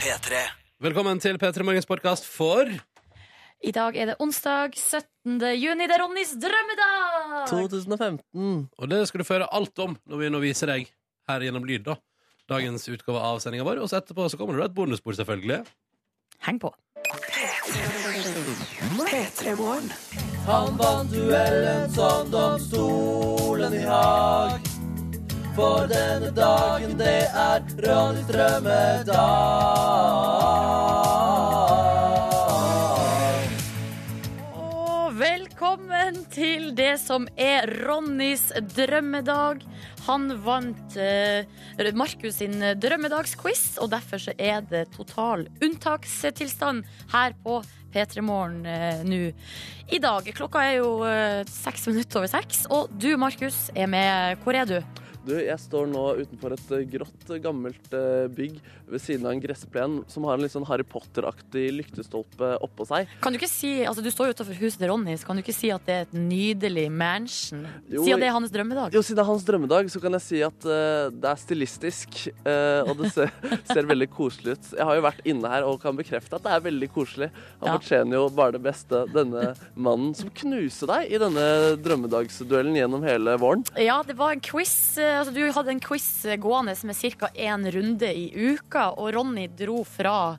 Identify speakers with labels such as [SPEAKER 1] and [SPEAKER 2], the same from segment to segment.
[SPEAKER 1] P3.
[SPEAKER 2] Velkommen til P3 Morgens podkast for
[SPEAKER 3] I dag er det onsdag 17. juni. Det er Ronnys drømmedag!
[SPEAKER 4] 2015.
[SPEAKER 2] Og det skal du føre alt om når vi nå viser deg her gjennom lyd, da. Dagens utgave av sendinga vår. Og så etterpå så kommer det da et bonusbord, selvfølgelig.
[SPEAKER 3] Heng på.
[SPEAKER 4] Han vant duellen som domstolen i Haag. For denne dagen, det er Ronnys drømmedag.
[SPEAKER 3] Og velkommen til det som er Ronnys drømmedag. Han vant eh, Markus sin drømmedagsquiz, og derfor så er det total unntakstilstand her på P3 Morgen eh, nå. I dag, klokka er jo eh, seks minutter over seks, og du, Markus, er med. Hvor er du?
[SPEAKER 4] Du, jeg står nå utenfor et eh, grått, eh, gammelt eh, bygg ved siden av en gressplen som har en litt sånn Harry Potter-aktig lyktestolpe oppå seg.
[SPEAKER 3] Kan du ikke si, altså du står jo utenfor huset til Ronny, så kan du ikke si at det er et nydelig mansion?
[SPEAKER 4] Jo,
[SPEAKER 3] si at det er hans drømmedag.
[SPEAKER 4] Jo, siden det er hans drømmedag, så kan jeg si at eh, det er stilistisk. eh, og det ser, ser veldig koselig ut. Jeg har jo vært inne her og kan bekrefte at det er veldig koselig. Han
[SPEAKER 3] Ja.
[SPEAKER 4] fortjener jo bare det beste, denne mannen som knuser deg i denne drømmedagsduellen gjennom hele våren.
[SPEAKER 3] Ja, det var en quiz. eh, Altså, du hadde en quiz eh, gående med ca. én runde i uka, og Ronny dro fra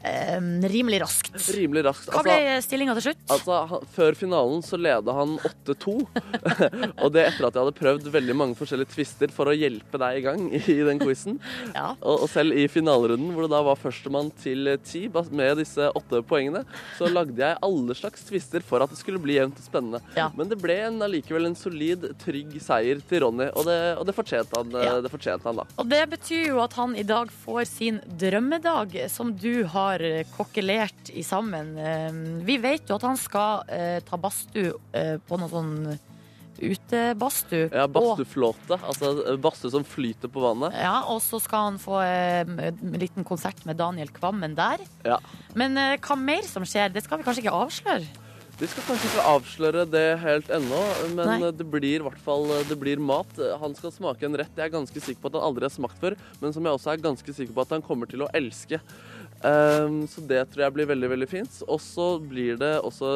[SPEAKER 3] eh, rimelig raskt.
[SPEAKER 4] Rimelig raskt.
[SPEAKER 3] Hva ble stillinga til slutt?
[SPEAKER 4] Altså, han, Før finalen så leda han 8-2. og det etter at jeg hadde prøvd veldig mange forskjellige twister for å hjelpe deg i gang i, i den quizen.
[SPEAKER 3] Ja.
[SPEAKER 4] Og, og selv i finalerunden, hvor det da var førstemann til eh, ti bas- med disse åtte poengene, så lagde jeg alle slags twister for at det skulle bli jevnt og spennende.
[SPEAKER 3] Ja.
[SPEAKER 4] Men det ble en, allikevel en solid, trygg seier til Ronny, og det, og det fortjente han, eh,
[SPEAKER 3] Ja.
[SPEAKER 4] det fortjente han da.
[SPEAKER 3] Og det betyr jo at han i dag får sin drømmedag, som du har eh, kokkelert i sammen. Eh, Vi vet jo at han skal eh, ta badstue eh, på noe sånn utebadstue.
[SPEAKER 4] Ja,
[SPEAKER 3] og-
[SPEAKER 4] Badstueflåte, altså badstue som flyter på vannet.
[SPEAKER 3] Ja, og så skal han få eh, en liten konsert med Daniel Kvammen der.
[SPEAKER 4] Ja.
[SPEAKER 3] Men eh, hva mer som skjer, det skal vi kanskje ikke avsløre.
[SPEAKER 4] Vi skal kanskje ikke avsløre det helt ennå, men
[SPEAKER 3] Nei.
[SPEAKER 4] det blir i hvert fall det blir mat. Han skal smake en rett jeg er ganske sikker på at han aldri har smakt før, men som jeg også er ganske sikker på at han kommer til å elske. Ehm, så det tror jeg blir veldig veldig fint. Og så blir det også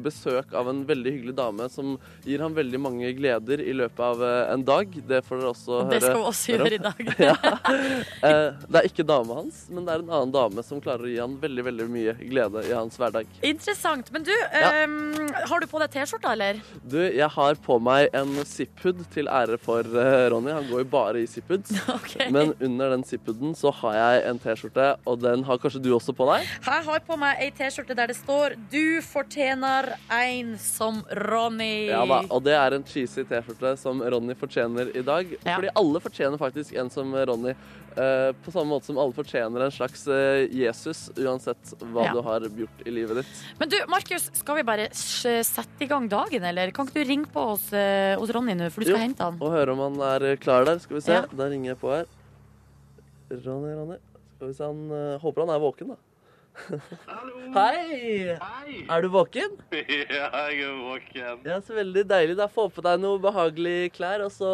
[SPEAKER 4] besøk av en veldig hyggelig dame som gir ham veldig mange gleder i løpet av eh, en dag. Det får dere også
[SPEAKER 3] Og
[SPEAKER 4] høre.
[SPEAKER 3] det skal vi også
[SPEAKER 4] høre om.
[SPEAKER 3] gjøre i dag.
[SPEAKER 4] Ja. Eh, det er ikke dama hans, men det er en annen dame som klarer å gi han veldig, veldig mye glede i hans hverdag.
[SPEAKER 3] Interessant. Men du,
[SPEAKER 4] Ja.
[SPEAKER 3] ehm, har du på deg T-skjorta, eller?
[SPEAKER 4] Du, jeg har på meg en zip-hood til ære for eh, Ronny. Han går jo bare i zip-hoods.
[SPEAKER 3] Ok.
[SPEAKER 4] Men under den zip-hooden så har jeg en T-skjorte, og den har kanskje du også på deg?
[SPEAKER 3] Jeg har på meg ei T-skjorte der det står 'Du fortjener ein som Ronny'.
[SPEAKER 4] Ja da, Og det er en cheesy T-skjorte som Ronny fortjener i dag.
[SPEAKER 3] Ja.
[SPEAKER 4] Fordi alle fortjener faktisk en som Ronny. eh, på samme måte som alle fortjener en slags eh, Jesus, uansett hva
[SPEAKER 3] Ja.
[SPEAKER 4] du har gjort i livet ditt.
[SPEAKER 3] Men du, Markus, skal vi bare s- sette i gang dagen, eller? Kan ikke du ringe på oss eh, hos Ronny nå, for du skal
[SPEAKER 4] Jo.
[SPEAKER 3] hente han?
[SPEAKER 4] Og høre om han er klar der. Skal vi se.
[SPEAKER 3] Ja.
[SPEAKER 4] Da ringer jeg på her. Ronny, Ronny. Skal vi se. Han eh, håper han er våken, da. Hei!
[SPEAKER 5] Hei!
[SPEAKER 4] Er du våken?
[SPEAKER 5] Ja, jeg er våken.
[SPEAKER 4] Ja, så veldig deilig. Da Få på deg noe behagelig klær, og så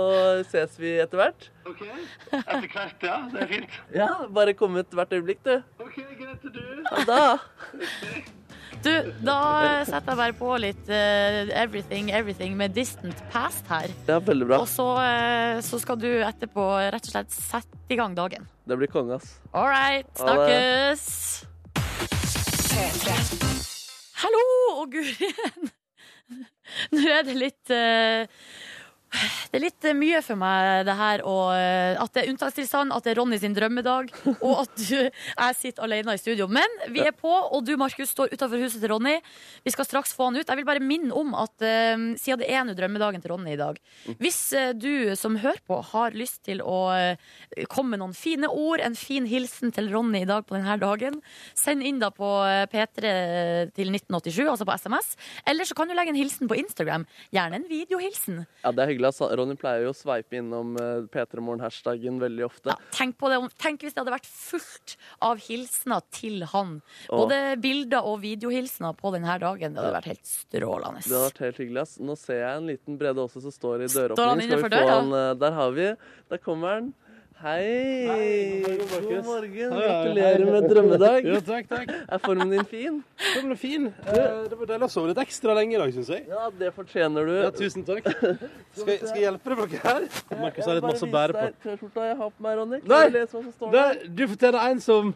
[SPEAKER 4] ses vi etter hvert.
[SPEAKER 5] OK. Etter hvert, ja. Det er fint.
[SPEAKER 4] Ja, Bare kom ut hvert øyeblikk, du.
[SPEAKER 5] OK, greit til du.
[SPEAKER 4] Ha det. da.
[SPEAKER 3] Du, da eh, setter jeg bare på litt eh, 'Everything Everything' med 'Distant Past' her.
[SPEAKER 4] Ja, veldig bra.
[SPEAKER 3] Og så, eh, så skal du etterpå rett og slett sette i gang dagen.
[SPEAKER 4] Det blir konge, ass.
[SPEAKER 3] All right,
[SPEAKER 4] Ha det.
[SPEAKER 3] snakkes! Hallo og guri igjen! Nå er det litt eh, Det er litt eh, mye for meg, det her. Og, eh, at det er unntakstilstand, at det er Ronny sin drømmedag, og at du, jeg sitter alene i studio. Men vi er på, og du, Markus, står utafor huset til Ronny. Vi skal straks få han ut. Jeg vil bare minne om at eh, siden det er nå drømmedagen til Ronny i dag Hvis eh, du som hører på, har lyst til å eh, komme med noen fine ord, en fin hilsen til Ronny i dag på denne dagen, send inn da på eh, P3 til 1987, altså på SMS. Eller så kan du legge en hilsen på Instagram. Gjerne en videohilsen.
[SPEAKER 4] Ja, Det er hyggelig. ass. Ronny pleier jo å sveipe innom eh, P3morgen-hashtagen veldig ofte.
[SPEAKER 3] Ja, tenk, på det. om- tenk hvis det hadde vært fullt av hilsener til han.
[SPEAKER 4] Åh.
[SPEAKER 3] Både bilder og videohilsener på denne dagen. Det hadde vært helt strålende.
[SPEAKER 4] Det hadde vært helt hyggelig. ass. Nå ser jeg en liten Brede Aase som står i
[SPEAKER 3] Står han
[SPEAKER 4] døråpningen. Skal
[SPEAKER 3] innenfor
[SPEAKER 4] vi få
[SPEAKER 3] døra?
[SPEAKER 4] han eh, Der har vi. Der kommer han. Hei!
[SPEAKER 6] god morgen,
[SPEAKER 4] God
[SPEAKER 6] Markus.
[SPEAKER 4] morgen.
[SPEAKER 6] Hei, hei.
[SPEAKER 4] Gratulerer med drømmedag.
[SPEAKER 6] Ja, takk, takk.
[SPEAKER 4] Er formen din fin?
[SPEAKER 6] Den ble fin. Eh, Det var deilig å sove litt ekstra lenge i dag, syns jeg.
[SPEAKER 4] Ja, det fortjener du.
[SPEAKER 6] Ja, tusen takk. Skal, jeg- skal jeg hjelpe deg med noe her? Markus har litt masse å bære på.
[SPEAKER 4] T-skjorta jeg har på meg, Ronny.
[SPEAKER 6] Nei!
[SPEAKER 4] Kan du lese hva som står der?
[SPEAKER 6] Der, du fortjener en som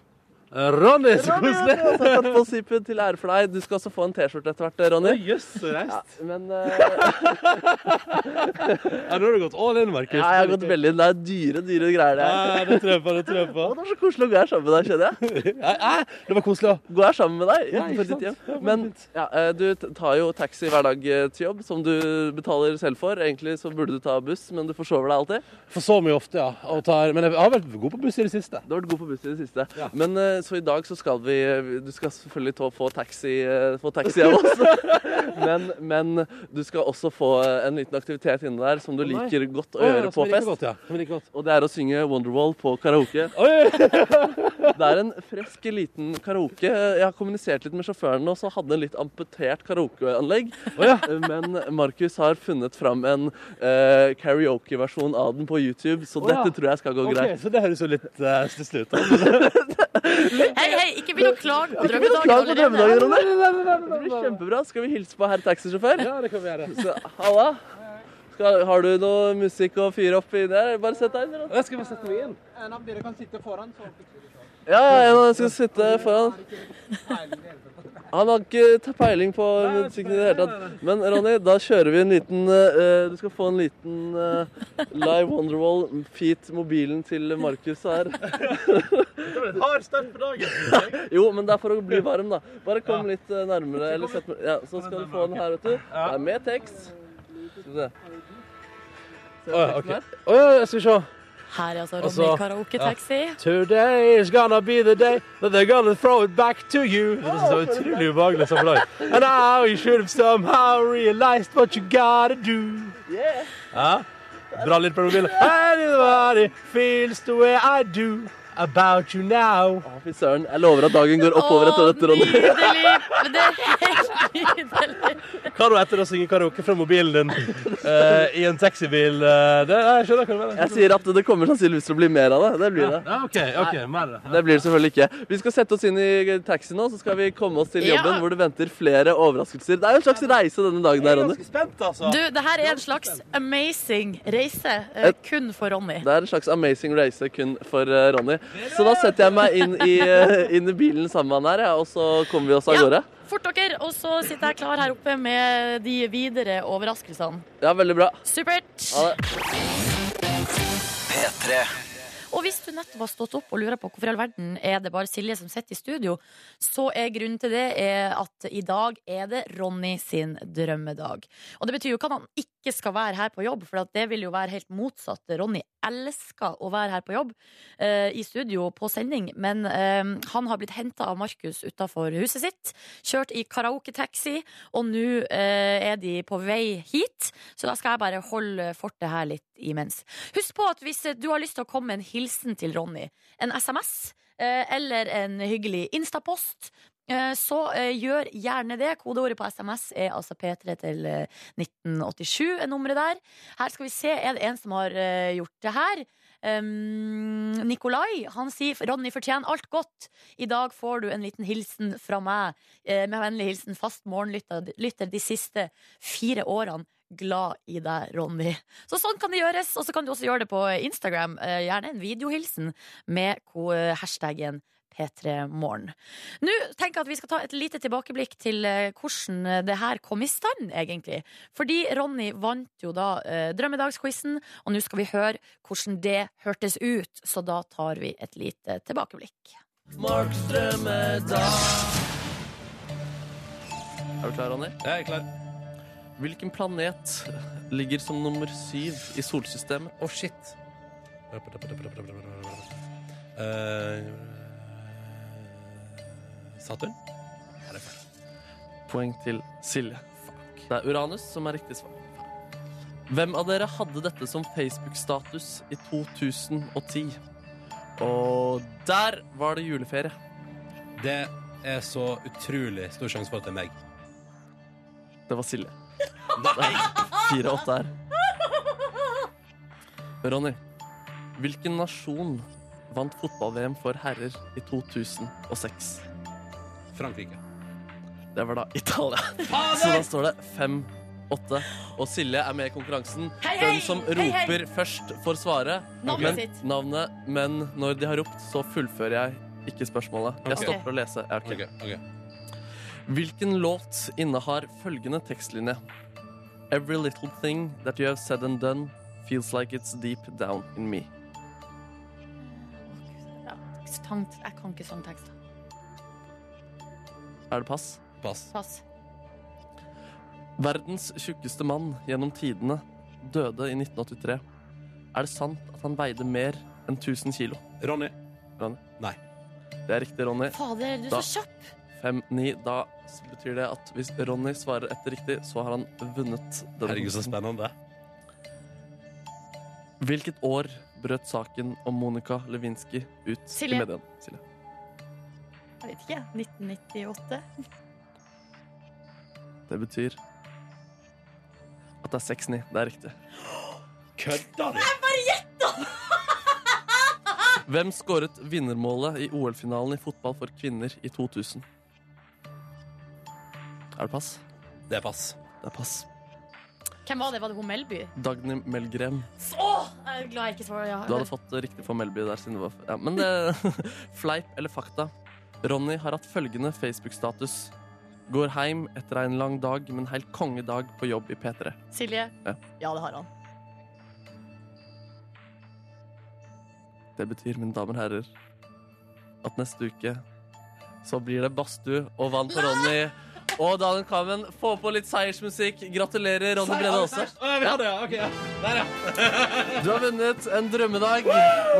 [SPEAKER 6] Ronny, så
[SPEAKER 4] Ronny,
[SPEAKER 6] koselig!
[SPEAKER 4] Ronny, altså, tatt på sippet til ære for deg. Du skal også få en T-skjorte etter hvert, Ronny.
[SPEAKER 6] Å, Jøss, så
[SPEAKER 4] Ja,
[SPEAKER 6] reist.
[SPEAKER 4] men eh,
[SPEAKER 6] Ja, Nå har du gått all in, Markus.
[SPEAKER 4] ja, jeg har gått veldig inn. Det er dyre, dyre greier, det her.
[SPEAKER 6] Ja, det tror jeg på. Det tror jeg
[SPEAKER 4] Å,
[SPEAKER 6] på.
[SPEAKER 4] Det er så koselig å gå her sammen med deg, kjenner jeg.
[SPEAKER 6] Ja, ja, det var koselig òg.
[SPEAKER 4] Gå her sammen med deg
[SPEAKER 6] Ja, ikke
[SPEAKER 4] utenfor ditt
[SPEAKER 6] sant? Ja,
[SPEAKER 4] hjem.
[SPEAKER 6] men
[SPEAKER 4] Men
[SPEAKER 6] fint.
[SPEAKER 4] ja, eh, du t- tar jo taxi hver dag eh, til jobb, som du betaler selv for. Egentlig så burde du ta buss, men du forsover deg alltid.
[SPEAKER 6] Forsover meg ofte, ja. Og tar, men jeg har vært god på buss i det siste.
[SPEAKER 4] Du har vært god på buss i det siste.
[SPEAKER 6] Ja.
[SPEAKER 4] Men eh, så i dag så skal vi eh, Du skal selvfølgelig ta, få taxi, eh, få taxi av oss. men, men du skal også få eh, en liten aktivitet inne der som du
[SPEAKER 6] nei.
[SPEAKER 4] liker godt å
[SPEAKER 6] Å, ja,
[SPEAKER 4] gjøre
[SPEAKER 6] som
[SPEAKER 4] på
[SPEAKER 6] jeg liker
[SPEAKER 4] fest.
[SPEAKER 6] Godt, ja. som jeg liker godt.
[SPEAKER 4] Og det er å synge Wonderwall på karaoke.
[SPEAKER 6] Oi!
[SPEAKER 4] Det er en fresk liten karaoke. Jeg har kommunisert litt med sjåføren nå, så hadde en litt amputert karaokeanlegg.
[SPEAKER 6] Å, ja.
[SPEAKER 4] Men Markus har funnet fram en eh, karaokeversjon av den på YouTube, så
[SPEAKER 6] Å, ja.
[SPEAKER 4] dette tror jeg skal gå
[SPEAKER 6] Ok,
[SPEAKER 4] greit.
[SPEAKER 6] så det høres jo litt uh, stusslig ut. da.
[SPEAKER 3] Hei, hei, ikke begynn å klage på drømmedagen
[SPEAKER 4] Klar på drømmedagen,
[SPEAKER 3] allerede.
[SPEAKER 4] Ronny? Det blir kjempebra. Skal vi hilse på herr taxisjåfør?
[SPEAKER 6] Ja, det kan vi gjøre.
[SPEAKER 4] Så, Halla. Skal, har du noe musikk å fyre opp i der? Bare sett deg inn. Ronny.
[SPEAKER 6] Jeg skal bare sette meg inn.
[SPEAKER 7] En av dere kan sitte foran, så
[SPEAKER 4] Ja, ja, jeg skal sitte foran. Han har ikke ta peiling på musikken i det hele tatt. Men Ronny, da kjører vi en liten eh, Du skal få en liten eh, Live Wonderwall feat mobilen til Markus her.
[SPEAKER 6] Det var en hard start på dagen.
[SPEAKER 4] Jo, men det er for å bli varm, da. Bare kom litt eh, nærmere. Eller sett, ja, så skal du få den her, vet du. Det er med tekst. Skal vi se. Ser du
[SPEAKER 6] Å, ja,
[SPEAKER 4] teksten
[SPEAKER 6] ok.
[SPEAKER 4] her?
[SPEAKER 6] Å, ja, jeg skal se.
[SPEAKER 3] Her er altså Ronny
[SPEAKER 6] Altså,
[SPEAKER 3] karaoke-taxi.
[SPEAKER 6] Today is gonna be the day that they're gonna throw it back to you. Det er så utrolig ubehagelig som dag. And now you should have somehow realized what you gotta do.
[SPEAKER 4] Yeah.
[SPEAKER 6] Ja? Bra lyd på mobilen. Anybody feels the way I do about you now.
[SPEAKER 4] Å, Fy søren. Jeg lover at dagen går oppover etter dette, Ronny.
[SPEAKER 3] nydelig! Men det er helt nydelig.
[SPEAKER 6] Hva da etter å synge karaoke fra mobilen din eh, i en taxibil? eh, det, jeg skjønner hva du mener.
[SPEAKER 4] Jeg sier at det kommer sannsynligvis til å bli mer av det. Det blir det.
[SPEAKER 6] Ja, OK. ok, mer av det.
[SPEAKER 4] Det blir det selvfølgelig ikke. Vi skal sette oss inn i taxi nå, så skal vi komme oss til
[SPEAKER 3] Ja.
[SPEAKER 4] jobben hvor det venter flere overraskelser. Det er jo en slags reise denne dagen her,
[SPEAKER 6] Jeg er
[SPEAKER 4] Ronny.
[SPEAKER 6] ganske spent, altså.
[SPEAKER 3] Du, det her er en slags amazing reise, eh, kun for Ronny.
[SPEAKER 4] Det er en slags amazing race kun for eh, Ronny. Så da setter jeg meg inn i, eh, inn i bilen sammen med han her, ja, og så kommer vi oss av
[SPEAKER 3] Ja.
[SPEAKER 4] gårde.
[SPEAKER 3] Fort dere, og så sitter jeg klar her oppe med de videre overraskelsene.
[SPEAKER 4] Ja, veldig bra.
[SPEAKER 3] Supert!
[SPEAKER 4] Ha det.
[SPEAKER 3] Og hvis du nettopp har stått opp og lurer på hvorfor i all verden er det bare Silje som sitter i studio, så er grunnen til det er at i dag er det Ronny sin drømmedag. Og det betyr jo ikke at han ikke skal være her på jobb, for at det vil jo være helt motsatt. Ronny elsker å være her på jobb, eh, i studio på sending, men eh, han har blitt henta av Markus utafor huset sitt, kjørt i karaoketaxi, og nå eh, er de på vei hit, så da skal jeg bare holde fortet her litt imens. Husk på at hvis du har lyst til å komme med en hilsen til Ronny, en SMS eh, eller en hyggelig Instapost, eh, så eh, gjør gjerne det. Kodeordet på SMS er altså P3 til eh, 1987, er nummeret der. Her skal vi se, er det en som har eh, gjort det her? Um, Nikolai han sier Ronny fortjener alt godt. I dag får du en liten hilsen fra meg. Eh, med vennlig hilsen fast morgenlytter lytter de siste fire årene. Glad i deg, Ronny. Så sånn kan det gjøres, og så kan du også gjøre det på Instagram. Eh, Gjerne en videohilsen med ko- eh, hashtaggen P3morgen. Nå tenker jeg at vi skal ta et lite tilbakeblikk til eh, hvordan det her kom i stand, egentlig. Fordi Ronny vant jo da eh, drømmedagsquizen, og nå skal vi høre hvordan det hørtes ut. Så da tar vi et lite tilbakeblikk.
[SPEAKER 4] Marks drømmedag. Er du klar, Ronny?
[SPEAKER 6] Jeg er klar.
[SPEAKER 4] Hvilken planet ligger som nummer syv i solsystemet?
[SPEAKER 6] Å, shit. Eh, Saturn? Ja, det er feil.
[SPEAKER 4] Poeng til Silje. Det er Uranus som er riktig svar. Hvem av dere hadde dette som Facebook-status i 2010? Og der var det juleferie.
[SPEAKER 6] Det er så utrolig stor sjanse for at det er meg.
[SPEAKER 4] Det var Silje. Fire-åtte her. Ronny, Hvilken nasjon vant fotball-VM for herrer i 2006?
[SPEAKER 6] Frankrike.
[SPEAKER 4] Det var da Italia. Så da står det 5-8. Og Silje er med i konkurransen.
[SPEAKER 3] Hei, hei!
[SPEAKER 4] Den som
[SPEAKER 3] Hei, hei!
[SPEAKER 4] roper først, får svare.
[SPEAKER 3] Navnet
[SPEAKER 4] men,
[SPEAKER 3] sitt.
[SPEAKER 4] navnet, men når de har ropt, så fullfører jeg ikke spørsmålet. Jeg
[SPEAKER 6] Ok.
[SPEAKER 4] stopper å lese. Ja, ok.
[SPEAKER 6] Ok, ok.
[SPEAKER 4] Hvilken låt innehar følgende tekstlinje? Every little thing that you have said and done feels like it's deep down in me.
[SPEAKER 3] Ja, sang- Jeg kan ikke sangtekster.
[SPEAKER 4] Er det pass?
[SPEAKER 6] Pass.
[SPEAKER 3] Pass.
[SPEAKER 4] Verdens tjukkeste mann gjennom tidene døde i 1983. Er det sant at han veide mer enn 1000 kilo?
[SPEAKER 6] Ronny.
[SPEAKER 4] Det er riktig, Ronny.
[SPEAKER 3] Fader, du er
[SPEAKER 4] Da-
[SPEAKER 3] så kjapp!
[SPEAKER 4] 5-9. Da betyr det at hvis Ronny svarer etter riktig, så har han vunnet denne
[SPEAKER 6] Herregud, så
[SPEAKER 4] konkurransen.
[SPEAKER 6] spennende.
[SPEAKER 4] Hvilket år brøt saken om Monica Lewinsky ut
[SPEAKER 3] Silje.
[SPEAKER 4] i mediene? Silje.
[SPEAKER 3] Jeg vet ikke. 1998?
[SPEAKER 4] Det betyr at det er 6-9. Det er riktig.
[SPEAKER 6] Kødda du?
[SPEAKER 4] Hvem skåret vinnermålet i OL-finalen i fotball for kvinner i 2000? Er det pass?
[SPEAKER 6] Det er pass.
[SPEAKER 4] Det er pass.
[SPEAKER 3] Hvem var det? Var det hun Melby?
[SPEAKER 4] Dagny Melgrem.
[SPEAKER 3] Å! Jeg er glad jeg ikke svarer ja.
[SPEAKER 4] Du hadde fått det riktig for Melby der. Siden det var, ja, men det, fleip eller fakta. Ronny har hatt følgende Facebook-status. Går heim etter en lang dag, men helt kongedag på jobb i P3.
[SPEAKER 3] Silje?
[SPEAKER 4] Ja.
[SPEAKER 3] Ja, det har han.
[SPEAKER 4] Det betyr, mine damer og herrer, at neste uke så blir det badstue og vann for Ronny. Og Daniel Kamen, få på litt seiersmusikk. Gratulerer, Ronny Brede også. Du har vunnet en drømmedag.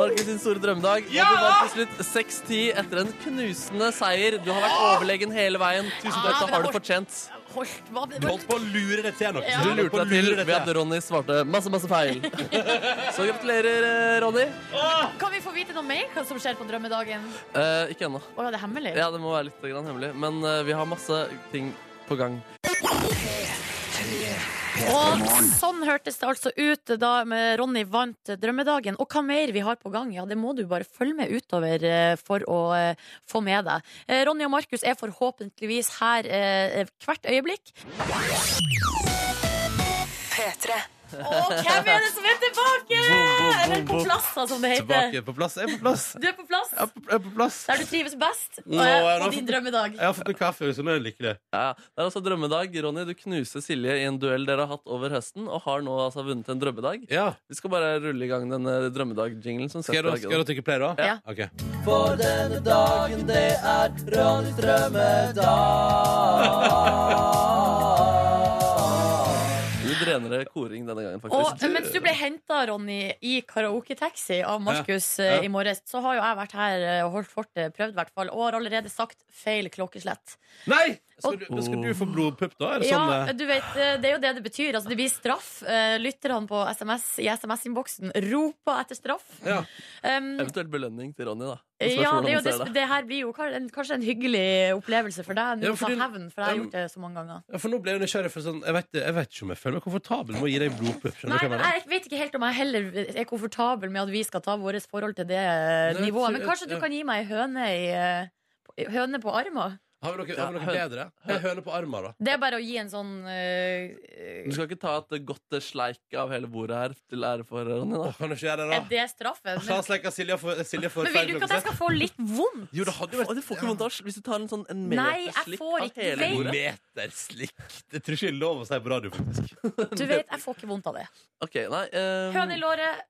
[SPEAKER 4] Markus sin store drømmedag. Og du vant til slutt 6-10 etter en knusende seier. Du har vært overlegen hele veien. Tusen takk,
[SPEAKER 3] Ja,
[SPEAKER 4] det
[SPEAKER 3] men
[SPEAKER 4] har du
[SPEAKER 3] det
[SPEAKER 4] fortjent.
[SPEAKER 3] Holdt hva,
[SPEAKER 6] Du holdt på å lure det til nok.
[SPEAKER 3] Ja.
[SPEAKER 4] Du
[SPEAKER 6] holdt på
[SPEAKER 4] lurte
[SPEAKER 6] å
[SPEAKER 4] deg til
[SPEAKER 6] lure det
[SPEAKER 4] ved at Ronny svarte masse, masse feil. Så gratulerer, eh, Ronny.
[SPEAKER 3] Kan vi få vite noe mer hva som skjer på drømmedagen?
[SPEAKER 4] Eh, ikke ennå.
[SPEAKER 3] Å, er det hemmelig?
[SPEAKER 4] Ja, det må være litt grann hemmelig. Men eh, vi har masse ting på gang.
[SPEAKER 3] Og sånn hørtes det altså ut da med Ronny vant drømmedagen. Og hva mer vi har på gang, ja, det må du bare følge med utover eh, for å eh, få med deg. Eh, Ronny og Markus er forhåpentligvis her eh, hvert øyeblikk. Og hvem er det som er tilbake? Eller på plass, da, som det heter.
[SPEAKER 6] Tilbake på plass. Jeg er på plass.
[SPEAKER 3] Du er på plass.
[SPEAKER 6] Jeg er på, jeg er på plass.
[SPEAKER 3] Der du trives best.
[SPEAKER 6] Nå
[SPEAKER 3] Og,
[SPEAKER 6] er det
[SPEAKER 3] og din
[SPEAKER 6] for-
[SPEAKER 3] drømmedag.
[SPEAKER 6] Jeg har fått en kaffe, så nå er jeg lykkelig.
[SPEAKER 4] Ja, det er altså drømmedag. Ronny, du knuser Silje i en duell dere har hatt over høsten, og har nå altså vunnet en drømmedag.
[SPEAKER 6] Ja.
[SPEAKER 4] Vi skal bare rulle i gang denne drømmedag-jinglen. som
[SPEAKER 6] Skal jeg,
[SPEAKER 4] setter
[SPEAKER 6] da,
[SPEAKER 4] deg
[SPEAKER 6] skal jeg da trykke play, da?
[SPEAKER 3] Ja.
[SPEAKER 6] Ok.
[SPEAKER 4] For denne dagen, det er Ronnys drømmedag. Litt renere koring denne gangen,
[SPEAKER 3] Og
[SPEAKER 4] faktisk.
[SPEAKER 3] mens du ble henta, Ronny, i karaoketaxi av Markus
[SPEAKER 6] Ja,
[SPEAKER 3] eh,
[SPEAKER 6] ja.
[SPEAKER 3] i morges, så har jo jeg vært her eh, og holdt fortet, prøvd i hvert fall, og har allerede sagt feil klokkeslett.
[SPEAKER 6] Nei! Skal du, men skal du få blodpupp, da? Er det sånn
[SPEAKER 3] ja,
[SPEAKER 6] eh,
[SPEAKER 3] du vet, eh, det er jo det det betyr. Altså, det blir straff. Eh, Lytterne på SMS, i SMS-innboksen roper etter straff.
[SPEAKER 6] Ja.
[SPEAKER 3] Um,
[SPEAKER 4] Eventuelt belønning til Ronny, da. Det spørs
[SPEAKER 3] ja,
[SPEAKER 4] hvordan
[SPEAKER 3] det, er jo,
[SPEAKER 4] man
[SPEAKER 3] det,
[SPEAKER 4] ser det.
[SPEAKER 3] det her blir jo kar- en, kanskje en hyggelig opplevelse for deg. Nå
[SPEAKER 6] Ja,
[SPEAKER 3] å ta
[SPEAKER 6] fordi-
[SPEAKER 3] hevn, for jeg har
[SPEAKER 6] Ja,
[SPEAKER 3] gjort det så mange ganger.
[SPEAKER 6] Ja, for nå ble jeg nysgjerrig, for sånn, jeg vet, jeg vet ikke om jeg føler meg komfortabel med å gi deg blodpupp.
[SPEAKER 3] Nei,
[SPEAKER 6] Skjønner du
[SPEAKER 3] men
[SPEAKER 6] hva jeg mener?
[SPEAKER 3] Jeg vet ikke helt om jeg heller er komfortabel med at vi skal ta vårt forhold til det eh,
[SPEAKER 6] Nei,
[SPEAKER 3] nivået. Men
[SPEAKER 6] jeg-
[SPEAKER 3] kanskje du
[SPEAKER 6] ja.
[SPEAKER 3] kan gi meg ei høne, i, eh, høne på armen?
[SPEAKER 6] Har vi noe, har vi noe
[SPEAKER 4] Ja, hø-
[SPEAKER 6] bedre? Jeg høner på armen, da.
[SPEAKER 3] Det er bare å gi en sånn eh,
[SPEAKER 4] Du skal ikke ta et godt eh, sleik av hele bordet her til ære for Ronny, da.
[SPEAKER 6] Åh, kan du ikke gjøre det,
[SPEAKER 3] Er
[SPEAKER 6] da?
[SPEAKER 3] eh, det straffen?
[SPEAKER 6] La
[SPEAKER 3] Men,
[SPEAKER 6] oss leke Silje for, Silje for
[SPEAKER 3] men vil du ikke at jeg skal få litt vondt?
[SPEAKER 6] Jo, det hadde jo
[SPEAKER 4] Å,
[SPEAKER 6] vært
[SPEAKER 4] du får ikke vondt av hvis du tar en sånn en
[SPEAKER 3] Nei, jeg
[SPEAKER 4] meter slikk
[SPEAKER 3] får
[SPEAKER 4] av
[SPEAKER 3] ikke
[SPEAKER 4] hele
[SPEAKER 3] veien.
[SPEAKER 4] bordet.
[SPEAKER 6] Meterslikk. Det tror ikke jeg er lov å si på radio, faktisk.
[SPEAKER 3] Du vet, jeg får ikke vondt av det.
[SPEAKER 4] Ok, nei eh,
[SPEAKER 3] Høne i låret.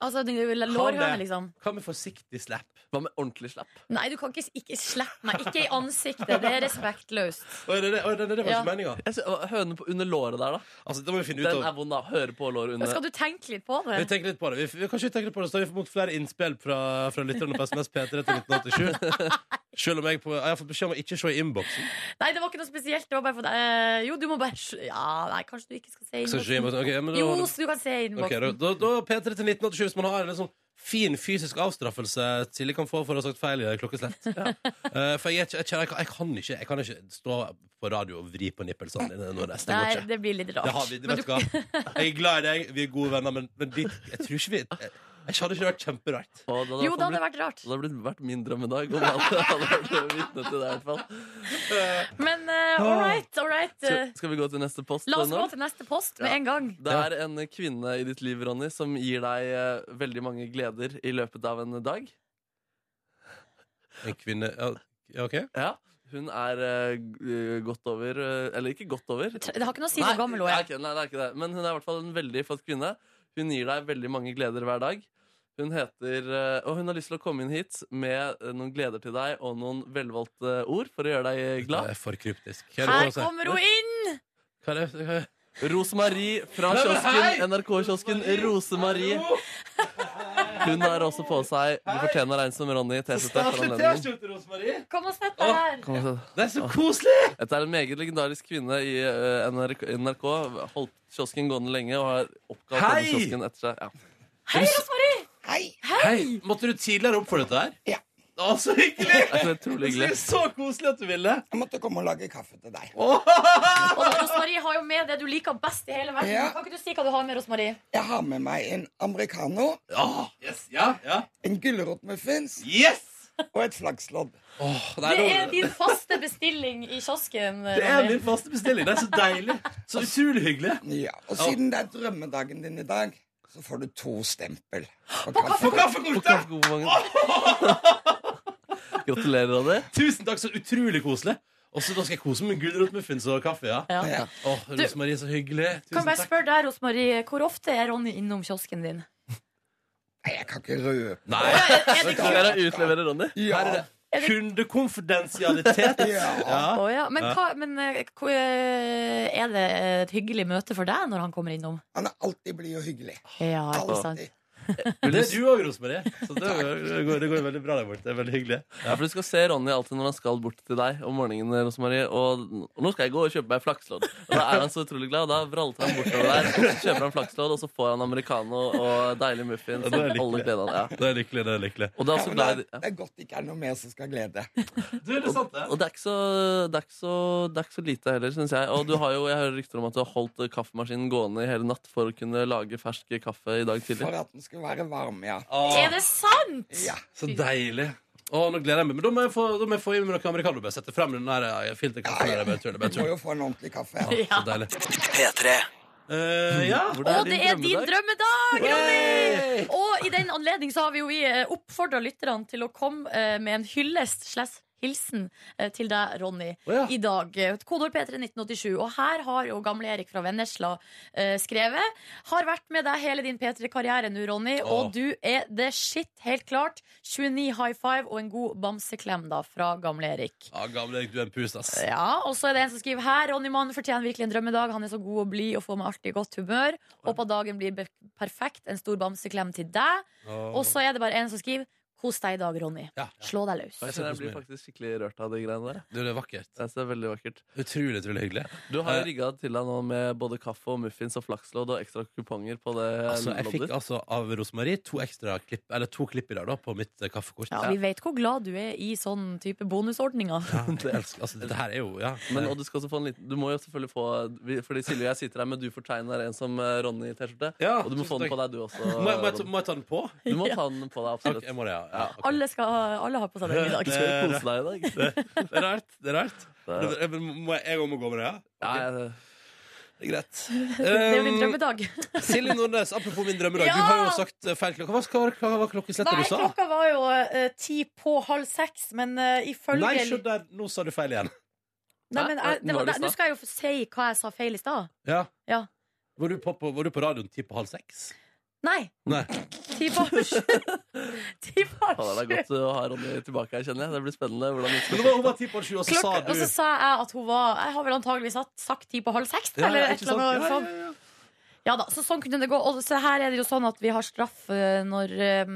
[SPEAKER 3] Altså, den lårhøne, liksom.
[SPEAKER 6] Hva med forsiktig slapp?
[SPEAKER 4] Hva med ordentlig slapp?
[SPEAKER 3] Nei, du kan ikke, ikke slippe meg. Ikke i ansiktet. Det er respektløst.
[SPEAKER 6] Oi, det, det, oi, det, det var
[SPEAKER 3] Ja.
[SPEAKER 6] ikke meninga.
[SPEAKER 4] Jeg sy- Høne på under låret der, da.
[SPEAKER 6] Altså, det må vi finne ut
[SPEAKER 4] Den
[SPEAKER 6] av.
[SPEAKER 4] er vond, da. Høre på låret under.
[SPEAKER 3] Skal du tenke litt på
[SPEAKER 6] Vi
[SPEAKER 3] det?
[SPEAKER 6] tenker litt på det. Vi, vi, kanskje vi tenker litt på det, så har vi fått flere innspill fra, fra lytterne på SMS P3 til 1987. Selv om jeg, på, jeg har fått beskjed om å ikke se i innboksen.
[SPEAKER 3] Nei, det var ikke noe spesielt. Det var bare for deg. Eh, jo, du må bare Ja, nei, kanskje du ikke skal se
[SPEAKER 6] Skal ikke se i
[SPEAKER 3] innboksen.
[SPEAKER 6] innboksen. Ok, men da,
[SPEAKER 3] Jo, så du kan se
[SPEAKER 6] ok,
[SPEAKER 3] innboksen.
[SPEAKER 6] da, da, da P3 til 1987, hvis man har en litt sånn fin fysisk avstraffelse Silje kan få for å ha sagt feil i klokkeslett. Eh, for jeg, er ikke- jeg, kjenner- jeg, kan- jeg, kan ikke, jeg kan ikke stå på radio og vri på nippelsene dine når det er
[SPEAKER 3] Nei,
[SPEAKER 6] stengt.
[SPEAKER 3] det blir litt rart.
[SPEAKER 6] Det har vi,
[SPEAKER 3] Men
[SPEAKER 6] vet du hva? Jeg er glad i deg, vi er gode venner, men, men dit, jeg tror ikke vi jeg, Jeg hadde ikke det vært kjemperart.
[SPEAKER 4] Og da hadde
[SPEAKER 3] Jo,
[SPEAKER 4] jeg
[SPEAKER 3] det hadde
[SPEAKER 4] blitt-
[SPEAKER 3] vært rart.
[SPEAKER 4] det hadde blitt vært min drømmedag om jeg hadde hadde vært vitne til det. i hvert fall
[SPEAKER 3] Men uh, all right, all right.
[SPEAKER 4] Skal,
[SPEAKER 3] eh,
[SPEAKER 4] skal vi gå til neste post?
[SPEAKER 3] la oss
[SPEAKER 4] nå?
[SPEAKER 3] gå til neste post med
[SPEAKER 4] Ja.
[SPEAKER 3] en gang.
[SPEAKER 4] Det er en kvinne i ditt liv, Ronny, som gir deg eh, veldig mange gleder i løpet av en dag.
[SPEAKER 6] En kvinne Ja, ja, OK?
[SPEAKER 4] Ja. Hun er eh, g- godt over eh, Eller ikke godt over.
[SPEAKER 3] Tr- Det har ikke noe å si
[SPEAKER 4] Nei,
[SPEAKER 3] hvor gammel hun
[SPEAKER 4] det er
[SPEAKER 3] er.
[SPEAKER 4] ikke- nei, det er ikke det. Men hun er i hvert fall en veldig flott kvinne. Hun gir deg veldig mange gleder hver dag. Hun heter, eh, og hun har lyst til å komme inn hit med eh, noen gleder til deg og noen velvalgte ord for å gjøre deg
[SPEAKER 6] Det
[SPEAKER 4] glad.
[SPEAKER 6] er for kryptisk. Hva
[SPEAKER 3] Her
[SPEAKER 6] er det for noe å si?
[SPEAKER 3] kommer hun inn!
[SPEAKER 6] Hva er det? Hva er det?
[SPEAKER 4] Rosemarie fra
[SPEAKER 6] Nei, men hei!
[SPEAKER 4] kiosken, NRK-kiosken Rosemarie. Hun har også på seg Du fortjener en som Ronny T-skjorte for anledningen.
[SPEAKER 3] Kom og sett deg her.
[SPEAKER 4] Kom og se.
[SPEAKER 6] Det er så koselig!
[SPEAKER 4] Dette er en meget legendarisk kvinne i eh, NRK. NRK holdt kiosken gående lenge og har oppkalt
[SPEAKER 6] Hei!
[SPEAKER 4] denne kiosken etter seg. Ja.
[SPEAKER 3] Hei, Rosmarie!
[SPEAKER 6] Hei! Måtte du tidligere opp for dette her?
[SPEAKER 8] Ja.
[SPEAKER 6] Å, så hyggelig!
[SPEAKER 4] Det er utrolig
[SPEAKER 6] Det
[SPEAKER 4] hyggelig.
[SPEAKER 6] er så koselig at du ville.
[SPEAKER 8] Jeg måtte komme og lage kaffe til deg.
[SPEAKER 3] Og Rosmarie har jo med det du liker best i hele verden.
[SPEAKER 8] Ja.
[SPEAKER 3] Kan ikke du si hva du har med, Rosmarie?
[SPEAKER 8] Jeg har med meg en americano,
[SPEAKER 6] Ja, yes, ja, ja.
[SPEAKER 8] en gulrotmuffins
[SPEAKER 6] Yes!
[SPEAKER 8] og et flakslodd.
[SPEAKER 6] Åh, det,
[SPEAKER 3] Det
[SPEAKER 6] er
[SPEAKER 3] er din faste bestilling i kiosken.
[SPEAKER 6] det er
[SPEAKER 3] Ronny.
[SPEAKER 6] min faste bestilling. Det er så deilig. Så utrolig hyggelig.
[SPEAKER 8] Ja, og siden det er drømmedagen din i dag, så får du to stempel. På
[SPEAKER 6] På
[SPEAKER 8] kaffe.
[SPEAKER 6] kaffekortet!
[SPEAKER 4] Gratulerer, Ronny.
[SPEAKER 6] Tusen takk, så utrolig koselig. Og så da skal jeg kose meg med gulrotmuffins og kaffe. ja.
[SPEAKER 3] Ja.
[SPEAKER 8] Ja.
[SPEAKER 6] Åh, Rosemarie, så hyggelig.
[SPEAKER 3] Kan jeg
[SPEAKER 6] Tusen
[SPEAKER 3] bare
[SPEAKER 6] takk.
[SPEAKER 3] spørre deg, Rosmarie, hvor ofte er Ronny innom kiosken din?
[SPEAKER 8] Nei, jeg kan ikke røpe
[SPEAKER 6] Nei,
[SPEAKER 3] Er det
[SPEAKER 4] Skal dere utlevere Ronny?
[SPEAKER 8] ja.
[SPEAKER 3] Er det-
[SPEAKER 6] kundekonfidensialitet.
[SPEAKER 8] ja.
[SPEAKER 6] Ja.
[SPEAKER 3] Å ja. Men,
[SPEAKER 6] Ja.
[SPEAKER 3] hva, men eh, hvor- eh, er det et hyggelig møte for deg når han kommer innom?
[SPEAKER 8] Han er alltid blid og hyggelig.
[SPEAKER 3] Ja, ikke sant?
[SPEAKER 8] Alltid.
[SPEAKER 6] Men det er du òg, Rosemarie. Så det, det, går, det går veldig bra der borte. Det er veldig hyggelig.
[SPEAKER 4] Ja, for Du skal se Ronny alltid når han skal bort til deg om morgenen. Rosemarie Og og nå skal jeg gå og kjøpe meg flakslodd. Og Da er han så utrolig glad. og Da vralter han bortover der. Og så kjøper han flakslodd, og så får han americano og deilig muffins.
[SPEAKER 6] Ja, det
[SPEAKER 4] og
[SPEAKER 6] er
[SPEAKER 4] Alle
[SPEAKER 6] lykkelig.
[SPEAKER 4] gledene, ja.
[SPEAKER 6] Det er lykkelig, det er lykkelig.
[SPEAKER 4] Og det er
[SPEAKER 8] Ja,
[SPEAKER 4] også
[SPEAKER 8] men
[SPEAKER 4] glad i
[SPEAKER 8] det, er, det er godt det ikke er noe mer som skal glede.
[SPEAKER 6] Du, det er sant, det.
[SPEAKER 4] Og det er ikke så, det er ikke så, det er ikke så lite heller, syns jeg. Og du har jo, jeg hører rykter om at du har holdt eh, kaffemaskinen gående i hele natt for å kunne lage fersk kaffe i dag tidlig.
[SPEAKER 8] For at den skulle være varm, ja.
[SPEAKER 3] Er det sant?!
[SPEAKER 8] Ja,
[SPEAKER 6] Så deilig. Å, nå gleder jeg meg. Men da må jeg få, da må jeg få i meg noe americano. Bare sette frem den der eh, filterkaffen. der. Jeg Bare
[SPEAKER 8] Du
[SPEAKER 6] tuller, jeg bare
[SPEAKER 8] må
[SPEAKER 6] tuller.
[SPEAKER 8] jo få en ordentlig kaffe.
[SPEAKER 6] Så deilig. Eh, ja.
[SPEAKER 3] Og det er din drømmedag, Ronny! Og i den anledning så har vi jo vi oppfordra lytterne til å komme eh, med en hyllest slash hilsen eh, til deg, Ronny,
[SPEAKER 6] Å, ja.
[SPEAKER 3] i dag. Eh, Kodeord P3 1987. Og her har jo gamle-Erik fra Vennesla eh, skrevet. Har vært med deg hele din P3-karriere nå, Ronny,
[SPEAKER 6] Å.
[SPEAKER 3] og du er the shit, helt klart. 29 high five og en god bamseklem da fra gamle-Erik.
[SPEAKER 6] Ja, gamle Erik, du er en pus, ass.
[SPEAKER 3] Ja, og så er det en som skriver her Ronny Mann fortjener virkelig en drømmedag Han er så god og blid og får meg alltid i godt humør Håper dagen blir be- perfekt En stor bamseklem til deg Og så er det bare en som skriver Kos deg i dag, Ronny
[SPEAKER 6] Ja.
[SPEAKER 3] Slå deg løs
[SPEAKER 4] Og Jeg, kjenner jeg blir faktisk skikkelig rørt av de greiene der.
[SPEAKER 6] Du, det er vakkert.
[SPEAKER 4] Jeg synes Det er veldig vakkert.
[SPEAKER 6] Utrolig, utrolig hyggelig.
[SPEAKER 4] Du har
[SPEAKER 6] Eh,
[SPEAKER 4] jo rigga til deg nå med både kaffe og muffins og flakslodd og ekstra kuponger på det
[SPEAKER 6] Altså, jeg fikk
[SPEAKER 4] loddet.
[SPEAKER 6] altså av Rosemarie to ekstra klipp Eller to klipp i dag da, på mitt eh, kaffekort.
[SPEAKER 3] ja, Vi vet hvor glad du er i sånn type bonusordninger
[SPEAKER 6] Ja, jeg elsker, altså, dette her er jo ja.
[SPEAKER 4] Men, og du, skal også få en liten, du må jo selvfølgelig få vi- Fordi Silje og jeg sitter her, men du fortegner en som eh, Ronny i T-skjorte.
[SPEAKER 6] Ja,
[SPEAKER 4] og du må få
[SPEAKER 6] tusen
[SPEAKER 4] den på
[SPEAKER 6] takk.
[SPEAKER 4] deg, du også.
[SPEAKER 6] må, jeg, må, jeg, ta-
[SPEAKER 4] Ronny.
[SPEAKER 6] må jeg ta den på?
[SPEAKER 4] Du må ta den på deg,
[SPEAKER 6] Ok,
[SPEAKER 4] absolutt.
[SPEAKER 6] jeg må det, ja. ja ok.
[SPEAKER 3] alle, skal, alle har på seg den i dag
[SPEAKER 4] Du skal jo kose deg i dag.
[SPEAKER 6] Det er rart. det er rart
[SPEAKER 4] Det
[SPEAKER 6] Men Må jeg, jeg også må gå med det, ja?
[SPEAKER 4] Ja, jeg-
[SPEAKER 6] Det er greit.
[SPEAKER 3] Det er jo din
[SPEAKER 6] Um,
[SPEAKER 3] drømmedag
[SPEAKER 6] Silje Nordnes, apropos min drømmedag.
[SPEAKER 3] Ja!
[SPEAKER 6] Du har jo sagt eh, feil klokka. Hva, hva, hva var klokkeslettet
[SPEAKER 3] Nei,
[SPEAKER 6] du sa?
[SPEAKER 3] klokka var jo eh, ti på halv seks Men eh, ifølge
[SPEAKER 6] Nei, se der, nå sa du feil igjen.
[SPEAKER 3] Nei, men, jeg-
[SPEAKER 4] Hæ?
[SPEAKER 3] det
[SPEAKER 4] Hva
[SPEAKER 3] var,
[SPEAKER 4] var det i
[SPEAKER 3] Nå
[SPEAKER 4] stad?
[SPEAKER 3] skal jeg jo si hva jeg sa feil i stad
[SPEAKER 6] Ja.
[SPEAKER 3] Ja.
[SPEAKER 6] Var, du på, på, var du på radioen ti på halv seks?
[SPEAKER 3] Nei,
[SPEAKER 6] Nei.
[SPEAKER 3] ti på halv sju Ti på
[SPEAKER 4] Fader,
[SPEAKER 3] halv
[SPEAKER 4] det
[SPEAKER 3] sju
[SPEAKER 4] er godt å ha Ronny tilbake her, kjenner jeg. Det blir spennende. hvordan det
[SPEAKER 6] Men
[SPEAKER 4] skal
[SPEAKER 6] det var, hun var ti på sju, og så
[SPEAKER 3] Klokka,
[SPEAKER 6] sa
[SPEAKER 3] og
[SPEAKER 6] du
[SPEAKER 3] så sa jeg at hun var Jeg har vel antageligvis hatt, sagt ti på halv seks,
[SPEAKER 6] Ja,
[SPEAKER 3] eller
[SPEAKER 6] ja,
[SPEAKER 3] et
[SPEAKER 6] ikke
[SPEAKER 3] eller annet
[SPEAKER 6] sant?
[SPEAKER 3] sånt.
[SPEAKER 6] Ja, ja, ja.
[SPEAKER 3] Ja da, så sånn kunne det gå. Og så her er det jo sånn at vi har straff eh, når, eh,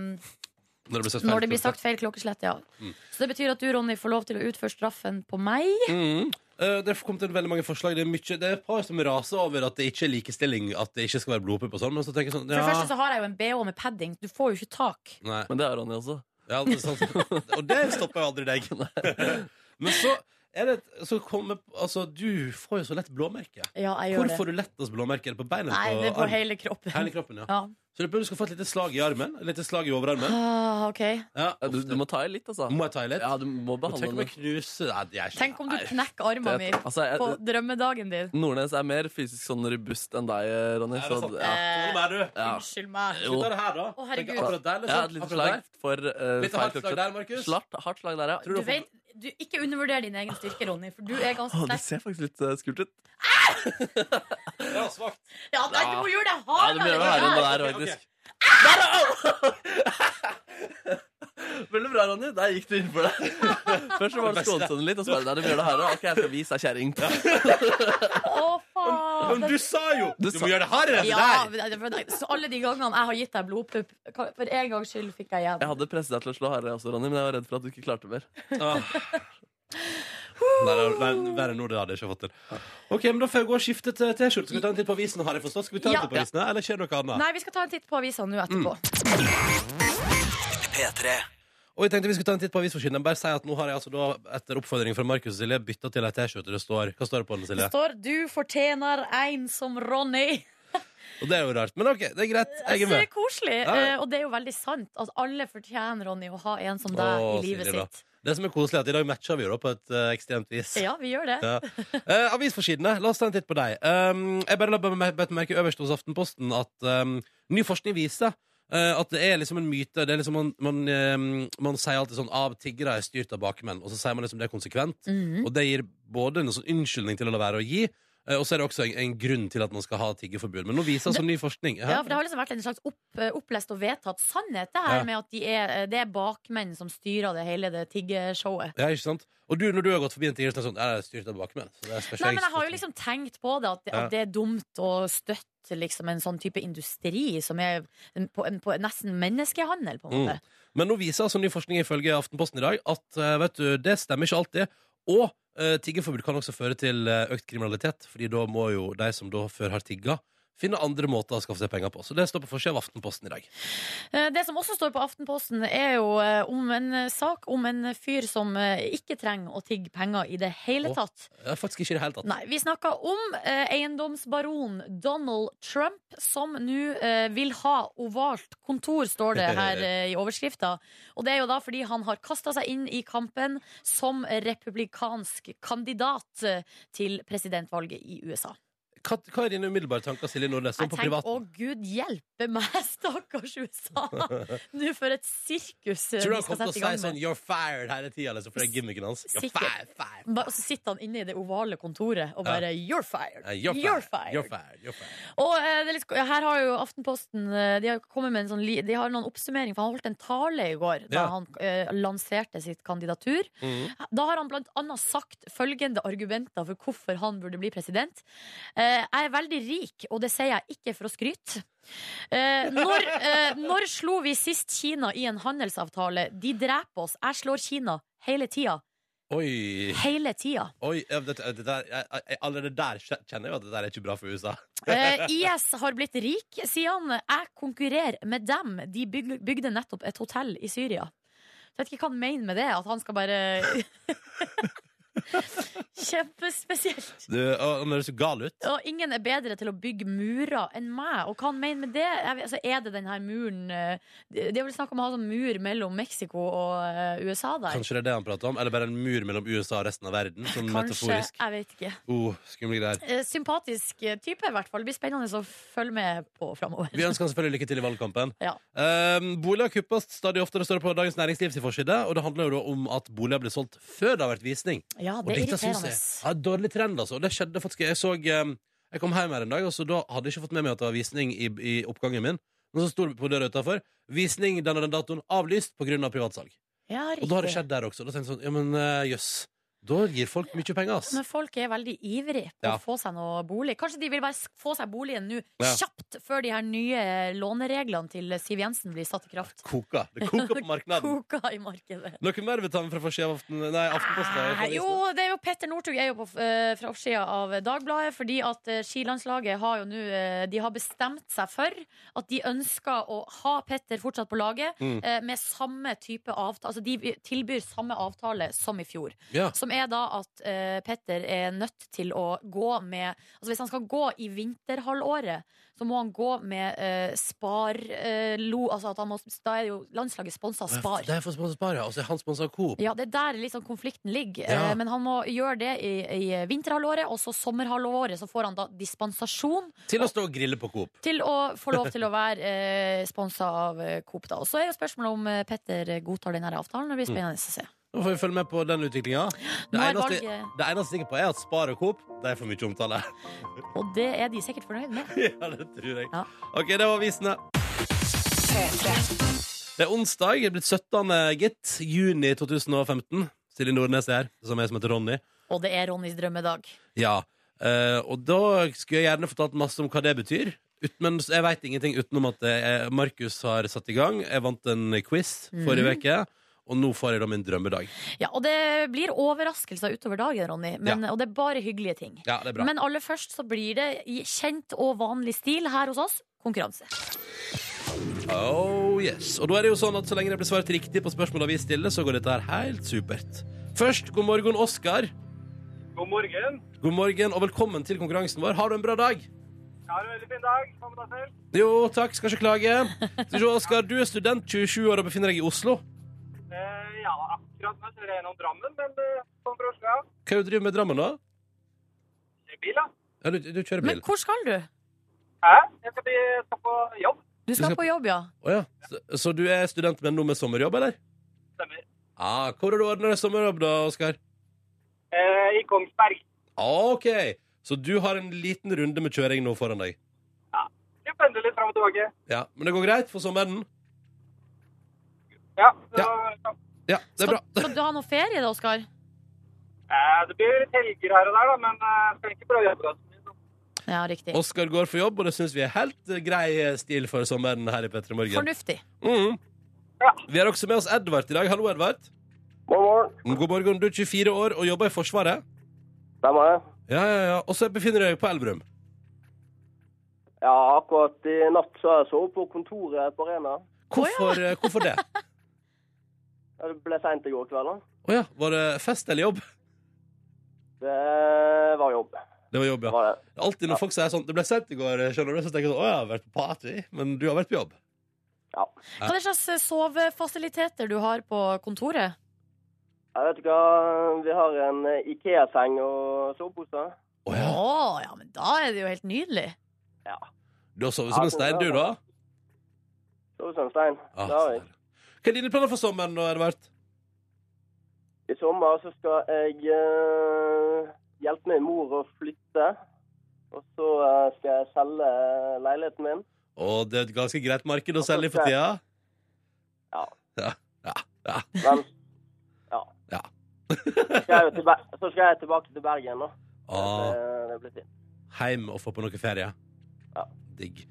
[SPEAKER 6] Når det ble sagt feil.
[SPEAKER 3] når det blir sagt feil klokkeslett, ja. Så det betyr at du, Ronny, får lov til å utføre straffen på meg.
[SPEAKER 6] Mm. Eh, det kom til veldig mange forslag. Det er, mye, det er et par som raser over at det ikke er likestilling, at det ikke skal være blodpupp og sånn, men så tenker jeg sånn
[SPEAKER 3] For det første
[SPEAKER 6] ja,
[SPEAKER 3] så har jeg jo en BH med padding. Du får jo ikke tak.
[SPEAKER 6] Nei. sånn
[SPEAKER 4] Men det er Ronny også.
[SPEAKER 6] Ja, det er sant. Og det stopper jo aldri deg. Men så er det, et- så kommer, altså, du får jo så lett blåmerke.
[SPEAKER 3] Ja, jeg
[SPEAKER 6] Hvor
[SPEAKER 3] gjør
[SPEAKER 6] får
[SPEAKER 3] det.
[SPEAKER 6] du lettest blåmerke? Er det på beina?
[SPEAKER 3] Nei, det er på
[SPEAKER 6] armen?
[SPEAKER 3] hele kroppen.
[SPEAKER 6] hele kroppen? ja.
[SPEAKER 3] Ja.
[SPEAKER 6] Så du burde skal få et lite slag i armen. Et lite slag i overarmen.
[SPEAKER 3] Ah, OK.
[SPEAKER 6] Ja,
[SPEAKER 4] Ja, Eh, du, du må ta i litt, altså.
[SPEAKER 6] Må jeg ta i litt?
[SPEAKER 4] Ja, du må
[SPEAKER 6] Men Tenk om
[SPEAKER 4] behandle
[SPEAKER 6] jeg knuser Nei, det er ikke
[SPEAKER 3] Tenk om du knekker armen
[SPEAKER 4] det.
[SPEAKER 3] min
[SPEAKER 4] Altså,
[SPEAKER 3] på
[SPEAKER 4] jeg,
[SPEAKER 3] drømmedagen din.
[SPEAKER 4] Nordnes er mer fysisk sånn robust enn deg, Ronny.
[SPEAKER 6] Er sånn-
[SPEAKER 4] Så,
[SPEAKER 6] det sant?
[SPEAKER 4] ja.
[SPEAKER 3] Eh,
[SPEAKER 6] Hvor er du?
[SPEAKER 4] Ja.
[SPEAKER 3] Unnskyld meg.
[SPEAKER 4] Jo.
[SPEAKER 6] Skal vi ta det her, da?
[SPEAKER 3] Å, herregud.
[SPEAKER 6] Tenk Akkurat der,
[SPEAKER 4] Ja,
[SPEAKER 6] liksom.
[SPEAKER 4] et lite
[SPEAKER 6] Akkurat
[SPEAKER 4] slag
[SPEAKER 6] der.
[SPEAKER 4] for uh,
[SPEAKER 6] Litt hardt slag der, Markus.
[SPEAKER 4] Slart, hardt slag der, ja.
[SPEAKER 6] Tror
[SPEAKER 3] Du
[SPEAKER 6] du-
[SPEAKER 3] vet, du, ikke undervurder din egen styrke, Ronny, for du er ganske
[SPEAKER 4] Å, det
[SPEAKER 3] sterk.
[SPEAKER 4] ser faktisk litt eh, skummelt ut.
[SPEAKER 6] Ja, svakt.
[SPEAKER 3] Ja, nei, du må gjøre det
[SPEAKER 4] Ja, det
[SPEAKER 3] hardere! enn
[SPEAKER 4] blir jo hardere
[SPEAKER 3] det
[SPEAKER 4] enn det
[SPEAKER 3] her.
[SPEAKER 4] der,
[SPEAKER 6] Ok, ok.
[SPEAKER 4] faktisk. Der, au! Veldig bra, Ronny. Der gikk du inn for deg. Først så var det skånsomt litt, og så var det der du gjør det her òg. Ok, jeg skal vise deg kjerring.
[SPEAKER 3] Å, faen!
[SPEAKER 6] Men du sa jo Du,
[SPEAKER 4] sa-
[SPEAKER 6] må gjøre det hardere enn det
[SPEAKER 3] Ja,
[SPEAKER 6] der!
[SPEAKER 3] men det- for det- så alle de gangene jeg har gitt deg blodpupp, kan- for en gangs skyld fikk jeg
[SPEAKER 4] Jeg
[SPEAKER 3] igjen.
[SPEAKER 4] hadde presset deg til å slå hardere også, Ronny, men jeg var redd for at du ikke klarte mer.
[SPEAKER 6] Ah. Nei, nei, nei, verre nå, det hadde jeg ikke fått til. Ok, men Da får jeg gå og skifte til T-skjorte. Skal vi ta en titt på avisen? Har jeg forstått? Skal vi ta en
[SPEAKER 3] Ja.
[SPEAKER 6] titt på avisen, eller skjer det noe annet?
[SPEAKER 3] Nei, vi skal ta en titt på avisa nå etterpå.
[SPEAKER 6] Og jeg tenkte vi skulle ta en titt på avisforsiden. Jeg Bare si at nå har jeg altså da, etter oppfordring fra Markus og Silje, bytta til ei T-skjorte. Det står Hva står det på den, Silje?
[SPEAKER 3] Det står 'Du fortjener en som Ronny'.
[SPEAKER 6] Og det er jo rart. Men OK, det er greit. Jeg
[SPEAKER 3] Jeg ser
[SPEAKER 6] er med.
[SPEAKER 3] koselig,
[SPEAKER 6] Ja.
[SPEAKER 3] eh, og det er jo veldig sant at alle fortjener, Ronny, å ha en som deg
[SPEAKER 6] Å,
[SPEAKER 3] i livet
[SPEAKER 6] Silje, da.
[SPEAKER 3] sitt.
[SPEAKER 6] Det som er koselig, er at i dag matcher vi jo da på et eh, ekstremt vis.
[SPEAKER 3] Ja, vi gjør det.
[SPEAKER 6] Ja. Eh, avisforsidene, la oss ta en titt på deg. Um, jeg bare la meg merke øverst hos Aftenposten at um, ny forskning viser eh, at det er liksom en myte. Det er liksom man, man, eh, man sier alltid sånn av tiggere er styrt av bakmenn, og så sier man liksom det er konsekvent.
[SPEAKER 3] Mhm.
[SPEAKER 6] Og det gir både en sånn unnskyldning til å la være å gi, eh, og så er det også en, en grunn til at man skal ha tiggerforbud. Men nå viser altså ny forskning Hæ?
[SPEAKER 3] Ja, for Det har liksom vært en slags opp, opplest og vedtatt sannhet, det her
[SPEAKER 6] Ja.
[SPEAKER 3] med at de er, eh, det er bakmenn som styrer det hele det tiggeshowet.
[SPEAKER 6] Ja, ikke sant? Og du, når du har gått forbi en tigger, så er det sånn "Ja, det er styrt av bakmenn. Så det er
[SPEAKER 3] Nei, men jeg har jo liksom tenkt på det, at det,
[SPEAKER 6] Ja.
[SPEAKER 3] at det er dumt å støtte liksom en sånn type industri som er en, på, en, på nesten menneskehandel, på en
[SPEAKER 6] Mm.
[SPEAKER 3] måte.
[SPEAKER 6] Men nå viser altså ny forskning ifølge Aftenposten i dag at eh, vet du, det stemmer ikke alltid. Og eh, tiggerforbud kan også føre til eh, økt kriminalitet, Fordi da må jo de som da før har tigga, finne andre måter å skaffe seg penger på. Så det står på forsida av Aftenposten i dag.
[SPEAKER 3] Eh, Det som også står på Aftenposten, er jo eh, om en eh, sak om en fyr som eh, ikke trenger å tigge penger i det hele
[SPEAKER 6] Å.
[SPEAKER 3] tatt.
[SPEAKER 6] Det er faktisk ikke i det hele tatt.
[SPEAKER 3] Nei, Vi snakker om eh, eiendomsbaron Donald Trump, som nå eh, vil ha ovalt kontor, står det her eh, i overskrifta. Og det er jo da fordi han har kasta seg inn i kampen som republikansk kandidat eh, til presidentvalget i USA.
[SPEAKER 6] Hva, hva er dine umiddelbare tanker, Silje Nordnes? Sånn
[SPEAKER 3] Jeg
[SPEAKER 6] på
[SPEAKER 3] tenker å
[SPEAKER 6] privaten?
[SPEAKER 3] gud hjelpe meg, stakkars USA! Nå for et sirkus eh,
[SPEAKER 6] Tror
[SPEAKER 3] de
[SPEAKER 6] du han
[SPEAKER 3] skal sette i
[SPEAKER 6] kommer til å
[SPEAKER 3] gang
[SPEAKER 6] si sånn
[SPEAKER 3] med.
[SPEAKER 6] 'you're fired' hele tida? Liksom, for det er gimmicken hans. You're
[SPEAKER 3] Sikkert.
[SPEAKER 6] fired, fired.
[SPEAKER 3] Ba- Og så sitter han inne i det ovale kontoret og
[SPEAKER 6] Ja.
[SPEAKER 3] bare You're fired!
[SPEAKER 6] Nei, Eh, You're,
[SPEAKER 3] You're
[SPEAKER 6] fired.
[SPEAKER 3] fired.
[SPEAKER 6] You're fired. You're fired.
[SPEAKER 3] Og eh, det er litt, sk- Her har jo Aftenposten eh, De har kommet med en sånn li- De har noen oppsummering, for han holdt en tale i går da
[SPEAKER 6] Ja.
[SPEAKER 3] han eh, lanserte sitt kandidatur. Da har han blant annet sagt følgende argumenter for hvorfor han burde bli president. Eh, jeg er veldig rik, og det sier jeg ikke for å skryte. Eh, når, eh, når slo vi sist Kina i en handelsavtale? De dreper oss. Jeg slår Kina hele tida.
[SPEAKER 6] Oi.
[SPEAKER 3] Hele tida.
[SPEAKER 6] Oi, ja, det, det der, jeg, jeg, allerede der kjenner jeg jo at det der er ikke bra for USA.
[SPEAKER 3] Eh, IS har blitt rik, sier han. Jeg konkurrerer med dem. De byg bygde nettopp et hotell i Syria. Så jeg vet ikke hva han mener med det. At han skal bare Kjempespesielt.
[SPEAKER 6] Du, og han høres så gal ut.
[SPEAKER 3] Og ingen er bedre til å bygge murer enn meg. Og hva han mener med det? Jeg vet, altså, er det den her muren eh, Det det er vel snakk om å ha sånn mur mellom Mexico og eh, USA der?
[SPEAKER 6] Kanskje det er det han prater om? Eller bare en mur mellom USA og resten av verden? Sånn
[SPEAKER 3] Kanskje.
[SPEAKER 6] metaforisk.
[SPEAKER 3] Jeg vet ikke.
[SPEAKER 6] Oh, skumle greier.
[SPEAKER 3] Eh, Sympatisk eh, type, i hvert fall. Det blir spennende å følge med på framover.
[SPEAKER 6] Vi ønsker han selvfølgelig lykke til i valgkampen.
[SPEAKER 3] Ja.
[SPEAKER 6] Um, boliger kuppes stadig oftere, står det på Dagens Næringslivs forside. Og det handler jo da om at boliger blir solgt før det har vært visning.
[SPEAKER 3] Ja,
[SPEAKER 6] Og
[SPEAKER 3] det er
[SPEAKER 6] dette synes
[SPEAKER 3] irriterende.
[SPEAKER 6] Jeg, ja, dårlig trend, altså. Og det skjedde faktisk Jeg så um, Jeg kom hjem her en dag, og så da hadde jeg ikke fått med meg at det var visning i, i oppgangen min. Men så sto det på døra utafor 'Visning den og den datoen avlyst pga. Av privatsalg'.
[SPEAKER 3] Ja,
[SPEAKER 6] Og da har det
[SPEAKER 3] riktig.
[SPEAKER 6] skjedd der også. Da tenkte jeg sånn Ja, men eh, jøss. Da gir folk mye penger, ass.
[SPEAKER 3] Men folk er veldig ivrige på
[SPEAKER 6] Ja.
[SPEAKER 3] å få seg noe bolig. Kanskje de vil bare sk- få seg boligen nå,
[SPEAKER 6] Ja.
[SPEAKER 3] kjapt, før de her nye lånereglene til Siv Jensen blir satt i kraft.
[SPEAKER 6] Koka. Det koker på markedet.
[SPEAKER 3] Koka i markedet.
[SPEAKER 6] Noe mer vi tar med fra forsida av aften, nei, Aftenposten? nei, fra
[SPEAKER 3] Ah, jo, det er jo Petter Northug er jo på f- eh, fra oppsida av Dagbladet, fordi at eh, skilandslaget har jo nå eh, De har bestemt seg for at de ønsker å ha Petter fortsatt på laget
[SPEAKER 6] Mm.
[SPEAKER 3] eh, med samme type avtale. Altså de tilbyr samme avtale som i fjor.
[SPEAKER 6] Ja.
[SPEAKER 3] Som er da at eh, Petter er nødt til å gå med Altså Hvis han skal gå i vinterhalvåret, så må han gå med eh, Spar eh, lo, altså at han må, Da er jo landslaget sponsa av Spar.
[SPEAKER 6] Det er for sponset Spar, ja. Og så er han sponset av Coop.
[SPEAKER 3] Ja, Det er der liksom konflikten ligger.
[SPEAKER 6] Ja.
[SPEAKER 3] Eh, Men han må gjøre det i, i vinterhalvåret, og så sommerhalvåret. Så får han da dispensasjon
[SPEAKER 6] Til å stå og grille på Coop.
[SPEAKER 3] til å få lov til å være eh, sponsa av eh, Coop. da Og Så er jo spørsmålet om eh, Petter godtar denne avtalen. Det blir
[SPEAKER 6] Mm.
[SPEAKER 3] spennende å se.
[SPEAKER 6] Nå får vi følge med på den utviklinga. Det,
[SPEAKER 3] Nå er
[SPEAKER 6] eneste-
[SPEAKER 3] valget-
[SPEAKER 6] det eneste jeg er sikker på, er at Spar og Coop de får mye omtale.
[SPEAKER 3] Og det er de sikkert fornøyd med.
[SPEAKER 6] ja, det tror jeg.
[SPEAKER 3] Ja.
[SPEAKER 6] OK, det var avisene. Det er onsdag. Det er blitt 17. gitt. Juni 2015. Silje Nordnes er her, som er som heter Ronny.
[SPEAKER 3] Og det er Ronnys drømmedag.
[SPEAKER 6] Ja. eh, og da skulle jeg gjerne fortalt masse om hva det betyr. Ut, men jeg veit ingenting utenom at eh, Markus har satt i gang. Jeg vant en quiz forrige uke, og nå får jeg da min drømmedag.
[SPEAKER 3] Ja, Og det blir overraskelser utover dagen, Ronny. Men, Og det er bare hyggelige ting.
[SPEAKER 6] Ja, det er bra.
[SPEAKER 3] Men aller først så blir det i kjent og vanlig stil her hos oss konkurranse.
[SPEAKER 6] Oh yes. Og da er det jo sånn at så lenge det blir svart riktig på spørsmåla vi stiller, så går dette her helt supert. Først, god morgen, Oskar.
[SPEAKER 9] God morgen.
[SPEAKER 6] God morgen og velkommen til konkurransen vår. Har du en bra dag?
[SPEAKER 9] Ha en veldig fin dag. Hva med deg selv?
[SPEAKER 6] Jo, takk. Skal ikke klage. Skal vi se, Oskar, du er student, 27 år og befinner deg i Oslo.
[SPEAKER 9] Eh, ja, akkurat nå kjører jeg gjennom Drammen, men eh, sånn fra Oslo, ja.
[SPEAKER 6] Hva er det du driver du med i Drammen, da?
[SPEAKER 9] Kjører bil, da.
[SPEAKER 6] Ja, du, du kjører
[SPEAKER 3] Men
[SPEAKER 6] bil.
[SPEAKER 3] hvor skal du?
[SPEAKER 9] Hæ? Jeg skal, bli, skal på jobb.
[SPEAKER 3] Du skal
[SPEAKER 6] skal-
[SPEAKER 3] på jobb, ja.
[SPEAKER 6] Å ja. så, så du er student, men nå med sommerjobb, eller?
[SPEAKER 9] Stemmer.
[SPEAKER 6] Ah, hvor har du ordna deg sommerjobb, da, Oskar?
[SPEAKER 9] Eh, I Kongsberg.
[SPEAKER 6] Ah, OK. Så du har en liten runde med kjøring nå foran deg.
[SPEAKER 9] Vi pendler litt fram og tilbake.
[SPEAKER 6] Ja, Men det går greit for sommeren?
[SPEAKER 9] Ja. Så, ja.
[SPEAKER 6] Ja, det
[SPEAKER 3] Skal,
[SPEAKER 6] er bra.
[SPEAKER 3] skal du ha noe ferie da, Oskar?
[SPEAKER 9] Eh, det blir litt helger her og der, da, men eh, skal ikke prøve å jobbe. altså. så mye, så.
[SPEAKER 3] Ja, riktig.
[SPEAKER 6] Oskar går for jobb, og det syns vi er helt eh, grei stil for sommeren her i Petter Morgen.
[SPEAKER 3] Fornuftig.
[SPEAKER 6] Mm.
[SPEAKER 9] Ja.
[SPEAKER 6] Vi har også med oss Edvard i dag. Hallo, Edvard. Mm, God morgen. Du er 24 år og jobber i Forsvaret.
[SPEAKER 10] Stemmer det.
[SPEAKER 6] Ja, ja, ja. Og så befinner du deg på Elverum.
[SPEAKER 10] Ja, akkurat i natt så har jeg sovet på kontoret på Rena.
[SPEAKER 6] Hvorfor, eh, hvorfor det? Å
[SPEAKER 10] Ja, Det ble seint i går kveld, da.
[SPEAKER 6] ja, var det fest eller jobb?
[SPEAKER 10] Det var jobb.
[SPEAKER 6] Det var jobb,
[SPEAKER 10] Det
[SPEAKER 6] ja.
[SPEAKER 10] var det.
[SPEAKER 6] Det er Alltid når folk sier sånn Det ble sent i går, skjønner du, så tenker jeg sånn Å, jeg har vært på party, men du har vært på jobb.
[SPEAKER 3] Hva er det slags eh, sovefasiliteter du har på kontoret?
[SPEAKER 10] Jeg vet ikke hva, vi har en eh, Ikea-seng og sovepose.
[SPEAKER 6] Å
[SPEAKER 3] Å,
[SPEAKER 6] ja.
[SPEAKER 3] ja, men da er det jo helt nydelig.
[SPEAKER 6] Du har sovet som
[SPEAKER 10] Ja,
[SPEAKER 6] en stein, du, da?
[SPEAKER 10] sånn, Sovet som en stein.
[SPEAKER 6] Ja,
[SPEAKER 10] det har jeg.
[SPEAKER 6] sånn. Hva er dine planer for sommeren, da, Edvard?
[SPEAKER 10] I sommer så skal jeg eh, hjelpe min mor å flytte. Og så eh, skal jeg selge leiligheten min.
[SPEAKER 6] Å, det er et ganske greit marked å
[SPEAKER 10] Ja,
[SPEAKER 6] selge i
[SPEAKER 10] så
[SPEAKER 6] for tida.
[SPEAKER 10] Ja.
[SPEAKER 6] Ja, ja.
[SPEAKER 10] Men ja.
[SPEAKER 6] Ja.
[SPEAKER 10] Så skal jeg jo tilba- så skal jeg tilbake til Bergen, da.
[SPEAKER 6] Ah,
[SPEAKER 10] Det, det blir fint.
[SPEAKER 6] heim og få på noe ferie.
[SPEAKER 10] Ja.
[SPEAKER 6] Digg.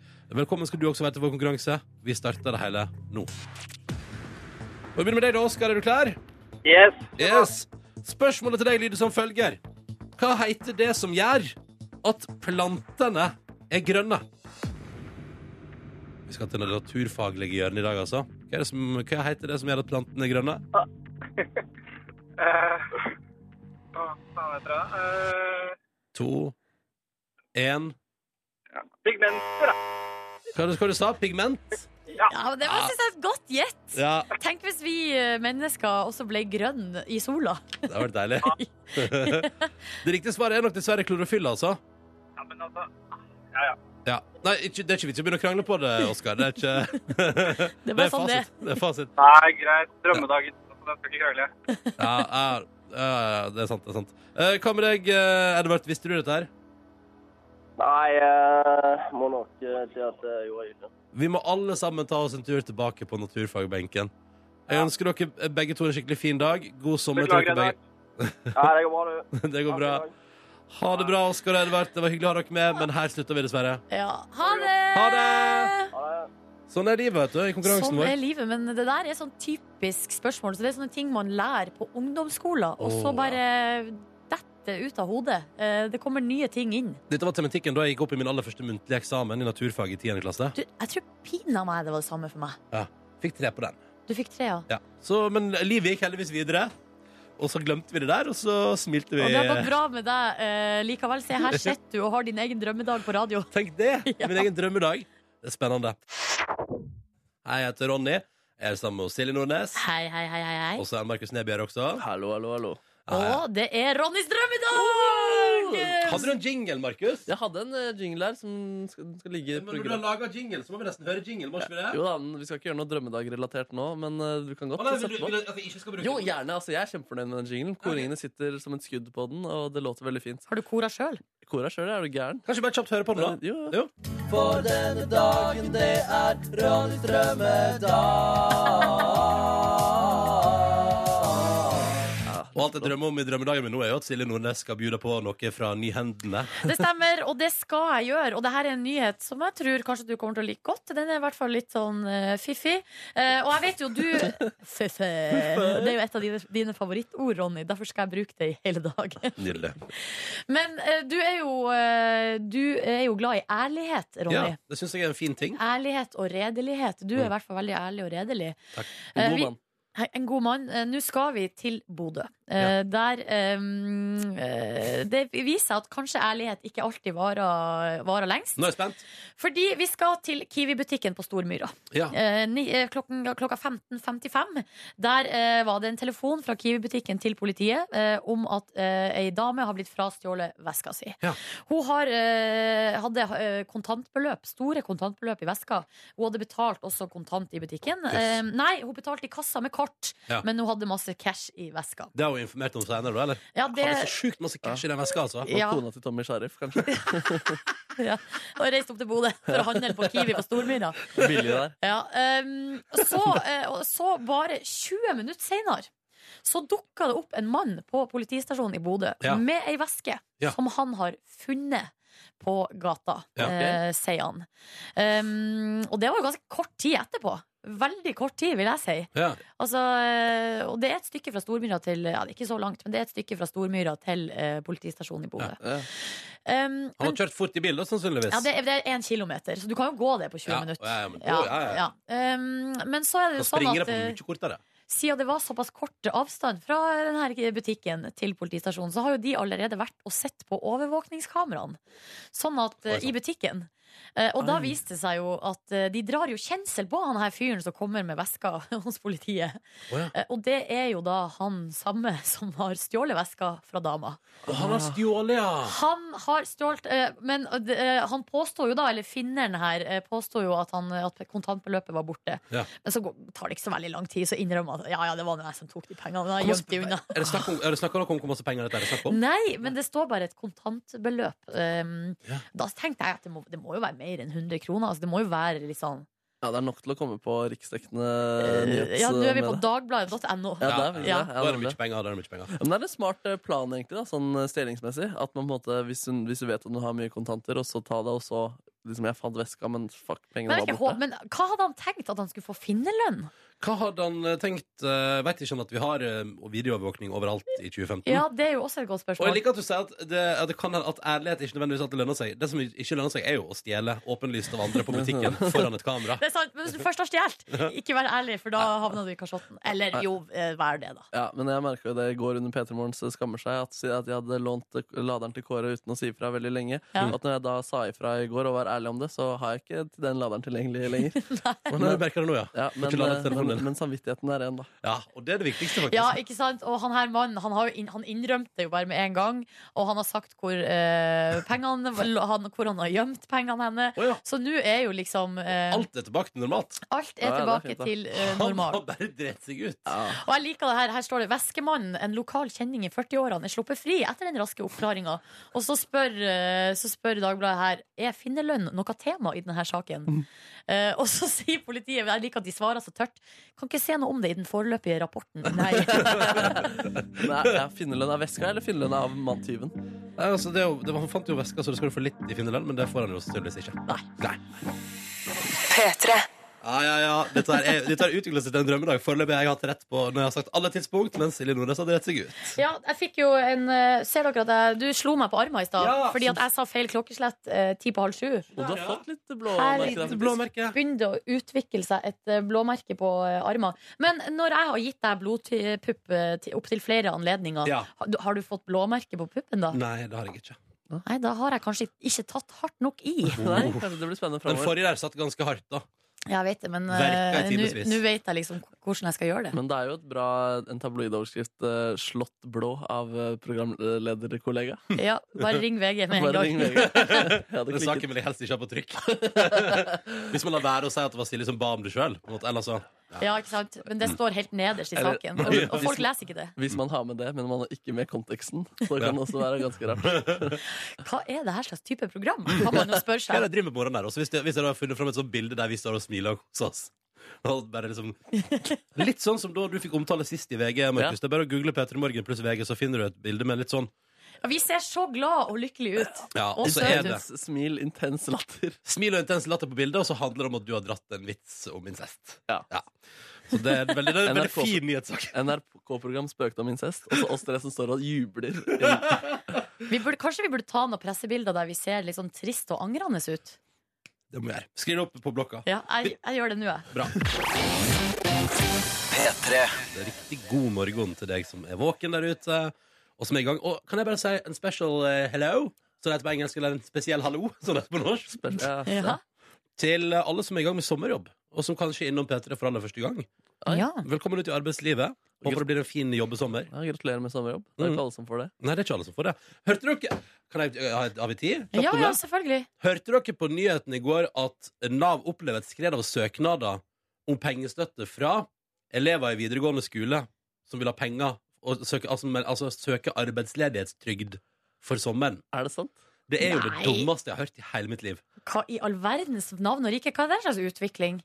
[SPEAKER 6] Velkommen skal du også være til vår konkurranse. Vi starter det hele nå. Og Vi begynner med deg, da, Oskar. Er du klar?
[SPEAKER 9] Yes.
[SPEAKER 6] Yes. Spørsmålet til deg lyder som følger. Hva heter det som gjør at plantene er grønne? Vi skal til det naturfaglige hjørnet i dag, altså. Hva, er det som, hva heter det som gjør at plantene er grønne?
[SPEAKER 9] Ah. Eh, hva faen heter det? Eh,
[SPEAKER 6] To, én
[SPEAKER 9] pigmenter, da.
[SPEAKER 6] Hva var det du sa? Pigment?
[SPEAKER 3] Ja, men Det var synes jeg, er et godt gjett.
[SPEAKER 6] Ja,
[SPEAKER 3] Tenk hvis vi eh, mennesker også ble grønne i sola.
[SPEAKER 6] det hadde vært deilig. det riktige svaret er nok dessverre klorofyll, altså.
[SPEAKER 9] Ja, men altså,
[SPEAKER 6] Ja. Nei, ikke, det er ikke vits i å begynne å krangle på det, Oskar. Det er ikke
[SPEAKER 3] Det var sånn det.
[SPEAKER 6] fasit. Det er fasit.
[SPEAKER 9] nei, greit. Drømmedagen. Altså, den skal ikke krangle.
[SPEAKER 6] ja, ja, ja, ja, det er sant. det er sant Eh, Hva med deg, eh, Edvard? Visste du dette her?
[SPEAKER 10] Nei, jeg må nok eh, si at det gjorde jeg ikke.
[SPEAKER 6] Vi må alle sammen ta oss en tur tilbake på naturfagbenken. Jeg ønsker dere eh, begge to en skikkelig fin dag. God sommer. til
[SPEAKER 9] Beklager,
[SPEAKER 6] dere
[SPEAKER 9] Edvard.
[SPEAKER 10] Ja, det går bra, du.
[SPEAKER 6] begge. Det
[SPEAKER 10] Ha
[SPEAKER 6] går
[SPEAKER 10] en
[SPEAKER 6] bra.
[SPEAKER 10] fin dag.
[SPEAKER 6] Ha det bra, Oskar og Edvard. Det var hyggelig å ha dere med, men her slutter vi, dessverre.
[SPEAKER 3] Ja. Ha det!
[SPEAKER 6] Ha det!
[SPEAKER 10] Ha det.
[SPEAKER 6] Sånn er livet, vet du, i konkurransen
[SPEAKER 3] Sånn er
[SPEAKER 6] vår.
[SPEAKER 3] livet, men det der er sånn typisk spørsmål. Så Det er sånne ting man lærer på ungdomsskolen, og så
[SPEAKER 6] Åh,
[SPEAKER 3] bare detter ut av hodet. Eh, Det kommer nye ting inn.
[SPEAKER 6] Dette var tematikken da jeg gikk opp i min aller første muntlige eksamen i naturfag i 10. klasse.
[SPEAKER 3] Du, jeg tror pina meg det var det samme for meg.
[SPEAKER 6] Fikk tre på den.
[SPEAKER 3] Du fikk tre, ja.
[SPEAKER 6] Ja. Så, men livet gikk heldigvis videre. Og så glemte vi det der, og så smilte vi.
[SPEAKER 3] Og det har gått bra med deg eh, likevel. Se, her sitter du og har din egen drømmedag på radio.
[SPEAKER 6] Tenk det! Min egen drømmedag. Det er spennende. Hei, jeg heter Ronny. Jeg er sammen med Silje Nordnes.
[SPEAKER 3] Hei, hei, hei, hei, hei.
[SPEAKER 6] Og så er Markus Neby her også.
[SPEAKER 4] Hallo, hallo, hallo.
[SPEAKER 3] Og det er Ronnys drømmedag!
[SPEAKER 6] Hadde du en jingle, Markus?
[SPEAKER 4] Jeg hadde en eh, jingle her som skal, den skal ligge i
[SPEAKER 6] Men når du har
[SPEAKER 4] programmet.
[SPEAKER 6] laga jingle, så må vi nesten høre jingle. Må ikke vi det?
[SPEAKER 4] Jo da, men Vi skal ikke gjøre noe drømmedag-relatert nå, men eh, du kan
[SPEAKER 6] Å,
[SPEAKER 4] godt
[SPEAKER 6] nei, vil du,
[SPEAKER 4] sette
[SPEAKER 6] vil
[SPEAKER 4] på.
[SPEAKER 6] du at jeg ikke skal bruke
[SPEAKER 4] Jo, gjerne. altså Jeg er kjempefornøyd med den jinglen. Koringene sitter som et skudd på den, og det låter veldig fint.
[SPEAKER 3] Har du kora sjøl?
[SPEAKER 4] Kora sjøl, er du gæren?
[SPEAKER 6] Kanskje bare kjapt høre på den, da?
[SPEAKER 4] Eh, Jo,
[SPEAKER 6] Jo.
[SPEAKER 4] For denne dagen, det er Ronnys drømmedag.
[SPEAKER 6] Og alt jeg drømmer om i drømmedagen min nå, er jo at Silje Nordnes skal bjuda på noe fra Nyhendene.
[SPEAKER 3] Det stemmer, og det skal jeg gjøre. Og det her er en nyhet som jeg tror kanskje du kommer til å like godt. Den er i hvert fall litt sånn eh, fiffig. Eh, og jeg vet jo du Fiffig. Det er jo et av dine, dine favorittord, Ronny. Derfor skal jeg bruke det i hele dag.
[SPEAKER 6] Nydelig.
[SPEAKER 3] Men eh, du, er jo, eh, du er jo glad i ærlighet,
[SPEAKER 6] Ja,
[SPEAKER 3] Ronny.
[SPEAKER 6] det syns jeg er en fin ting.
[SPEAKER 3] Ærlighet og redelighet. Du er
[SPEAKER 6] Mm.
[SPEAKER 3] i hvert fall veldig ærlig og redelig.
[SPEAKER 6] Takk.
[SPEAKER 3] Eh,
[SPEAKER 4] God
[SPEAKER 3] vi-
[SPEAKER 4] mann.
[SPEAKER 3] Hei, En god mann. Eh, Nå skal vi til Bodø. Eh, Der eh, eh, Det viser seg at kanskje ærlighet ikke alltid varer, varer lengst.
[SPEAKER 6] Nå er jeg spent.
[SPEAKER 3] Fordi vi skal til Kiwi-butikken på Stormyra.
[SPEAKER 6] Ja.
[SPEAKER 3] Eh, ni, eh, klokken, klokka 15.55. Der eh, var det en telefon fra Kiwi-butikken til politiet eh, om at eh, ei dame har blitt frastjålet veska si.
[SPEAKER 6] Ja.
[SPEAKER 3] Hun har, eh, hadde eh, kontantbeløp, store kontantbeløp i veska. Hun hadde betalt også kontant i butikken.
[SPEAKER 6] Yes.
[SPEAKER 3] Eh, nei, hun betalte i kassa med kort,
[SPEAKER 6] Ja.
[SPEAKER 3] men hun hadde masse cash i veska.
[SPEAKER 6] Det har hun informert om senere, da? eller?
[SPEAKER 3] Eh, Ja, Eh, det,
[SPEAKER 6] Hadde så sjukt masse cash i den veska, altså.
[SPEAKER 4] Og
[SPEAKER 3] Ja.
[SPEAKER 4] kona til Tommy Sheriff, kanskje.
[SPEAKER 3] ja, og reiste opp til Bodø for å handle på Kiwi på Stormyra.
[SPEAKER 4] Billig der.
[SPEAKER 3] Ja, ehm, så, eh, og så bare 20 minutter senere så dukka det opp en mann på politistasjonen i Bodø
[SPEAKER 6] Ja.
[SPEAKER 3] med ei veske
[SPEAKER 6] Ja.
[SPEAKER 3] som han har funnet på gata,
[SPEAKER 6] Ja, ok.
[SPEAKER 3] eh, sier han. Ehm, og det var jo ganske kort tid etterpå. Veldig kort tid, vil jeg si.
[SPEAKER 6] Ja.
[SPEAKER 3] Altså, eh, og det er et stykke fra Stormyra til Ja, det er ikke så langt, men det er et stykke fra Stormyra til eh, politistasjonen i Bodø.
[SPEAKER 4] Ja.
[SPEAKER 3] Ehm,
[SPEAKER 6] Han har kjørt fort i bil, da, sannsynligvis.
[SPEAKER 3] eh. ja, det er, det er en kilometer, så du kan jo gå det på 20
[SPEAKER 6] Ja,
[SPEAKER 3] minutter.
[SPEAKER 6] ja, ja, men-
[SPEAKER 3] Ja,
[SPEAKER 6] å, ja, ja.
[SPEAKER 3] ja. Um, men så er det
[SPEAKER 6] Da
[SPEAKER 3] jo sånn
[SPEAKER 6] springer
[SPEAKER 3] at
[SPEAKER 6] det på
[SPEAKER 3] eh,
[SPEAKER 6] mye kortere.
[SPEAKER 3] siden det var såpass kort avstand fra denne butikken til politistasjonen, så har jo de allerede vært og sett på overvåkningskameraene Sånn at eh,
[SPEAKER 6] Oi, sant.
[SPEAKER 3] i butikken. Eh, og da viste det seg jo at eh, de drar jo kjensel på han her fyren som kommer med veska hos politiet.
[SPEAKER 6] Å, ja.
[SPEAKER 3] Eh, og det er jo da han samme som har stjålet veska fra dama.
[SPEAKER 6] Og han har stjålet, ja!
[SPEAKER 3] Han har stjålet eh, Men eh, han påstår jo da, eller finneren her eh, påstår jo at, han, at kontantbeløpet var borte.
[SPEAKER 6] Ja.
[SPEAKER 3] Men så går- tar det ikke så veldig lang tid, så innrømmer han at ja, ja, det var nå jeg som tok de pengene. Men jeg gjemte de unna.
[SPEAKER 6] Er det snakk om, er det snakk om hvor masse penger dette er? Det snakk om?
[SPEAKER 3] Nei, men det står bare et kontantbeløp. Um,
[SPEAKER 6] Ja.
[SPEAKER 3] Da tenkte jeg at det må, det må jo være mer enn 100 kroner. Altså, det må jo være litt sånn
[SPEAKER 4] Ja, det er nok til å komme på riksdekkende Eh, nyhets...
[SPEAKER 3] Eh, Ja, nå er vi
[SPEAKER 4] med
[SPEAKER 3] på
[SPEAKER 4] det.
[SPEAKER 3] dagbladet.no.
[SPEAKER 4] Ja, det er vi det.
[SPEAKER 3] Ja.
[SPEAKER 4] Ja,
[SPEAKER 6] Da er det
[SPEAKER 4] nemlig.
[SPEAKER 6] mye penger. Da er det mye penger.
[SPEAKER 4] Men det er en smart eh, plan, egentlig, da, sånn eh, stjelingsmessig. At man på en måte, hvis, hun, hvis du vet at du har mye kontanter, og så ta det, og så liksom, Jeg fant veska, men fuck, pengene
[SPEAKER 3] Men, jeg vet
[SPEAKER 4] var
[SPEAKER 3] ikke, hå-
[SPEAKER 4] borte.
[SPEAKER 3] men hva hadde han tenkt? At han skulle få finnerlønn?
[SPEAKER 6] Hva hadde han eh, tenkt? Uh, vet ikke han at vi har eh, videoovervåkning overalt i 2015?
[SPEAKER 3] Ja, det er jo også et godt
[SPEAKER 6] Og jeg
[SPEAKER 3] spørsmål.
[SPEAKER 6] liker at du sier at, det, at, det kan, hende at ærlighet ikke nødvendigvis at det lønner seg. Det som ikke lønner seg, er jo å stjele åpenlyst av andre på butikken foran et kamera.
[SPEAKER 3] Det er sant, Men hvis du først har stjålet, ikke vær ærlig, for da havner du i kasjotten. Eller jo, eh, vær det, da.
[SPEAKER 4] Ja, men jeg merka jo det i går under P3 Morgens Skammer seg, at, si- at jeg hadde lånt eh, laderen til Kåre uten å si ifra veldig lenge.
[SPEAKER 3] Ja.
[SPEAKER 4] At når jeg da sa ifra i går og var ærlig om det, så har jeg ikke den laderen tilgjengelig lenger. eh,
[SPEAKER 6] Men jeg merker det nå, ja.
[SPEAKER 4] Ja,
[SPEAKER 6] Får
[SPEAKER 4] men,
[SPEAKER 6] ikke lade
[SPEAKER 4] eh,
[SPEAKER 6] telefonen
[SPEAKER 4] men,
[SPEAKER 6] din.
[SPEAKER 4] men samvittigheten er igjen, da.
[SPEAKER 6] ja. Og det er det viktigste, faktisk.
[SPEAKER 3] Ja, ikke sant? Og han her mannen han, har jo inn, han innrømte det jo bare med en gang. Og han har sagt hvor, eh, pengene, han, hvor han har gjemt pengene henne.
[SPEAKER 6] Å, ja.
[SPEAKER 3] Så nå er jo liksom eh, alt,
[SPEAKER 6] Alt er tilbake til normalt.
[SPEAKER 3] er
[SPEAKER 4] Ja, det er
[SPEAKER 3] tilbake
[SPEAKER 4] fint, da.
[SPEAKER 3] til eh,
[SPEAKER 6] Han har
[SPEAKER 3] normalen.
[SPEAKER 6] bare drept seg ut.
[SPEAKER 3] Og jeg liker det her. Her står det 'Væskemannen, en lokal kjenning i 40-årene, er sluppet fri etter den raske oppklaringa'. Og så spør, eh, så spør Dagbladet her er finnerlønn noe tema i denne saken. Eh, og så sier politiet Jeg liker at de svarer så tørt. Kan ikke se noe om det i den foreløpige rapporten. Nei.
[SPEAKER 4] Men er, er finnerlønn av veska, eller finnerlønn av manntyven?
[SPEAKER 6] Nei, altså, det er jo, det, han fant jo veska, så det skal du få litt i finnerlønn, men det får han jo tydeligvis ikke. Nei. Ja, ja, ja. Dette her er- dette har utviklet seg til en drømmedag. Foreløpig har jeg hatt rett på når jeg har sagt alle tidspunkt, mens Silje Nordnes hadde rett seg ut.
[SPEAKER 3] Ja, jeg fikk jo en eh, Ser dere at jeg, du slo meg på armen i stad
[SPEAKER 6] Ja,
[SPEAKER 3] fordi at jeg sa feil klokkeslett eh, ti på halv sju.
[SPEAKER 4] Og du har fått litt blå
[SPEAKER 3] Herlig.
[SPEAKER 4] merker der.
[SPEAKER 6] Blåmerke.
[SPEAKER 3] begynte å utvikle seg et eh, blåmerke på eh, armen. Men når jeg har gitt deg blodpupp eh, til- opptil flere anledninger,
[SPEAKER 6] Ja.
[SPEAKER 3] ha- du- har du fått blåmerke på puppen da?
[SPEAKER 6] Nei, det har jeg ikke.
[SPEAKER 3] Nei, da har jeg kanskje ikke tatt hardt nok i.
[SPEAKER 4] Nei, kanskje det blir spennende
[SPEAKER 6] Den
[SPEAKER 4] framover.
[SPEAKER 6] forrige der satt ganske hardt, da.
[SPEAKER 3] Jeg vet det, men
[SPEAKER 6] Verka i
[SPEAKER 3] eh,
[SPEAKER 6] timesvis.
[SPEAKER 3] nå nå vet jeg liksom k- hvordan jeg skal gjøre det.
[SPEAKER 4] Men det er jo et bra, en tabloidoverskrift eh, slått blå av eh, programlederkollega.
[SPEAKER 3] Ja, bare ring VG med en
[SPEAKER 4] Mm. Bare ring
[SPEAKER 3] gang.
[SPEAKER 4] VG. Ja, det
[SPEAKER 6] Den
[SPEAKER 4] klikket.
[SPEAKER 6] saken vil jeg helst ikke ha på trykk. Hvis man lar være å si at det var Silje som ba om det sjøl.
[SPEAKER 3] Ja, ikke sant? Men det står helt nederst i
[SPEAKER 4] Mm. Eller-
[SPEAKER 3] saken, og, og folk leser ikke det.
[SPEAKER 4] Hvis man har med det, men man har ikke med konteksten, så kan det også være ganske rart.
[SPEAKER 3] Hva er det her slags type program? Kan man jo spørre
[SPEAKER 6] Hva er
[SPEAKER 3] seg.
[SPEAKER 6] det jeg driver med på morgenen der? Også hvis jeg, hvis jeg hadde funnet fram et sånt bilde der vi står og smiler og koser oss. Og Bare liksom, litt sånn som da du fikk omtale sist i VG, Markus.
[SPEAKER 4] Ja.
[SPEAKER 6] Det er bare å google Peter Morgen pluss VG, så finner du et bilde med litt sånn.
[SPEAKER 3] Ja, Vi ser så glad og lykkelig ut.
[SPEAKER 6] Ja,
[SPEAKER 3] Og
[SPEAKER 6] og så
[SPEAKER 3] søt ut.
[SPEAKER 6] er det
[SPEAKER 4] Intens smil, intens latter.
[SPEAKER 6] smil og intens latter på bildet, og så handler det om at du har dratt en vits om incest.
[SPEAKER 4] Ja.
[SPEAKER 6] Så det er en veldig, det er en veldig
[SPEAKER 4] NRK.
[SPEAKER 6] fin nyhetssak.
[SPEAKER 4] NRK-program spøkte om incest, og så oss tre som står og jubler. inn.
[SPEAKER 3] Vi burde, kanskje vi burde ta noen pressebilder der vi ser litt sånn trist og angrende ut.
[SPEAKER 6] Det må jeg gjøre. Skriv det opp på blokka.
[SPEAKER 3] Ja, jeg, jeg gjør det nå, jeg.
[SPEAKER 6] Bra. Det er riktig god morgen til deg som er våken der ute, og som er i gang. Og kan jeg bare si en special eh, hello? Som det heter på engelsk, eller en spesiell hallo, som det heter på norsk.
[SPEAKER 4] Spør- Ja, så-
[SPEAKER 3] Ja.
[SPEAKER 6] Til eh, alle som er i gang med sommerjobb, og som kanskje er innom P3 for aller første gang.
[SPEAKER 3] Ja.
[SPEAKER 6] Velkommen ut i arbeidslivet. Håper det blir en fin jobbesommer.
[SPEAKER 4] Ja, gratulerer med sommerjobb. Det er
[SPEAKER 6] Mm.
[SPEAKER 4] ikke alle som får det.
[SPEAKER 6] Nei, det er ikke alle som får det. Hørte dere Kan jeg, har jeg- har vi tid? Kjapt
[SPEAKER 3] ja,
[SPEAKER 6] om
[SPEAKER 3] ja,
[SPEAKER 6] det?
[SPEAKER 3] selvfølgelig.
[SPEAKER 6] Hørte dere på nyheten i går at Nav opplever et skred av søknader om pengestøtte fra elever i videregående skole som vil ha penger og søke, altså, men, altså, søke arbeidsledighetstrygd for sommeren?
[SPEAKER 4] Er det sant?
[SPEAKER 6] Det er jo det
[SPEAKER 3] Nei.
[SPEAKER 6] dummeste jeg har hørt i hele mitt liv.
[SPEAKER 3] Hva i all verdens navn og rike? Hva er det slags utvikling?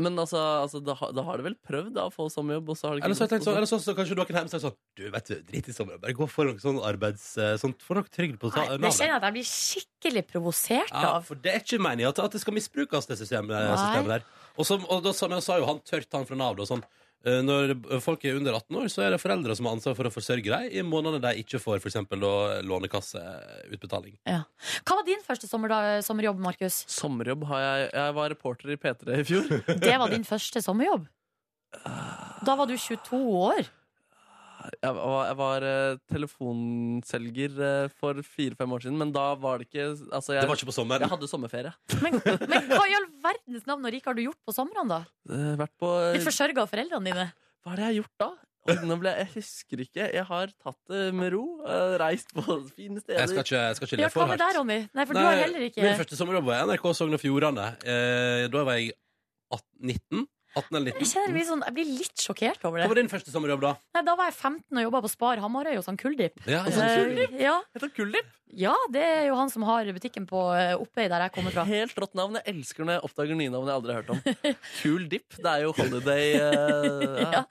[SPEAKER 4] Men altså, altså da, har- da har de vel prøvd da, å få sommerjobb, og så har de ikke
[SPEAKER 6] Eller så, har jeg
[SPEAKER 4] gått,
[SPEAKER 6] tenkt
[SPEAKER 4] og
[SPEAKER 6] sånn, eller så, så kanskje noen hjemme sier sånn Du, vet du, drit i sommeren. Bare gå for noe sånn arbeids... eh, Sånn, få noe trygd på
[SPEAKER 3] Nei,
[SPEAKER 6] ta- Nav.
[SPEAKER 3] det kjenner jeg at jeg blir skikkelig provosert
[SPEAKER 6] Ja,
[SPEAKER 3] av.
[SPEAKER 6] for det er ikke meningen at, at det skal misbrukes, det systemet, systemet der. Og, som, og da, som jeg sa jo han tørt han fra Nav, da, sånn eh, når folk er under 18 år, så er det foreldre som har ansvar for å forsørge deg i månedene de ikke får f.eks. lånekasseutbetaling.
[SPEAKER 3] Hva var din første sommerdag, sommerjobb, Markus?
[SPEAKER 4] Sommerjobb har jeg Jeg var reporter i P3 i fjor.
[SPEAKER 3] Det var din første sommerjobb? Da var du 22 år.
[SPEAKER 4] Jeg var, jeg var eh, telefonselger eh, for fire-fem år siden, men da var det ikke Altså, jeg,
[SPEAKER 6] Det var ikke på sommeren.
[SPEAKER 4] jeg hadde sommerferie.
[SPEAKER 3] Men, men hva i all verdens navn og rike har du gjort på somrene, da?
[SPEAKER 4] Eh, Vært på
[SPEAKER 3] Blitt forsørga av foreldrene dine?
[SPEAKER 4] Hva er det jeg har gjort da? Oi, nå ble jeg, jeg husker ikke. Jeg har tatt det med ro. eh, Reist på fine steder.
[SPEAKER 6] Jeg skal ikke, jeg skal ikke
[SPEAKER 3] Ja,
[SPEAKER 6] le for
[SPEAKER 3] hva med deg, Ronny? Nei, for du
[SPEAKER 6] Nei,
[SPEAKER 3] har heller ikke
[SPEAKER 6] Min første sommerjobb var i NRK Sogn og Fjordane. Eh, da var jeg 18, 19? 18 eller
[SPEAKER 3] jeg
[SPEAKER 6] 19?
[SPEAKER 3] kjenner meg sånn, jeg blir litt sjokkert over det.
[SPEAKER 6] Hva var din første sommerjobb, da?
[SPEAKER 3] Nei, da var jeg 15 og jobba på Spar Hamarøy hos han Kuldip.
[SPEAKER 6] Ja, ja.
[SPEAKER 3] Eh, ja.
[SPEAKER 4] Heter Kullip.
[SPEAKER 3] ja, det er jo han som har butikken på eh, Oppøy, der jeg kommer fra.
[SPEAKER 4] Helt rått navn. Jeg elsker når jeg oppdager nye navn jeg aldri har hørt om. Cool Dip. Det er jo holiday eh, ja.
[SPEAKER 3] Ja.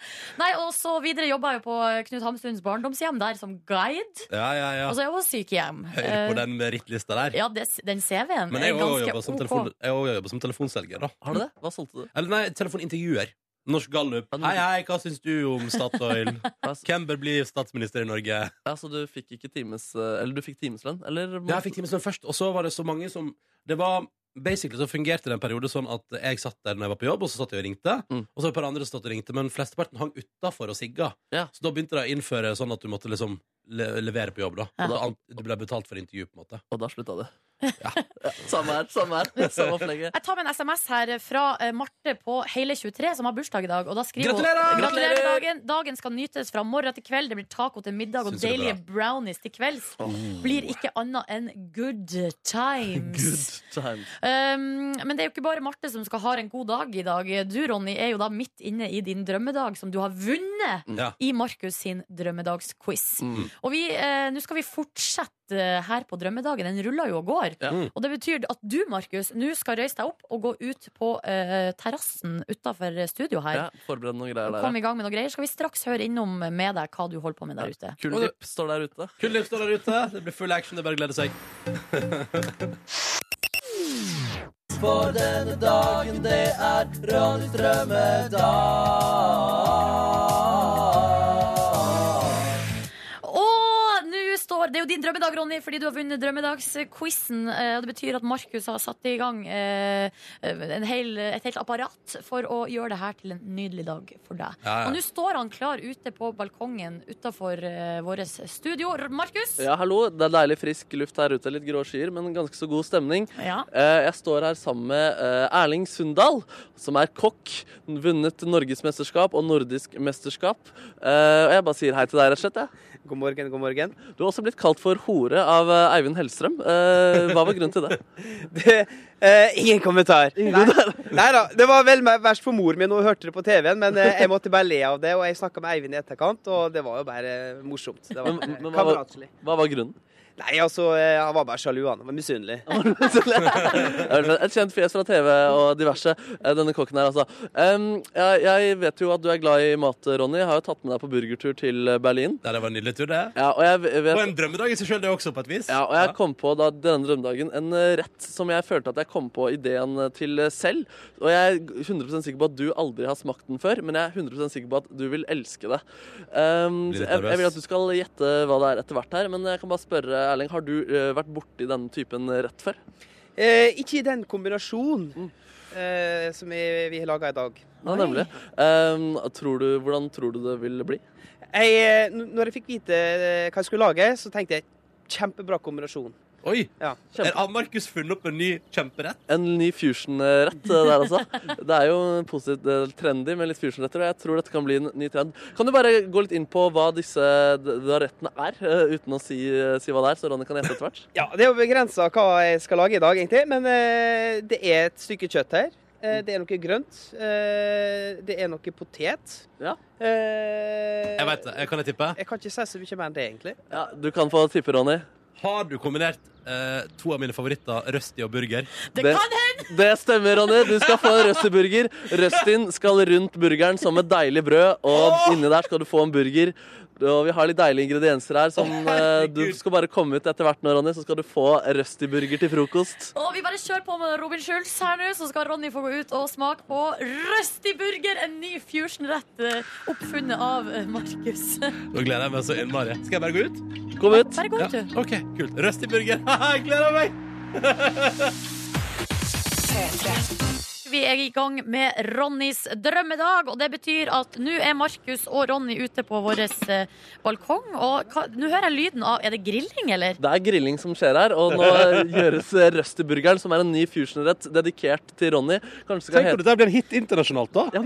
[SPEAKER 3] Nei, og så videre jobba jeg jo på Knut Hamsuns barndomshjem der som guide.
[SPEAKER 6] ja, ja, ja.
[SPEAKER 3] Og så jobba jeg på sykehjem.
[SPEAKER 6] Høyre
[SPEAKER 3] Eh,
[SPEAKER 6] på den merittlista der.
[SPEAKER 3] Ja, det, den CV-en
[SPEAKER 6] Men
[SPEAKER 3] er
[SPEAKER 6] jeg har også jobbet
[SPEAKER 3] ganske
[SPEAKER 6] som,
[SPEAKER 3] OK.
[SPEAKER 6] telefon, jeg har også jobbet som telefonselger, da.
[SPEAKER 4] Har du det? Hva solgte du?
[SPEAKER 6] Eller nei, telefonintervjuer. Norsk Gallup. Hei, hei, hva syns du om Statoil?
[SPEAKER 4] Hva s-
[SPEAKER 6] Hvem bør bli statsminister i Norge?
[SPEAKER 4] Ja, så du fikk ikke times... eh, Eller du fikk timeslønn? Eller
[SPEAKER 6] Ja, jeg fikk timeslønn først, og så var det så mange som Det var Basically så fungerte det en periode sånn at jeg satt der når jeg var på jobb, og så satt jeg og ringte.
[SPEAKER 4] Mm.
[SPEAKER 6] Og så var det et par andre som satt og ringte, men flesteparten hang utafor og sigga.
[SPEAKER 4] Ja.
[SPEAKER 6] Så da begynte de å innføre sånn at du måtte liksom le levere på jobb, da.
[SPEAKER 3] Ja.
[SPEAKER 6] Og da an- du ble betalt for intervju, på en måte.
[SPEAKER 4] Og da slutta det. Ja. Samme her. Samme her. Samme opplegget.
[SPEAKER 3] Jeg tar med en SMS her fra eh, Marte på hele 23, som har bursdag i dag. Og da skriver
[SPEAKER 6] Gratulerer!
[SPEAKER 3] Hun, Gratulerer med dagen! Dagen skal nytes fra morgen til kveld. Det blir taco til middag og
[SPEAKER 6] Syns jeg det er
[SPEAKER 3] deilige brownies til kvelds. Blir ikke annet enn good times.
[SPEAKER 4] Good times.
[SPEAKER 3] Um, men det er jo ikke bare Marte som skal ha en god dag i dag. Du, Ronny, er jo da midt inne i din drømmedag, som du har vunnet
[SPEAKER 6] Ja.
[SPEAKER 3] i Markus sin drømmedagsquiz.
[SPEAKER 4] Mm.
[SPEAKER 3] Og vi, eh, nå skal vi fortsette eh, her på drømmedagen. Den ruller jo og går.
[SPEAKER 4] Ja.
[SPEAKER 6] Mm.
[SPEAKER 3] Og det betyr at du, Markus, nå skal reise deg opp og gå ut på eh, terrassen utafor studio her.
[SPEAKER 4] Ja, Forbered noen greier
[SPEAKER 3] Og
[SPEAKER 4] der.
[SPEAKER 3] komme i gang med noen greier. Skal vi straks høre innom med deg hva du holder på med der ute.
[SPEAKER 4] Cool Dip står der ute.
[SPEAKER 6] Kullipp står der ute. Det blir full action. Det er bare å glede seg.
[SPEAKER 11] for denne dagen, det er Ronnys drømmedag.
[SPEAKER 3] Og nå står Det er jo din drømmedag, Ronny, fordi du har vunnet drømmedagsquizen. Eh, og Det betyr at Markus har satt i gang eh, en hel, et helt apparat for å gjøre det her til en nydelig dag for deg.
[SPEAKER 4] Ja, ja.
[SPEAKER 3] Og nå står han klar ute på balkongen utafor eh, vårt studio. R- Markus?
[SPEAKER 4] Ja, hallo. Det er deilig frisk luft her ute. Litt grå skyer, men ganske så god stemning.
[SPEAKER 3] Ja.
[SPEAKER 4] Eh, Jeg står her sammen med eh, Erling Sundal, som er kokk. Vunnet norgesmesterskap og nordisk mesterskap. Eh, Og jeg bare sier hei til deg, rett og slett. Jeg. God morgen, god morgen. Du har også blitt kalt for hore av eh, Eivind Hellstrøm. Eh, Hva var grunnen til det?
[SPEAKER 7] Eh, ingen kommentar. Nei da. Det var vel mer verst for mor min, hun hørte det på TV-en, men eh, jeg måtte bare le av det. Og jeg snakka med Eivind i etterkant, og det var jo bare eh, morsomt. Det var
[SPEAKER 4] Men- men hva var-
[SPEAKER 7] kameratslig.
[SPEAKER 4] Hva var grunnen?
[SPEAKER 7] Nei, altså, eh, han var bare sjalu, han. Han var misunnelig.
[SPEAKER 4] Ja, vel, Et kjent fjes fra TV og diverse. eh, Denne kokken her, altså. Em, jeg, jeg vet jo at du er glad i mat, Ronny. Jeg har jo tatt med deg på burgertur til eh, Berlin.
[SPEAKER 6] Ja, det var en nydelig tur, det.
[SPEAKER 4] Ja, og, jeg v- vet,
[SPEAKER 6] Og en drømmedag i seg sjøl, det også, på et vis.
[SPEAKER 4] ja, og jeg kom på da denne drømmedagen en eh, rett som jeg følte at jeg kom på ideen eh, til eh, selv. Og jeg er 100 sikker på at du aldri har smakt den før, men jeg er 100 sikker på at du vil elske det. Em, så
[SPEAKER 6] Blir litt
[SPEAKER 4] jeg,
[SPEAKER 6] nervøs.
[SPEAKER 4] jeg vil at du skal gjette hva det er etter hvert her, men jeg kan bare spørre, Erling, har du eh, vært borti denne typen rett før?
[SPEAKER 7] Eh, ikke i den
[SPEAKER 4] Mm.
[SPEAKER 7] kombinasjonen eh, som vi, vi har laga i dag.
[SPEAKER 4] Ja, nemlig. Em, tror du, hvordan tror du det vil bli?
[SPEAKER 7] Jeg, eh, n- når jeg fikk vite eh, hva jeg skulle lage, så tenkte jeg kjempebra kombinasjon.
[SPEAKER 6] Oi!
[SPEAKER 7] Ja.
[SPEAKER 6] Har Markus funnet opp en ny kjemperett?
[SPEAKER 4] En ny fusion-rett eh, der, altså. Det er jo positivt eh, trendy med litt fusion-retter, og jeg tror dette kan bli en ny trend. Kan du bare gå litt inn på hva disse d- da rettene er, eh, uten å si, si hva det er, så Ronny kan gjette etter hvert?
[SPEAKER 7] Ja, det er jo begrensa hva jeg skal lage i dag, egentlig. Men eh, det er et stykke kjøtt her. Eh, det er noe grønt. Eh, det er noe potet. Eh,
[SPEAKER 6] Jeg vet det. Jeg Kan jeg tippe?
[SPEAKER 7] jeg kan ikke si så mye mer enn det, egentlig.
[SPEAKER 4] Ja, du kan få tippe, Ronny.
[SPEAKER 6] Har du kombinert eh, to av mine favoritter, Rusty og Burger?
[SPEAKER 4] hende! Det stemmer, Ronny. Du skal få en Rusty-burger. Rustin skal rundt burgeren som et deilig brød, og inni der skal du få en burger. Og vi har litt deilige ingredienser her som eh, du skal bare komme ut etter hvert nå, Ronny, så skal du få Rusty-burger til frokost.
[SPEAKER 3] Og vi bare kjører på med Robin Schulz her nå, så skal Ronny få gå ut og smake på Røsti burger, en ny fusion-rett eh, oppfunnet av eh, Markus.
[SPEAKER 6] Nå gleder jeg meg så innmari. Skal jeg bare gå ut?
[SPEAKER 4] Kom ut.
[SPEAKER 3] Bare gå ut, du.
[SPEAKER 6] OK, kult. Rusty Burger. jeg gleder meg!
[SPEAKER 3] Vi er i gang med Ronnys drømmedag, og det betyr at nå er Markus og Ronny ute på vår eh, balkong. Og hva, nå hører jeg lyden av Er det grilling, eller?
[SPEAKER 4] Det er grilling som skjer her, og nå gjøres Rusty-burgeren, som er en ny fusion-rett dedikert til Ronny. Kanskje skal
[SPEAKER 6] Tenk om
[SPEAKER 4] hete
[SPEAKER 6] dette blir en hit internasjonalt, da.
[SPEAKER 4] Ja,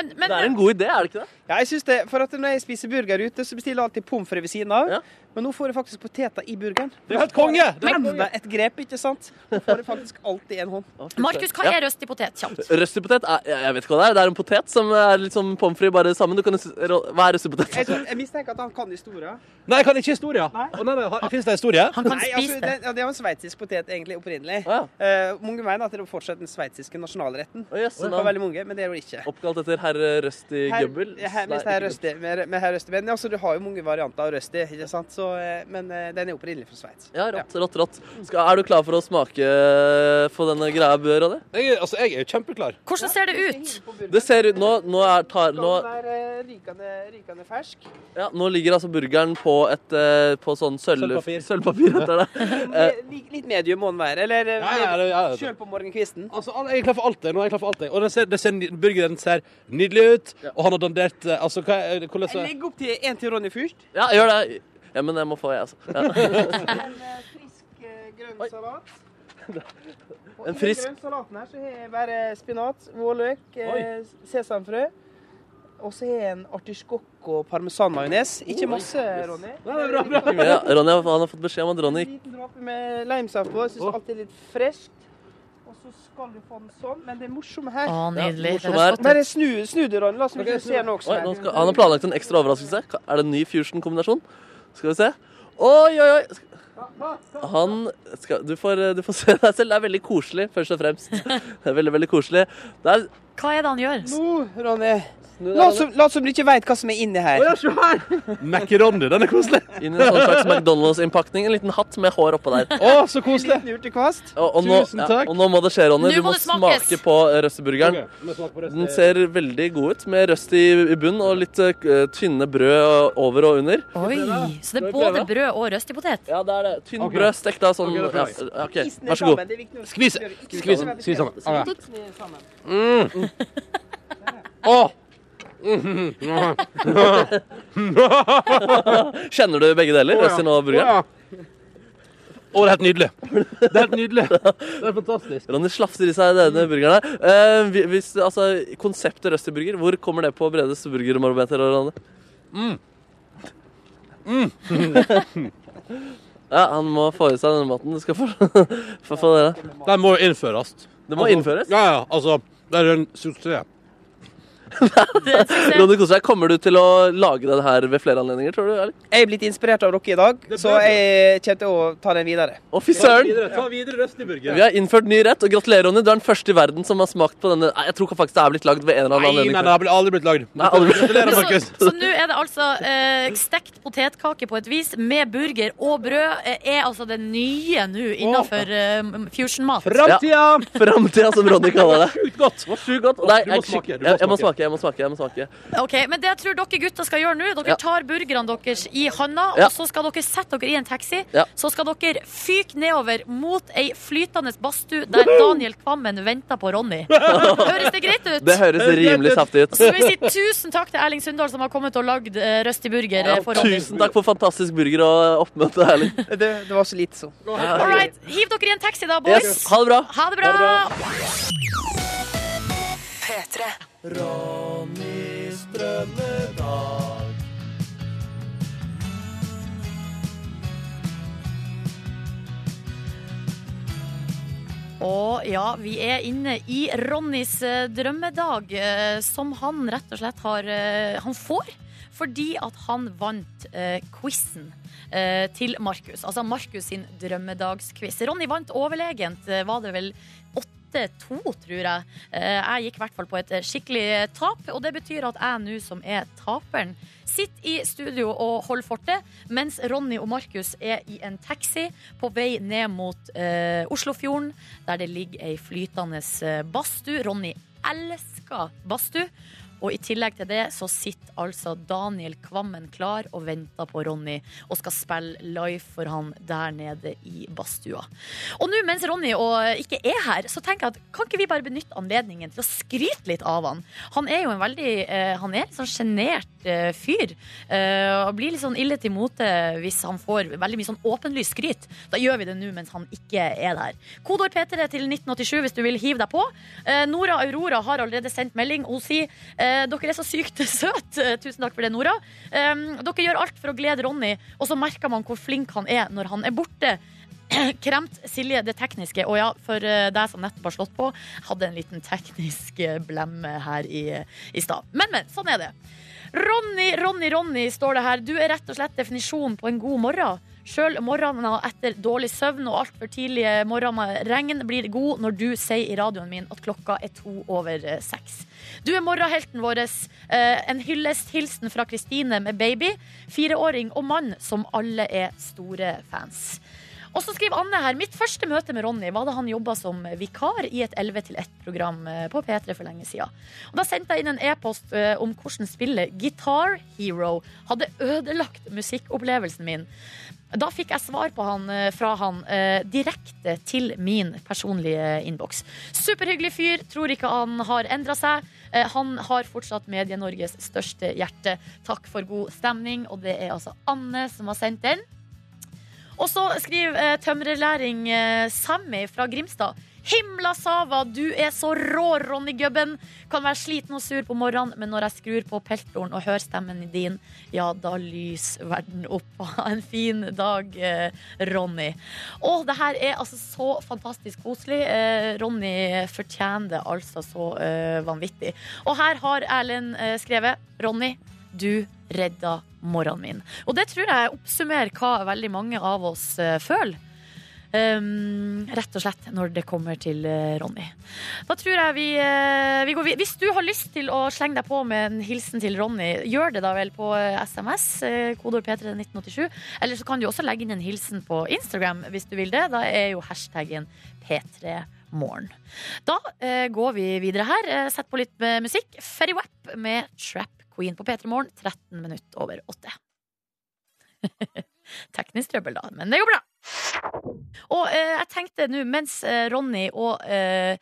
[SPEAKER 4] men, Det er en god idé, er det ikke det?
[SPEAKER 7] Ja, jeg synes det. For at når jeg spiser burger ute, så bestiller jeg alltid pommes frites ved siden av. Men nå får jeg faktisk poteter i burgeren.
[SPEAKER 6] Det er helt konge!
[SPEAKER 7] Det er enda et grep, ikke sant? Nå får jeg faktisk alt i en hånd.
[SPEAKER 3] Markus, hva
[SPEAKER 4] Ja.
[SPEAKER 3] er røsti potet? Kjapt.
[SPEAKER 4] Rusty-potet? er- Jeg jeg vet ikke hva det er. Det er en potet som er litt som pommes frites, bare sammen. Du kan, jo s- Ro- hva er
[SPEAKER 7] Jeg,
[SPEAKER 4] rusty-potet?
[SPEAKER 7] tror- jeg mistenker at han kan historier.
[SPEAKER 6] Nei, jeg kan ikke historie. Å, nei, nei, har- Finnes det historie?
[SPEAKER 7] Nei, altså, det. Ja, det er jo en sveitsisk potet egentlig opprinnelig. Eh, mange mener at det er fortsatt den sveitsiske nasjonalretten.
[SPEAKER 4] jøsse
[SPEAKER 7] det
[SPEAKER 4] navn.
[SPEAKER 7] var veldig mange, men det er jo ikke.
[SPEAKER 4] Oppkalt etter herr Rusty
[SPEAKER 7] Her-
[SPEAKER 4] Gubbel?
[SPEAKER 7] ja, her-
[SPEAKER 4] Nei,
[SPEAKER 7] hvis det er
[SPEAKER 4] ikke
[SPEAKER 7] røsti, med, med her røsti. Men altså, du har jo mange varianter av røsti, ikke sant? Så, eh, men eh, den er jo opprinnelig fra Sveits.
[SPEAKER 4] Ja, rått, rått, rått. Skal, er du klar for å smake eh, på denne greia, Ronny?
[SPEAKER 6] Jeg, altså, jeg er jo kjempeklar.
[SPEAKER 3] Hvordan ser det ut?
[SPEAKER 4] Det ser ut Nå, nå, er, tar, nå,
[SPEAKER 7] eh, rykende, fersk.
[SPEAKER 4] ja, nå ligger altså burgeren på et eh, på sånn sølv,
[SPEAKER 7] Sølvpapir.
[SPEAKER 4] sølvpapir etter det. Eh,
[SPEAKER 7] litt medium må den være, eller eh,
[SPEAKER 6] Ja, ja, ja, ja, ja.
[SPEAKER 7] kjøl på morgenkvisten.
[SPEAKER 6] Altså, al- jeg er klar for alt. jeg. Nå er jeg klar for alt. jeg. Og den ser, det ser, ny- burgeren ser nydelig ut, og han har dandert eh, Altså, hva er hvordan så-
[SPEAKER 7] Legg opp til en til Ronny først.
[SPEAKER 4] Ja, gjør det. Ja, men jeg må få, jeg, altså. Ja.
[SPEAKER 7] En eh, frisk eh, grønn salat. Og
[SPEAKER 4] En
[SPEAKER 7] i
[SPEAKER 4] frisk-
[SPEAKER 7] den grønne salaten her så har jeg bare spinat, vårløk, eh, sesamfrø. Og så har jeg en artiskokk og parmesanmajones. Ikke masse, Ronny.
[SPEAKER 4] Ja, Ronny har- han har fått beskjed om at Ronny
[SPEAKER 7] En liten dråpe med limesaft på. Jeg syns alltid det er litt fresht. Og så skal du få den sånn, men det morsomme her
[SPEAKER 4] Å, nydelig.
[SPEAKER 7] Ja,
[SPEAKER 4] Det er
[SPEAKER 7] morsomme her.
[SPEAKER 4] flott.
[SPEAKER 7] Men jeg snu, snu det, Ronny. La oss
[SPEAKER 4] Ah. Ok,
[SPEAKER 7] ikke se noe også.
[SPEAKER 4] Oi, nå
[SPEAKER 7] her.
[SPEAKER 4] skal, han har planlagt en ekstra overraskelse. Ka- Er det en ny fusion-kombinasjon? Skal vi se. Oi, oi, oi! Sk- Han eh, skal, du, får, du får se deg selv. Det er veldig koselig, først og fremst. Det er veldig, veldig koselig. Det er
[SPEAKER 3] Hva er det han gjør?
[SPEAKER 7] Nå, Oh, Ronny. La oss som- la oss som du ikke veit hva som er inni her.
[SPEAKER 2] Macaroni, den er koselig.
[SPEAKER 4] Inn i en sånn slags McDonald's-innpakning. En liten hatt med hår oppå der.
[SPEAKER 7] Å, så koselig. En liten urtekvast.
[SPEAKER 4] Og, og, nå,
[SPEAKER 7] Tusen takk.
[SPEAKER 4] Ja, og nå må det skje, Ronny.
[SPEAKER 7] Nå
[SPEAKER 4] Du
[SPEAKER 7] må
[SPEAKER 4] må
[SPEAKER 7] det smakes.
[SPEAKER 4] smake på eh, røsteburgeren.
[SPEAKER 7] Ok, må jeg smake på røste-
[SPEAKER 4] Den ser veldig god ut, med røst i, i bunn og litt eh, tynne brød over og under.
[SPEAKER 3] Oi, så det er både brød og røstipotet?
[SPEAKER 4] Ja, det er det. Tynn brød stekt av sånn
[SPEAKER 3] Ok, da
[SPEAKER 4] ja,
[SPEAKER 3] prøver jeg.
[SPEAKER 4] OK, vær så god.
[SPEAKER 2] Skvis. Skvis. Skvis sammen.
[SPEAKER 4] Ok.
[SPEAKER 2] Mm. Å.
[SPEAKER 4] Kjenner du begge deler? Røsten og burgeren?
[SPEAKER 2] Å, det er helt nydelig. Det er helt nydelig. Det er fantastisk.
[SPEAKER 4] Ronny slafser i seg denne burgeren her. Eh, vi- hvis, altså, konseptet røsteburger, hvor kommer det på Bredes burgermarometer? Ronny?
[SPEAKER 2] Mm.
[SPEAKER 4] Mm. Ja, han må få i seg denne maten. Du skal få, få, få det.
[SPEAKER 2] Den må jo innføres.
[SPEAKER 4] Det må innføres?
[SPEAKER 2] Ja, ja. Altså, det er en suksess.
[SPEAKER 4] Ronny Kosvei, kommer du til å lage den her ved flere anledninger, tror du? Eller?
[SPEAKER 7] Jeg er blitt inspirert av dere i dag, så jeg kommer til å ta den videre.
[SPEAKER 4] Å, fy søren!
[SPEAKER 2] Ta videre røstiburger.
[SPEAKER 4] Vi har innført ny rett, og gratulerer, Ronny. Du er den første i verden som har smakt på denne. Nei, Jeg tror faktisk det er blitt lagd ved en eller annen
[SPEAKER 2] Nei, nei,
[SPEAKER 4] anledning.
[SPEAKER 2] det har bl- aldri blitt lagd.
[SPEAKER 4] Nei, aldri.
[SPEAKER 2] Gratulerer, Markus.
[SPEAKER 3] Så nå er det altså eh, stekt potetkake på et vis med burger og brød. eh, Er altså det nye nå innafor eh, fusion-mat.
[SPEAKER 4] Ja, Framtida, som Ronny kaller det.
[SPEAKER 2] Sjukt godt.
[SPEAKER 4] Sjukt godt. Nei,
[SPEAKER 2] Du må
[SPEAKER 4] jeg,
[SPEAKER 2] smake, du må
[SPEAKER 4] jeg, jeg må
[SPEAKER 2] smake.
[SPEAKER 4] smake, jeg må smake. jeg må smake.
[SPEAKER 3] Ok, Men det jeg tror dere gutter skal gjøre nå, dere
[SPEAKER 4] Ja.
[SPEAKER 3] tar burgerne deres i handa,
[SPEAKER 4] Ja.
[SPEAKER 3] og så skal dere sette dere i en taxi.
[SPEAKER 4] Ja.
[SPEAKER 3] Så skal dere fyke nedover mot ei flytende badstue der Daniel Kvammen venter på Ronny. Høres det greit ut?
[SPEAKER 4] Det høres rimelig saftig ut.
[SPEAKER 3] Så vi sier tusen takk til Erling Sundal som har kommet og lagd eh, røstig burger eh, for Ronny.
[SPEAKER 4] Tusen takk for fantastisk burger og oppmøte, Erling.
[SPEAKER 7] Det, det var så lite, så.
[SPEAKER 3] All right. Hiv dere i en taxi da, boys.
[SPEAKER 4] Yes. Ha det bra.
[SPEAKER 3] Ha det bra.
[SPEAKER 4] Ha
[SPEAKER 11] P3. Ronnys drømmedag.
[SPEAKER 3] Og ja, vi er inne i Ronnys eh, drømmedag, eh, som han rett og slett har eh, Han får fordi at han vant eh, quizen eh, til Markus. Altså Markus sin drømmedagsquiz. Ronny vant overlegent, eh, var det vel 8-2, tror jeg. Eh, jeg gikk i hvert fall på et eh, skikkelig eh, tap, og det betyr at jeg nå som er taperen, sitter i studio og holder fortet, mens Ronny og Markus er i en taxi på vei ned mot eh, Oslofjorden, der det ligger ei flytende eh, badstue. Ronny elsker badstue. Og i tillegg til det så sitter altså Daniel Kvammen klar og venter på Ronny og skal spille live for han der nede i badstua. Og nå mens Ronny og eh, ikke er her, så tenker jeg at kan ikke vi bare benytte anledningen til å skryte litt av han? Han er jo en veldig eh, Han er en sånn sjenert eh, fyr. eh, og blir litt sånn ille til mote hvis han får veldig mye sånn åpenlyst skryt. Da gjør vi det nå mens han ikke er der. Kodord P3 til 1987 hvis du vil hive deg på. Eh, Nora Aurora har allerede sendt melding. Hun sier eh, dere er så sykt søte. Eh, Tusen takk for det, Nora. Eh, dere gjør alt for å glede Ronny, og så merker man hvor flink han er når han er borte. Kremt, Silje, det tekniske. Og ja, for eh, deg som nettopp har slått på, hadde en liten teknisk eh, blemme her i, i stad. Men, men. Sånn er det. Ronny, Ronny, Ronny, står det her. Du er rett og slett definisjonen på en god morgen. Sjøl morgener etter dårlig søvn og altfor tidlige morgener med regn blir god når du sier i radioen min at klokka er to over eh, seks. Du er morgenhelten vår. Eh, En hyllesthilsen fra Kristine med baby, fireåring og mann, som alle er store fans. Og så skriver Anne her Mitt første møte med Ronny var da han jobba som vikar i et 11-til-1-program eh, på P3 for lenge siden. Og da sendte jeg inn en e-post eh, om hvordan spillet Guitar Hero hadde ødelagt musikkopplevelsen min. Da fikk jeg svar på han, eh, fra han eh, direkte til min personlige innboks. Superhyggelig fyr. Tror ikke han har endra seg. Eh, han har fortsatt Medie-Norges største hjerte. Takk for god stemning. Og det er altså Anne som har sendt den. Og så skriver eh, tømrerlæring eh, Sammy fra Grimstad. Himla sava, du er så rå, Ronny Gubben. Kan være sliten og sur på morgenen, men når jeg skrur på peltoren og hører stemmen din, ja, da lyser verden opp. Ha en fin dag, eh, Ronny. Å, det her er altså så fantastisk koselig. Eh, Ronny fortjener det altså så eh, vanvittig. Og her har Erlend eh, skrevet Ronny, du redda morgenen min. Og det tror jeg oppsummerer hva veldig mange av oss eh, føler. Ehm, rett og slett når det kommer til eh, Ronny. Da tror jeg vi, eh, vi går videre. Hvis du har lyst til å slenge deg på med en hilsen til Ronny, gjør det da vel på eh, SMS, eh, kodeord P3 1987. Eller så kan du også legge inn en hilsen på Instagram hvis du vil det. Da er jo hashtaggen P3morgen. Da eh, går vi videre her. Eh, Sett på litt eh, musikk. Ferry Wap med Trap Queen på P3 morgen 13 minutter over åtte. Teknisk trøbbel, da, men det går bra. Og eh, jeg tenkte nå, mens eh, Ronny og, eh,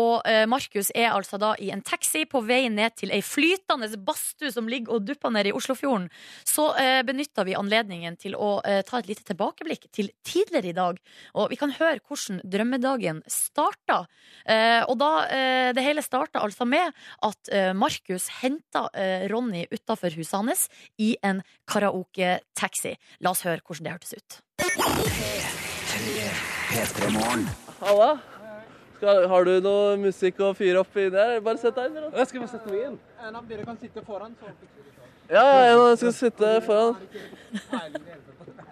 [SPEAKER 3] og eh, Markus er altså da i en taxi på vei ned til ei flytende badstue som ligger og dupper nede i Oslofjorden, så eh, benytta vi anledningen til å eh, ta et lite tilbakeblikk til tidligere i dag. Og vi kan høre hvordan drømmedagen starta. Eh, og da eh, det hele starta altså med at eh, Markus henta eh, Ronny utafor huset hans i en karaoke-taxi. La oss høre hvordan det hørtes ut.
[SPEAKER 4] Halla. Skal, har du noe musikk å fyre opp i der? Bare sett deg inn. eller?
[SPEAKER 1] Jeg skal bare sette meg inn. En av dere kan sitte foran, så
[SPEAKER 4] Ja, ja, jeg skal sitte foran.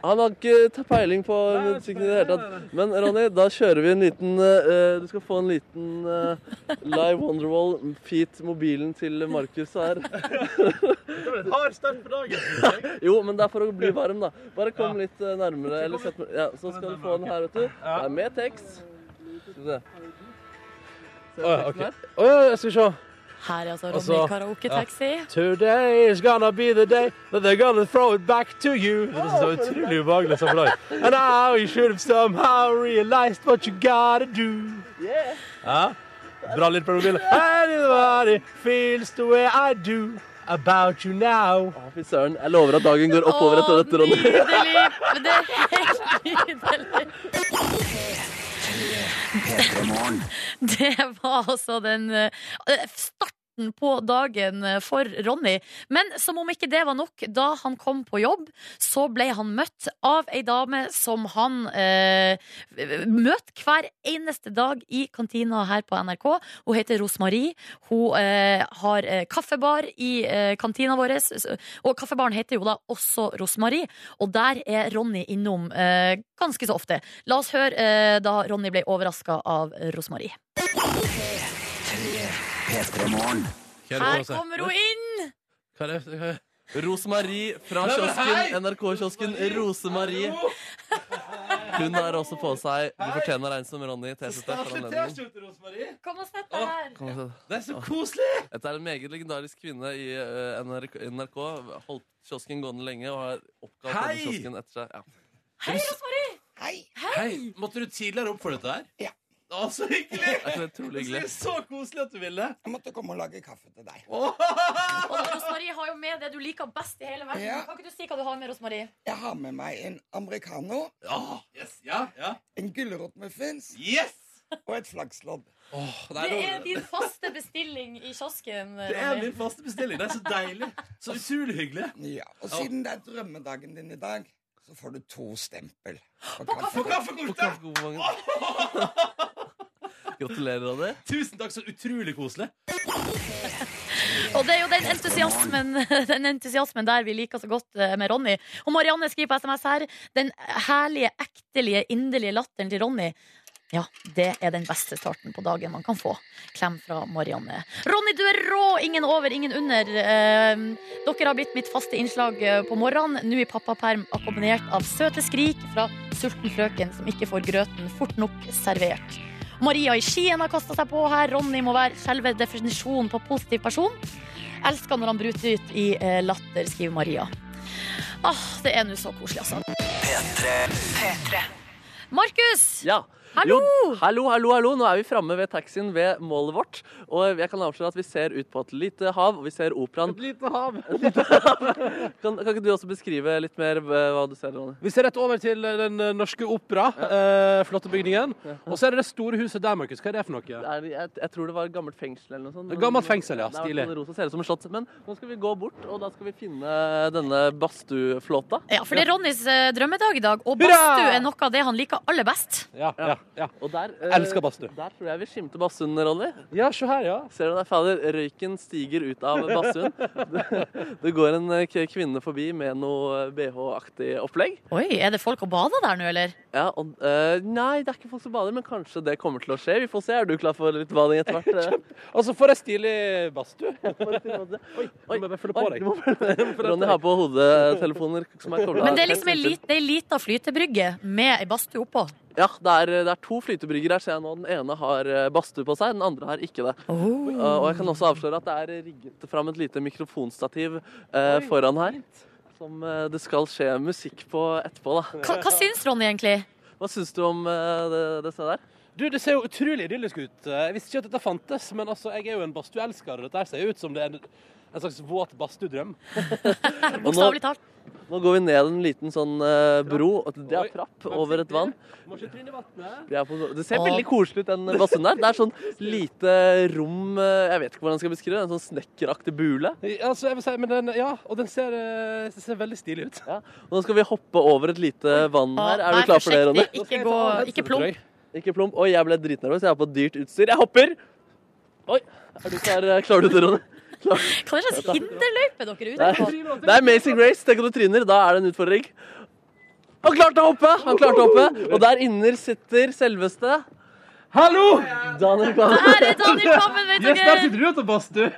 [SPEAKER 4] Han har ikke ta- peiling på musikken i det hele tatt. Men Ronny, da kjører vi en liten eh, Du skal få en liten eh, Live Wonderwall feat mobilen til Markus her.
[SPEAKER 1] Det var et hardt start på dagen.
[SPEAKER 4] Jo, men det er for å bli varm, da. Bare kom litt eh, nærmere. Eller sett, meg- ja, så skal du få den her, vet du. Det er med tekst. Skal vi se. Ser du
[SPEAKER 2] Å ja,
[SPEAKER 4] teksten
[SPEAKER 2] ok.
[SPEAKER 4] her?
[SPEAKER 2] Å ja, jeg skal se.
[SPEAKER 3] Her er altså Ronny
[SPEAKER 2] Altså,
[SPEAKER 3] karaoke-taxi.
[SPEAKER 2] Today is gonna be the day that they're gonna throw it back to you. Det er så utrolig ubehagelig som fornøyd. And now you should have somehow realized what you gotta do.
[SPEAKER 4] Yeah.
[SPEAKER 2] Ja? Bra lyd på mobilen. Anybody feels the way I do about you now.
[SPEAKER 4] Å, Fy søren. Jeg lover at dagen går oppover etter dette, Ronny.
[SPEAKER 3] Nydelig! Men Det er helt nydelig. Det var altså den eh, starten på dagen eh, for Ronny. Men som om ikke det var nok, da han kom på jobb, så ble han møtt av ei dame som han eh, møter hver eneste dag i kantina her på NRK. Hun heter Rosmarie. Hun eh, har eh, kaffebar i eh, kantina vår, og kaffebaren heter jo da også Rosmarie. Og der er Ronny innom eh, ganske så ofte. La oss høre eh, da Ronny ble overraska av Rosmarie.
[SPEAKER 6] Hva er det
[SPEAKER 3] Her
[SPEAKER 6] å si?
[SPEAKER 3] kommer hun inn!
[SPEAKER 6] Hva er det? Hva er det?
[SPEAKER 4] Rosemarie fra
[SPEAKER 6] Nei, men hei!
[SPEAKER 4] kiosken, NRK-kiosken Rosemarie. Hun har også på seg Du fortjener en som Ronny. T-skjorte for anledningen.
[SPEAKER 3] Kom og sett deg her.
[SPEAKER 4] Kom og se.
[SPEAKER 6] Det er så koselig!
[SPEAKER 4] Dette er en meget legendarisk kvinne i eh, NRK. NRK. Holdt kiosken gående lenge og har oppkalt
[SPEAKER 6] Hei!
[SPEAKER 4] denne kiosken etter seg. Ja.
[SPEAKER 3] Hei, altså. Rosmarie!
[SPEAKER 6] Hei! Måtte du tidligere opp for dette her?
[SPEAKER 8] Ja.
[SPEAKER 6] Å, så hyggelig!
[SPEAKER 4] Det er utrolig
[SPEAKER 6] Det er
[SPEAKER 4] hyggelig.
[SPEAKER 6] så koselig at du ville.
[SPEAKER 8] Jeg måtte komme og lage kaffe til deg.
[SPEAKER 3] Og Rosmarie har jo med det du liker best i hele verden.
[SPEAKER 8] Ja.
[SPEAKER 3] Kan ikke du si hva du har med, Rosmarie?
[SPEAKER 8] Jeg har med meg en americano,
[SPEAKER 6] Ja, Ah, yes, ja, ja.
[SPEAKER 8] en gulrotmuffins
[SPEAKER 6] Yes!
[SPEAKER 8] og et flakslodd.
[SPEAKER 6] Åh, det,
[SPEAKER 3] Det
[SPEAKER 6] er noe-
[SPEAKER 3] er din faste bestilling i kiosken.
[SPEAKER 6] det er
[SPEAKER 3] Ronny.
[SPEAKER 6] min faste bestilling. Det er så deilig. Så utrolig hyggelig.
[SPEAKER 8] Ja, Og siden det er drømmedagen din i dag, så får du to stempel. På
[SPEAKER 6] Få
[SPEAKER 8] kaffe.
[SPEAKER 6] kaffekortet!
[SPEAKER 4] Kaffekoppmangen. Gratulerer, Ronny.
[SPEAKER 6] Tusen takk, så utrolig koselig.
[SPEAKER 3] Og det er jo den entusiasmen, den entusiasmen der vi liker så godt eh, med Ronny. Og Marianne skriver på SMS her den herlige, ektelige, inderlige latteren til Ronny. Ja, det er den beste starten på dagen man kan få. Klem fra Marianne. Ronny, du er rå! Ingen over, ingen under. Eh, Dere har blitt mitt faste innslag eh, på morgenen. Nå i pappaperm, akkompagnert av søte skrik fra sulten frøken som ikke får grøten fort nok servert. Maria i Skien har kasta seg på her. Ronny må være selve definisjonen på positiv person. Elsker når han bryter ut i eh, latter, skriver Maria. Ah, det er nå så koselig, altså. Markus!
[SPEAKER 4] Ja.
[SPEAKER 3] Hallo!
[SPEAKER 4] Jo, hallo, hallo, hallo. Nå er vi framme ved taxien ved målet vårt. Og jeg kan avsløre at vi ser ut på et lite hav, og vi ser operaen.
[SPEAKER 1] Et lite hav.
[SPEAKER 4] Kan, kan ikke du også beskrive litt mer eh, hva du ser, Ronny?
[SPEAKER 2] Vi ser rett over til den eh, norske opera, eh, flotte bygningen. Og så er det det store huset der, Markus. Hva er det for noe?
[SPEAKER 4] Det er, jeg, jeg tror det var et gammelt fengsel eller noe sånt.
[SPEAKER 2] Et gammelt fengsel, ja.
[SPEAKER 4] Det har vært
[SPEAKER 2] Stilig.
[SPEAKER 4] noe rosa, ser ut som en slott. Men nå skal vi gå bort, og da skal vi finne denne badstueflåta.
[SPEAKER 3] Ja, for det er Ronnys eh, drømmedag i dag, og
[SPEAKER 2] Hurra!
[SPEAKER 3] badstue er noe av det han liker aller best.
[SPEAKER 2] Ja, ja.
[SPEAKER 4] Og der, eh,
[SPEAKER 12] Elsker badstue.
[SPEAKER 4] Der tror jeg vi skimter badstuen, Ronny.
[SPEAKER 12] Ja, se her, ja.
[SPEAKER 4] Ser du det, fader? Røyken stiger ut av badstuen. Det, det går en eh, k- kvinne forbi med noe BH-aktig opplegg.
[SPEAKER 3] Oi, er det folk og bader der nå, eller?
[SPEAKER 4] Ja, og, eh, nei, det er ikke folk som bader, men kanskje det kommer til å skje. Vi får se. Er du klar for litt bading etter hvert? Eh,
[SPEAKER 12] Altså, for ei stilig badstue.
[SPEAKER 4] Oi,
[SPEAKER 12] oi, må jeg bare følge på
[SPEAKER 4] Oi,
[SPEAKER 12] deg.
[SPEAKER 4] du må Ronny har på hodetelefoner som er koblet
[SPEAKER 3] Men det er
[SPEAKER 4] helt
[SPEAKER 3] liksom ei
[SPEAKER 4] inntil.
[SPEAKER 3] lit, det er ei lita flytebrygge med ei badstue oppå.
[SPEAKER 4] Ja, det er, det er to flytebrygger her, ser jeg nå. Den ene har eh, badstue på seg, den andre har ikke det.
[SPEAKER 12] Oh.
[SPEAKER 4] Eh, og jeg kan også avsløre at det er rigget fram et lite mikrofonstativ eh, foran her. Som eh, det skal skje musikk på etterpå, da.
[SPEAKER 3] Hva, hva syns Ronny egentlig?
[SPEAKER 4] Hva syns du om eh, det, det stedet her?
[SPEAKER 12] Du, Det ser jo utrolig idyllisk ut. Eh, Jeg visste ikke at dette fantes, men altså, jeg er jo en badstueelsker, og dette her ser jo ut som det er en, en slags våt badstuedrøm.
[SPEAKER 4] Og nå, nå går vi ned en liten sånn eh, bro, og det er trapp over et vann.
[SPEAKER 12] Må ikke tryne i vannet.
[SPEAKER 4] Vi er på, det ser
[SPEAKER 12] Åh.
[SPEAKER 4] veldig koselig ut, den badstuen der. Det er sånn lite rom eh, Jeg vet ikke hvordan jeg skal beskrive det. En sånn snekkeraktig bule.
[SPEAKER 12] Altså, jeg vil si, men den, ja, og den ser, eh, den ser veldig stilig ut.
[SPEAKER 4] Ja. Nå skal vi hoppe over et lite vann her.
[SPEAKER 12] vær
[SPEAKER 4] Er du klar for det,
[SPEAKER 12] forsiktig, ikke Nå skal jeg
[SPEAKER 4] Ronny?
[SPEAKER 12] ta gå- av ikke plump.
[SPEAKER 4] Drøy. Ikke plump. Oi, jeg ble dritnervøs. Jeg har på dyrt utstyr. Jeg hopper! Oi. Er du klar? eh, Klarer du det, Ronny?
[SPEAKER 3] Hva er det slags hinderløype dere
[SPEAKER 4] Det
[SPEAKER 3] er ute
[SPEAKER 4] er,
[SPEAKER 3] på?
[SPEAKER 4] det er Amazing Race. Tenk om du tryner. Da er det en utfordring. Han klarte å hoppe! Han klarte å hoppe. Og der inne sitter selveste Hallo! Daniel Kvammen.
[SPEAKER 3] Der er Daniel Kvammen, vet Yes, dere. der sitter
[SPEAKER 4] du ute og badstue.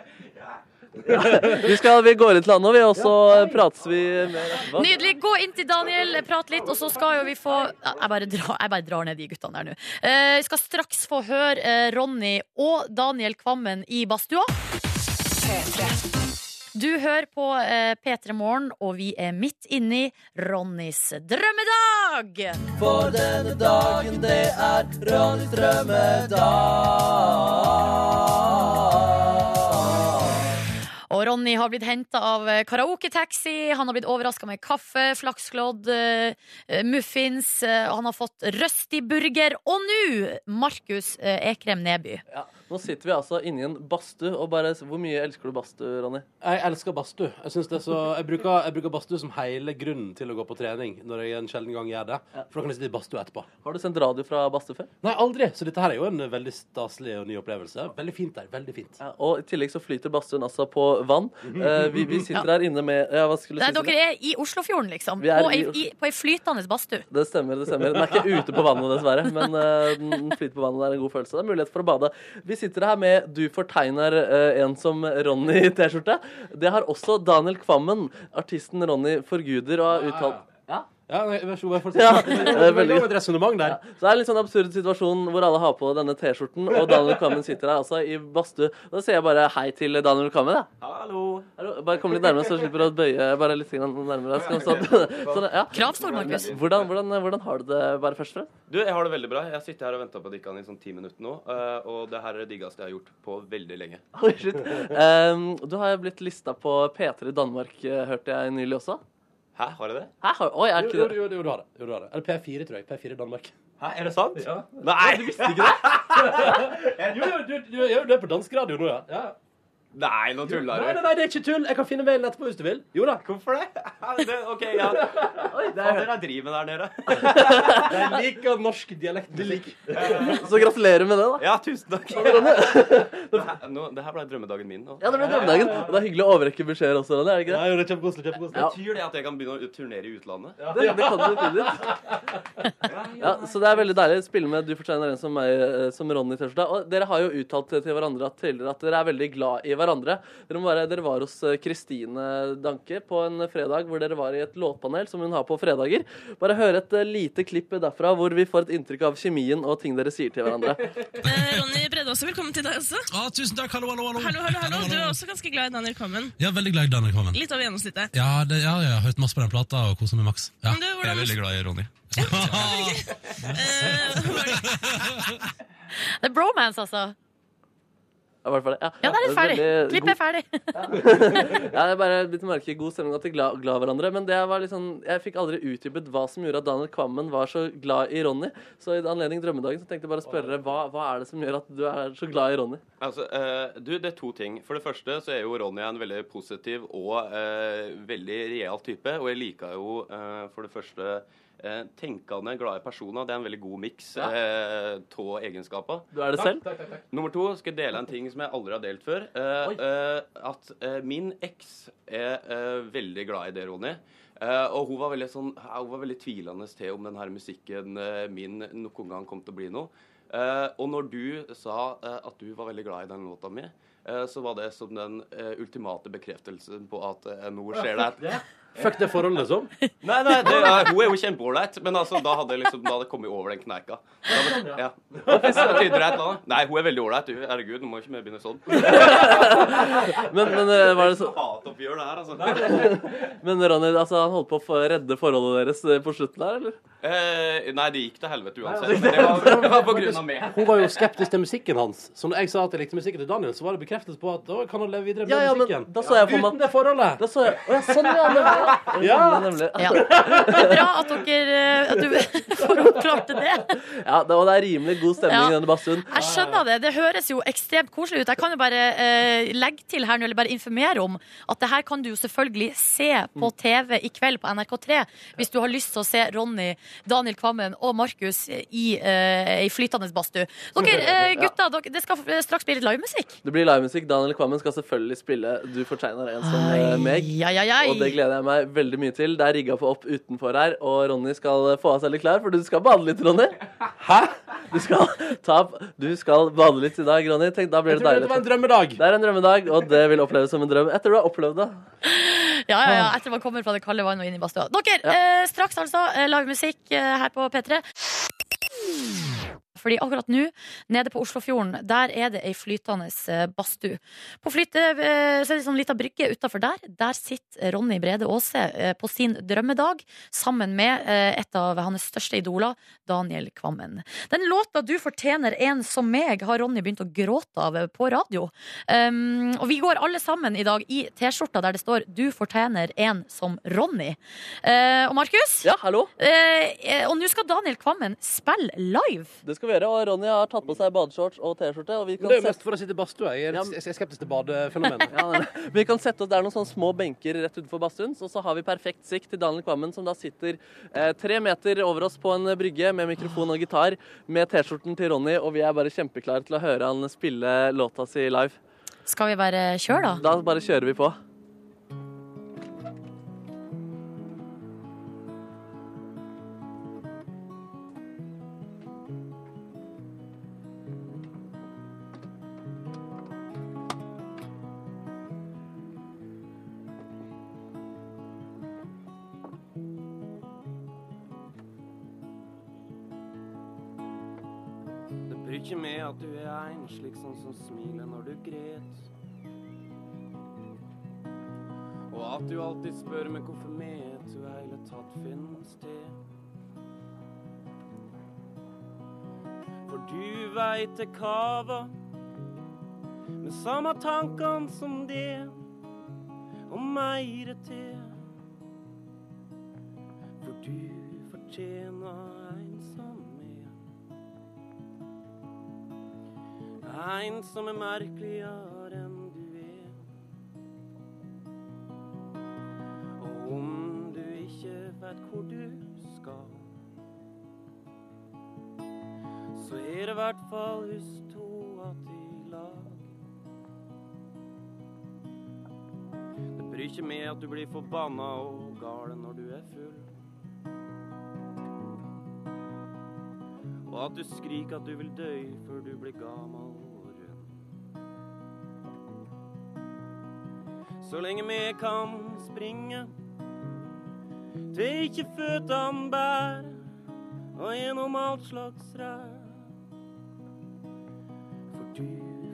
[SPEAKER 4] Vi, skal, vi går inn til han nå, vi, og så prates vi mer etterpå.
[SPEAKER 3] Nydelig. Gå inn til Daniel, prat litt, og så skal jo vi få Ja, Jeg bare drar, jeg bare drar ned de guttene der nå. Eh, Vi skal straks få høre eh, Ronny og Daniel Kvammen i badstua. Du hører på eh, P3 Morgen, og vi er midt inni Ronnys drømmedag!
[SPEAKER 11] For denne dagen, det er Ronnys drømmedag.
[SPEAKER 3] Og Ronny har blitt henta av eh, karaoketaxi, han har blitt overraska med kaffe, flakslodd, eh, muffins, eh, han har fått røstig burger, og nå Markus eh, Ekrem Neby.
[SPEAKER 4] Ja, nå sitter vi altså inni en badstue, og bare Hvor mye elsker du badstue, Ronny?
[SPEAKER 12] Jeg elsker badstue. Jeg, synes det er så- jeg bruker, jeg bruker badstue som hele grunnen til å gå på trening, når jeg en sjelden gang gjør det. For da kan jeg sitte i badstue etterpå.
[SPEAKER 4] Har du sendt radio fra badstue før?
[SPEAKER 12] Nei, aldri. Så dette her er jo en veldig staselig og ny opplevelse. Veldig fint der. Veldig fint.
[SPEAKER 4] Ja, og i tillegg så flyter badstuen altså på vann. Eh, vi, vi sitter her inne med ja, Hva skulle
[SPEAKER 3] Nei,
[SPEAKER 4] du si?
[SPEAKER 3] dere er i Oslofjorden, liksom.
[SPEAKER 4] Vi er
[SPEAKER 3] På ei, i,
[SPEAKER 4] i-
[SPEAKER 3] på ei flytende badstue.
[SPEAKER 4] Det stemmer, det stemmer. Den er ikke ute på vannet, dessverre. Men eh, den flyter på vannet, det er en god følelse. Det er mulighet for å bade. Vi sitter her med Du fortegner eh, en som Ronny i T-skjorte. Det har også Daniel Kvammen, artisten Ronny forguder, og har uttalt Ja?
[SPEAKER 12] Ja, nei, vær så god. Vær så
[SPEAKER 4] Ja,
[SPEAKER 12] god.
[SPEAKER 4] det er
[SPEAKER 12] Veldig
[SPEAKER 4] veldig
[SPEAKER 12] godt resonnement der.
[SPEAKER 4] Så det er en litt sånn absurd situasjon hvor alle har på denne T-skjorten, og Daniel Kvammen sitter her altså i badstue. Da sier jeg bare hei til Daniel Kvammen, da.
[SPEAKER 12] Hallo.
[SPEAKER 4] Hallo, Bare kom litt nærmere, så jeg slipper å bøye bare litt grann nærmere. Skal vi sånn, sånn, ja.
[SPEAKER 3] Kravstor, Markus.
[SPEAKER 4] Hvordan, hvordan, hvordan har du det, bare først og fremst?
[SPEAKER 13] Du, jeg har det veldig bra. Jeg har sittet her og venta på dere i sånn ti minutter nå. eh, Og det her er det diggeste jeg har gjort på veldig lenge.
[SPEAKER 4] Oi, shit. Ehm, du har jo blitt lista på P3 Danmark, eh, hørte jeg nylig også.
[SPEAKER 13] Hæ, har jeg det?
[SPEAKER 4] Hæ, har, oi, er ikke
[SPEAKER 12] Jo,
[SPEAKER 4] det?
[SPEAKER 12] jo, jo, jo, du har det. Jo, du har det. Eller P4, tror jeg. P4 Danmark.
[SPEAKER 13] Hæ, er det sant?
[SPEAKER 12] Ja.
[SPEAKER 13] Nei! Du visste ikke
[SPEAKER 12] det? jo, jo, du, du, jo, du er på dansk radio nå, ja. ja.
[SPEAKER 13] Nei, nå tuller
[SPEAKER 12] Nei, nei,
[SPEAKER 13] du.
[SPEAKER 12] nei, det er ikke tull. Jeg kan finne mailen etterpå hvis du vil. Jo da.
[SPEAKER 13] Hvorfor det? Det- OK, ja. Oi, det er dere driver med der nede.
[SPEAKER 12] Jeg liker norsk dialekt.
[SPEAKER 4] Så gratulerer med det, da.
[SPEAKER 13] Ja, tusen takk. Det her, Eh, nå, det her ble drømmedagen min. Nå.
[SPEAKER 4] Ja, det ble drømmedagen. Og det er hyggelig å overrekke beskjeder også, Ronny. er det ikke det?
[SPEAKER 12] jo, det er kjempekoselig. kjempekoselig.
[SPEAKER 13] Betyr det at jeg kan begynne å turnere i utlandet?
[SPEAKER 4] Det, det kan du definitivt. Ja, så det er veldig deilig å spille med Du fortjener en som meg, eh, som Ronny Tørstad. Og dere har jo uttalt til hverandre at, tidligere at dere er veldig glad i hverandre. Dere, må være, dere var hos eh, Kristine Danke på en fredag hvor dere var i et låtpanel, som hun har på fredager. Bare hør et eh, lite klipp derfra hvor vi får et inntrykk av kjemien og ting dere sier til hverandre.
[SPEAKER 14] Ronny Brede også, velkommen til deg også.
[SPEAKER 12] Ah, tusen takk, hallo, hallo, hallo.
[SPEAKER 14] Hallo, hallo, hallo. Du er også ganske glad i Daniel Kvammen.
[SPEAKER 12] Ja, veldig glad i Daniel Kvammen.
[SPEAKER 14] Litt over gjennomsnittet.
[SPEAKER 12] Ja, det, ja, jeg har hørt masse på den plata og koset meg maks. Ja.
[SPEAKER 14] Men du, hvordan- Jeg er veldig
[SPEAKER 12] glad i Ronny.
[SPEAKER 3] Det er bromance, altså.
[SPEAKER 4] Ja, i hvert fall det.
[SPEAKER 3] Ja, der er det ferdig.
[SPEAKER 4] Veldig
[SPEAKER 3] Klippet er ferdig.
[SPEAKER 4] ja, jeg bare bitt merke i god stemning at de er glad, glad i hverandre. Men det var litt sånn- jeg fikk aldri utdypet hva som gjorde at Daniel Kvammen var så glad i Ronny. Så i anledning Drømmedagen så tenkte jeg bare å spørre dere, hva, hva er det som gjør at du er så glad i Ronny?
[SPEAKER 13] Altså, eh, du, Det er to ting. For det første så er jo Ronny en veldig positiv og eh, veldig real type. Og jeg liker jo eh, for det første eh, tenkende, glade personer. Det er en veldig god miks eh,
[SPEAKER 4] Ja.
[SPEAKER 13] av egenskaper.
[SPEAKER 4] Du er det selv?
[SPEAKER 13] Takk, takk, takk. Nummer to skal jeg dele en ting som jeg aldri har delt før. Eh, eh, at eh, min eks er eh, veldig glad i det, Ronny. Eh, og hun var, veldig sånn, ja, hun var veldig tvilende til om den her musikken eh, min noen gang kom til å bli noe. Eh, og når du sa eh, at du var veldig glad i den låta mi, eh, så var det som den eh, ultimate bekreftelsen på at eh, noe skjer der.
[SPEAKER 12] Fuck det forholdet, liksom.
[SPEAKER 13] Nei, nei, det, ja, hun er jo kjempeålreit, men altså, da hadde jeg liksom, da hadde jeg kommet over den kneika. Da hadde, ja. Så det tyder et eller annet. Nei, hun er veldig ålreit. du. Herregud, nå må ikke vi begynne sånn.
[SPEAKER 4] Men, men eh, var det så
[SPEAKER 13] Hatoppgjør det her, altså.
[SPEAKER 4] Men Ronny, altså, han holdt på å få- redde forholdet deres eh, på slutten der, eller?
[SPEAKER 13] Eh, nei, det gikk til helvete uansett. Men det var, det var på grunn av meg.
[SPEAKER 12] Hun var jo skeptisk til musikken hans. Så når jeg sa at jeg likte musikken til Daniel, så var det bekreftelse på at å, kan han leve videre med
[SPEAKER 4] Ja, ja, men
[SPEAKER 12] musikken.
[SPEAKER 4] da så jeg for meg
[SPEAKER 12] Uten det forholdet.
[SPEAKER 4] Da så jeg Å ja, sånn, ja. Nemlig.
[SPEAKER 12] Ja.
[SPEAKER 4] nemlig.
[SPEAKER 3] Ja. Det er bra at dere eh, at du får oppklart det.
[SPEAKER 4] Ja, det, og det er rimelig god stemning
[SPEAKER 3] Ja.
[SPEAKER 4] i denne badstuen.
[SPEAKER 3] Jeg skjønner det. Det høres jo ekstremt koselig ut. Jeg kan jo bare eh, legge til her nå, eller bare informere om, at det her kan du jo selvfølgelig se
[SPEAKER 4] Mm.
[SPEAKER 3] på TV i kveld på NRK3 hvis du har lyst til å se Ronny, Daniel Kvammen og Markus i eh, ei flytende badstue. Dere eh, gutta, dere, det skal eh, straks bli litt livemusikk.
[SPEAKER 4] Det blir livemusikk. Daniel Kvammen skal selvfølgelig spille 'Du fortjener en som eh, meg'.
[SPEAKER 3] ai, ai.
[SPEAKER 4] Og det gleder jeg meg veldig mye til. Det er rigga for opp utenfor her, og Ronny skal eh, få av seg litt klær, for du skal bade litt, Ronny. Hæ? Du skal, ta, du skal bade litt i dag, Ronny. Tenk, da blir
[SPEAKER 12] Jeg
[SPEAKER 4] det
[SPEAKER 12] tror
[SPEAKER 4] deilig.
[SPEAKER 12] dette var en drømmedag.
[SPEAKER 4] Det er en drømmedag, og det vil oppleves som en drøm etter du har opplevd det.
[SPEAKER 3] Ja, ja, ja, etter man kommer fra det kalde vannet og inn i badstua. Dere, eh, straks altså eh, livemusikk eh, her på P3. Fordi akkurat nå, nede på Oslofjorden, der er det ei flytende eh, badstue. På flytte, eh, så er det sånn lita brygge utafor der. Der sitter Ronny Brede Aase eh, på sin drømmedag sammen med eh, et av hans største idoler, Daniel Kvammen. Den låta 'Du fortjener en som meg' har Ronny begynt å gråte av eh, på radio. Um, og vi går alle sammen i dag i T-skjorta der det står 'Du fortjener en som Ronny'. Eh, og Markus? eh,
[SPEAKER 4] Ja, hallo?
[SPEAKER 3] og nå skal Daniel Kvammen spille live.
[SPEAKER 4] Det skal vi gjøre, og Ronny har tatt på seg badeshorts og T-skjorte. og vi
[SPEAKER 12] Men
[SPEAKER 4] kan
[SPEAKER 12] det er jo
[SPEAKER 4] sette-
[SPEAKER 12] mest for å sitte i badstua. Jeg er, jeg er skeptisk til badefenomenet.
[SPEAKER 4] Ja, det er det. vi kan sette oss, Det er noen sånne små benker rett utenfor badstuen, så, så har vi perfekt sikt til Daniel Kvammen, som da sitter eh, tre meter over oss på en eh, brygge med mikrofon og gitar, med T-skjorten til Ronny, og vi er bare kjempeklare til å høre han spille låta si live.
[SPEAKER 3] Skal vi bare kjøre, da?
[SPEAKER 4] Da bare kjører vi på.
[SPEAKER 10] Det bryr ikke meg at du er en slik sånn som smiler når du gret. Og at du alltid spør meg hvorfor meg du i hele tatt finnes til. For du veit det kava med samme tankene som det, og meire til. For du fortjener en sånn som meg. En som er merkeligere enn du er. Og om du ikke vet hvor du skal, så er det i hvert fall hus to at i lag. Det bryr ikke meg at du blir forbanna og gal når du er full. Og at du skriker at du vil dø før du blir gammel og rund. Så lenge vi kan springe til ikke føttene bær, og gjennom alt slags rær. For du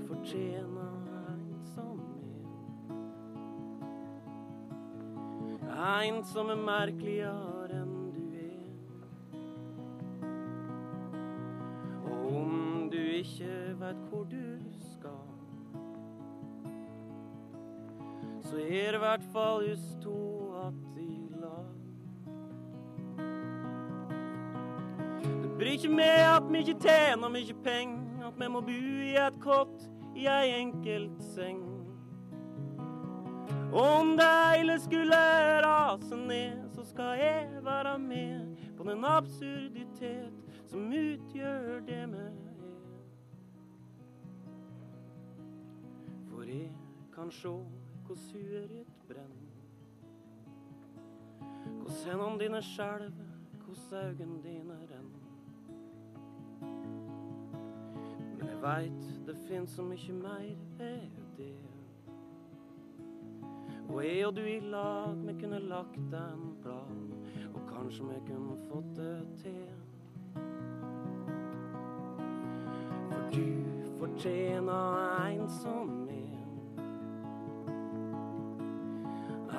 [SPEAKER 10] fortjener en som er. En som er merkeligere enn du er. Og om du ikke veit hvor du skal, så er det i hvert fall oss to att i lag. Det bryr ikke meg at vi ikke tjener mye penger, at vi må bo i et kott i ei enkelt seng. Om det hele skulle rase ned, så så skal jeg være med på den absurditet som utgjør det vi er. For jeg kan sjå hvordan huet ditt brenner. Hvordan hendene dine skjelver, hvordan øynene dine renner. Men jeg veit det fins så mye mer ved det. Og jeg og du i lag, vi kunne lagt en plan. Og kanskje vi kunne fått det til. For du fortjener en som er.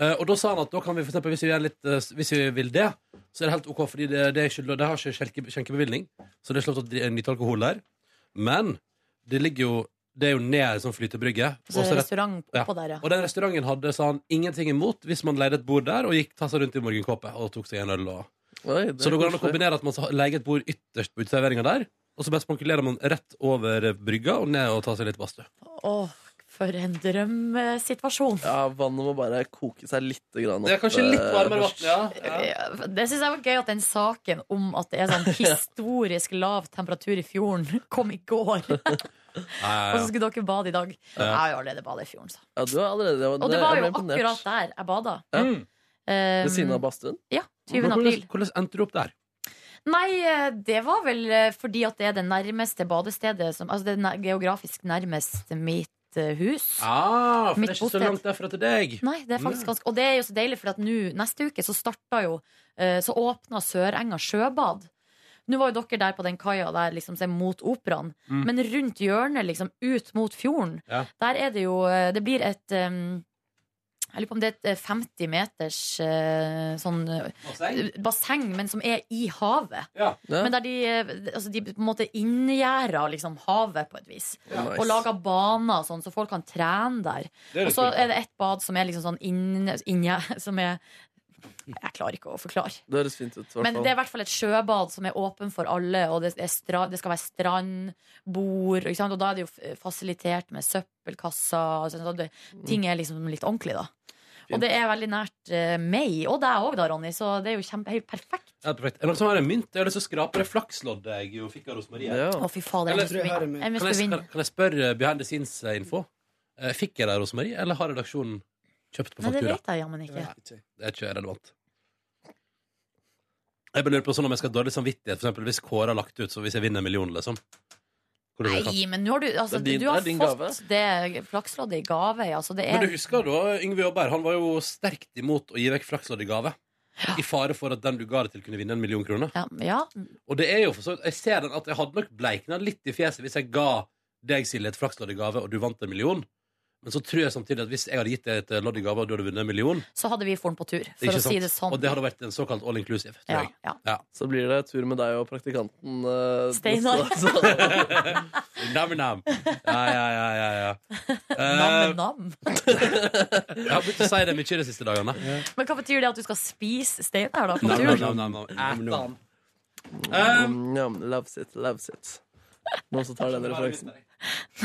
[SPEAKER 6] Eh, og da sa han at da kan vi for eksempel, hvis vi, gjør litt, eh, hvis vi vil det, så er det helt OK, fordi det, det, er ikke, lo- det har ikke skjenke- skjenkebevilgning. Så det er ikke lov til å dri- nyte alkohol der. Men det ligger jo Det er jo ned ei sånn flytebrygge.
[SPEAKER 3] Og så er det restaurant oppå der, ja.
[SPEAKER 6] Og den restauranten hadde, sa han, ingenting imot hvis man leide et bord der og gikk ta seg rundt i morgenkåpet og tok seg en øl og
[SPEAKER 4] Oi, det er
[SPEAKER 6] så det går an å
[SPEAKER 4] koselig.
[SPEAKER 6] kombinere at man så leier et bord ytterst på uteserveringa der, og så bare spankulerer man rett over brygga og ned og tar seg litt badstue.
[SPEAKER 3] Åh, for en drømmesituasjon.
[SPEAKER 4] Ja, vannet må bare koke seg litt grann opp. eh,
[SPEAKER 6] Det er kanskje litt varmere
[SPEAKER 4] først.
[SPEAKER 6] vann, ja.
[SPEAKER 3] Ja, Det syns jeg var gøy at den saken om at det er sånn historisk lav temperatur i fjorden, kom i går. Og så skulle dere bade i dag.
[SPEAKER 4] Ja.
[SPEAKER 3] Jeg har jo allerede badet i fjorden, så.
[SPEAKER 4] Ja, du er allerede
[SPEAKER 3] Og det var jo akkurat der jeg bada.
[SPEAKER 4] Ja.
[SPEAKER 3] Eh,
[SPEAKER 4] Ved siden av badstuen?
[SPEAKER 3] ja, 20. april.
[SPEAKER 6] Hvordan endte du opp der?
[SPEAKER 3] Nei, eh, det var vel eh, fordi at det er det nærmeste badestedet som Altså det er nær- geografisk nærmest mitt eh, hus.
[SPEAKER 6] Ah, for
[SPEAKER 3] Mitt
[SPEAKER 6] det er ikke så
[SPEAKER 3] bosted. Mm.
[SPEAKER 6] langt derfra til deg.
[SPEAKER 3] Nei, det er faktisk ganske Og det er jo så deilig, for at nå, neste uke, så starta jo eh, Så åpna Sørenga sjøbad. Nå var jo dere der på den kaia der liksom som er mot operaen,
[SPEAKER 15] Mm.
[SPEAKER 3] men rundt hjørnet, liksom ut mot fjorden,
[SPEAKER 15] Ja.
[SPEAKER 3] der er det jo eh, Det blir et em, jeg lurer på om det er et eh, 50 meters eh, sånn eh,
[SPEAKER 15] Basseng?
[SPEAKER 3] basseng, men som er i havet.
[SPEAKER 15] Ja.
[SPEAKER 3] Men der de, eh, altså de på en måte inngjerda liksom havet på et vis.
[SPEAKER 15] Ja.
[SPEAKER 3] Og laga baner og sånn, så folk kan trene der.
[SPEAKER 15] Det er litt
[SPEAKER 3] Og så
[SPEAKER 15] kult, da.
[SPEAKER 3] er det et bad som er liksom sånn inn, inn, som er Jeg klarer ikke å forklare.
[SPEAKER 4] Det høres fint ut. i hvert
[SPEAKER 3] Men
[SPEAKER 4] fall.
[SPEAKER 3] det er i hvert fall et sjøbad som er åpen for alle, og det, er stra det skal være strand, bord ikke sant? Og da er det jo f- fasilitert med søppelkasser. og sånn, så det, ting er liksom litt ordentlig, da. Og det er veldig nært eh, meg, og deg òg, da, Ronny, så det er jo kjempe, helt perfekt.
[SPEAKER 6] Ja, perfekt. Er det noen som har en mynt? Jeg har lyst til å skrape det flaksloddet jeg jo fikk av Rosmarie.
[SPEAKER 3] Ja. Å, fy fader, jeg
[SPEAKER 6] Eller-
[SPEAKER 3] måtte vinne.
[SPEAKER 6] Kan jeg-
[SPEAKER 3] Jeg måtte vinne.
[SPEAKER 6] Kan, kan jeg spørre eh, behind the scenes-info? Eh, Fikk jeg det av Rosmarie, eller har redaksjonen kjøpt på
[SPEAKER 3] Nei, det
[SPEAKER 6] faktura?
[SPEAKER 3] vet jeg jammen ikke.
[SPEAKER 6] Det er ikke relevant. Jeg bare lurer på sånn om jeg skal ha dårlig samvittighet, for eksempel hvis Kåre har lagt ut, så hvis jeg vinner en million, liksom. Hvor er det
[SPEAKER 3] Nei,
[SPEAKER 6] fra?
[SPEAKER 3] men nå har du, altså,
[SPEAKER 6] Det er din-
[SPEAKER 3] du har
[SPEAKER 6] det er din
[SPEAKER 3] fått det flaksloddet i gave. Altså, det
[SPEAKER 6] Men
[SPEAKER 3] er
[SPEAKER 6] du husker da, Yngve Jobberg, han var jo sterkt imot å gi vekk flakslodd i gave. I fare for at den du ga det til, kunne vinne en million kroner.
[SPEAKER 3] Ja, ja.
[SPEAKER 6] Og det er jo for så vidt Jeg ser den at jeg hadde nok bleikna litt i fjeset hvis jeg ga deg, Silje, et flakslodd i gave, og du vant en million. Men så tror jeg samtidig at hvis jeg hadde gitt deg et eh, lodd i gave, og du hadde vunnet en million
[SPEAKER 3] Så hadde vi for den på tur, for å
[SPEAKER 6] ikke
[SPEAKER 3] si
[SPEAKER 6] sant?
[SPEAKER 3] det sånn.
[SPEAKER 6] Og det hadde vært en såkalt all inclusive, tror
[SPEAKER 3] Ja,
[SPEAKER 6] jeg.
[SPEAKER 3] ja.
[SPEAKER 4] Så blir det tur med deg og praktikanten eh,
[SPEAKER 3] Steinar.
[SPEAKER 4] neste-
[SPEAKER 6] Nam-nam. Ja, ja, ja. ja, ja. Eh,
[SPEAKER 3] Nam-nam.
[SPEAKER 6] jeg har begynt å si det mye de siste dagene.
[SPEAKER 3] Men hva betyr det at du skal spise Steinar, da? På tur?
[SPEAKER 6] Nam-nam-nam.
[SPEAKER 4] Um, ja, loves it, loves it. Noen som tar den
[SPEAKER 6] Ehm,
[SPEAKER 4] referansen?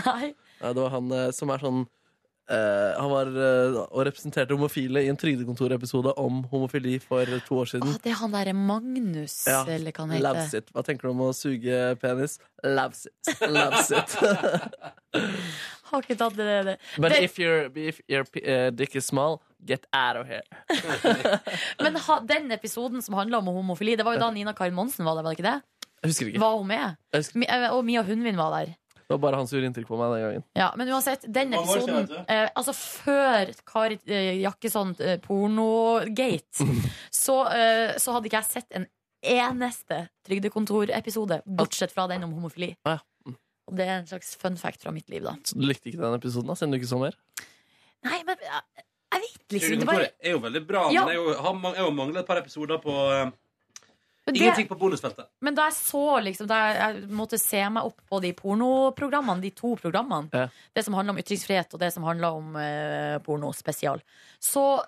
[SPEAKER 3] Nei.
[SPEAKER 4] Ja, det var han eh, som er sånn eh, Han var eh, og representerte homofile i en Trygdekontorepisode om homofili for to år siden.
[SPEAKER 3] Å, det er han derre Magnus,
[SPEAKER 4] Ja,
[SPEAKER 3] eller hva han heter.
[SPEAKER 4] Loves it. Hva tenker du om å suge penis? Loves it. Loves it.
[SPEAKER 3] Har ikke tatt det, det.
[SPEAKER 4] But
[SPEAKER 3] det
[SPEAKER 4] if, your- if your p- eh, dick is small, get out of here.
[SPEAKER 3] Men ha, den episoden som handla om homofili, det var jo da Nina Karin Monsen var der, var det ikke det?
[SPEAKER 4] Jeg husker ikke.
[SPEAKER 3] Var hun med?
[SPEAKER 4] Jeg husker-
[SPEAKER 3] Mi, eh, og Mia Hundvin var der.
[SPEAKER 4] Det var bare han som gjorde inntrykk på meg den gangen.
[SPEAKER 3] Ja, Men uansett, den
[SPEAKER 4] Mange år
[SPEAKER 3] episoden
[SPEAKER 4] siden, vet
[SPEAKER 3] eh, Altså før Kari eh, Jakkesson eh, pornogate, så, eh, så hadde ikke jeg sett en eneste Trygdekontor-episode, bortsett fra den om homofili.
[SPEAKER 4] Ah,
[SPEAKER 3] Og det er en slags fun fact fra mitt liv, da.
[SPEAKER 4] Så du likte ikke den episoden, da, siden du ikke så mer?
[SPEAKER 3] Nei, men eh, jeg vet liksom det var-
[SPEAKER 6] Trygdekontoret er jo veldig bra,
[SPEAKER 3] Ja.
[SPEAKER 6] men jeg har man- jeg har jo manglet et par episoder på eh,
[SPEAKER 3] Men det-
[SPEAKER 6] Ingenting på bonusfeltet.
[SPEAKER 3] Men da jeg så liksom, da jeg, jeg måtte se meg opp på de pornoprogrammene, de to programmene,
[SPEAKER 6] Ja.
[SPEAKER 3] det som handler om ytringsfrihet og det som handler om eh, porno spesial, så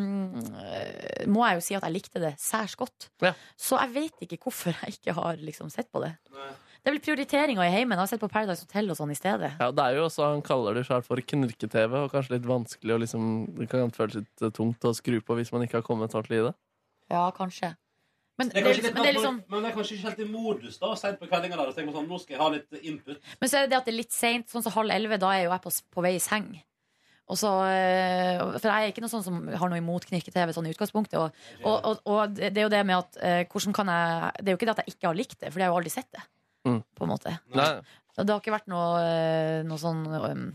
[SPEAKER 3] eh, må jeg jo si at jeg likte det særs godt. Så jeg vet ikke hvorfor jeg ikke har liksom, sett på det. Det er vel prioriteringa i heimen. Jeg har sett på Paradise Hotel og sånn i stedet.
[SPEAKER 4] Ja, det er jo også, Han kaller det sjøl for knirke-TV, og kanskje litt vanskelig og liksom, Det kan føles litt eh, tungt å skru på hvis man ikke har kommet ordentlig i det.
[SPEAKER 3] Ja, kanskje. Men det
[SPEAKER 6] Det er
[SPEAKER 3] er
[SPEAKER 6] kanskje
[SPEAKER 3] liksom- men det er
[SPEAKER 6] litt sånn- natt-
[SPEAKER 3] liksom
[SPEAKER 6] Men jeg er kanskje ikke helt i modus da, sent på kveldinga der. og tenker sånn, nå skal jeg ha litt input.
[SPEAKER 3] Men så er det det at det er litt seint, sånn som halv elleve, da er jo jeg på, på vei i seng. Og så, eh, for jeg er ikke noe sånn som har noe imot knirke-TV sånn i utgangspunktet. Og, og, og, og det det er jo det med at eh, hvordan kan jeg Det er jo ikke det at jeg ikke har likt det, for jeg har jo aldri sett det. På en måte. Og Det har ikke vært noe, eh, noe sånn eh,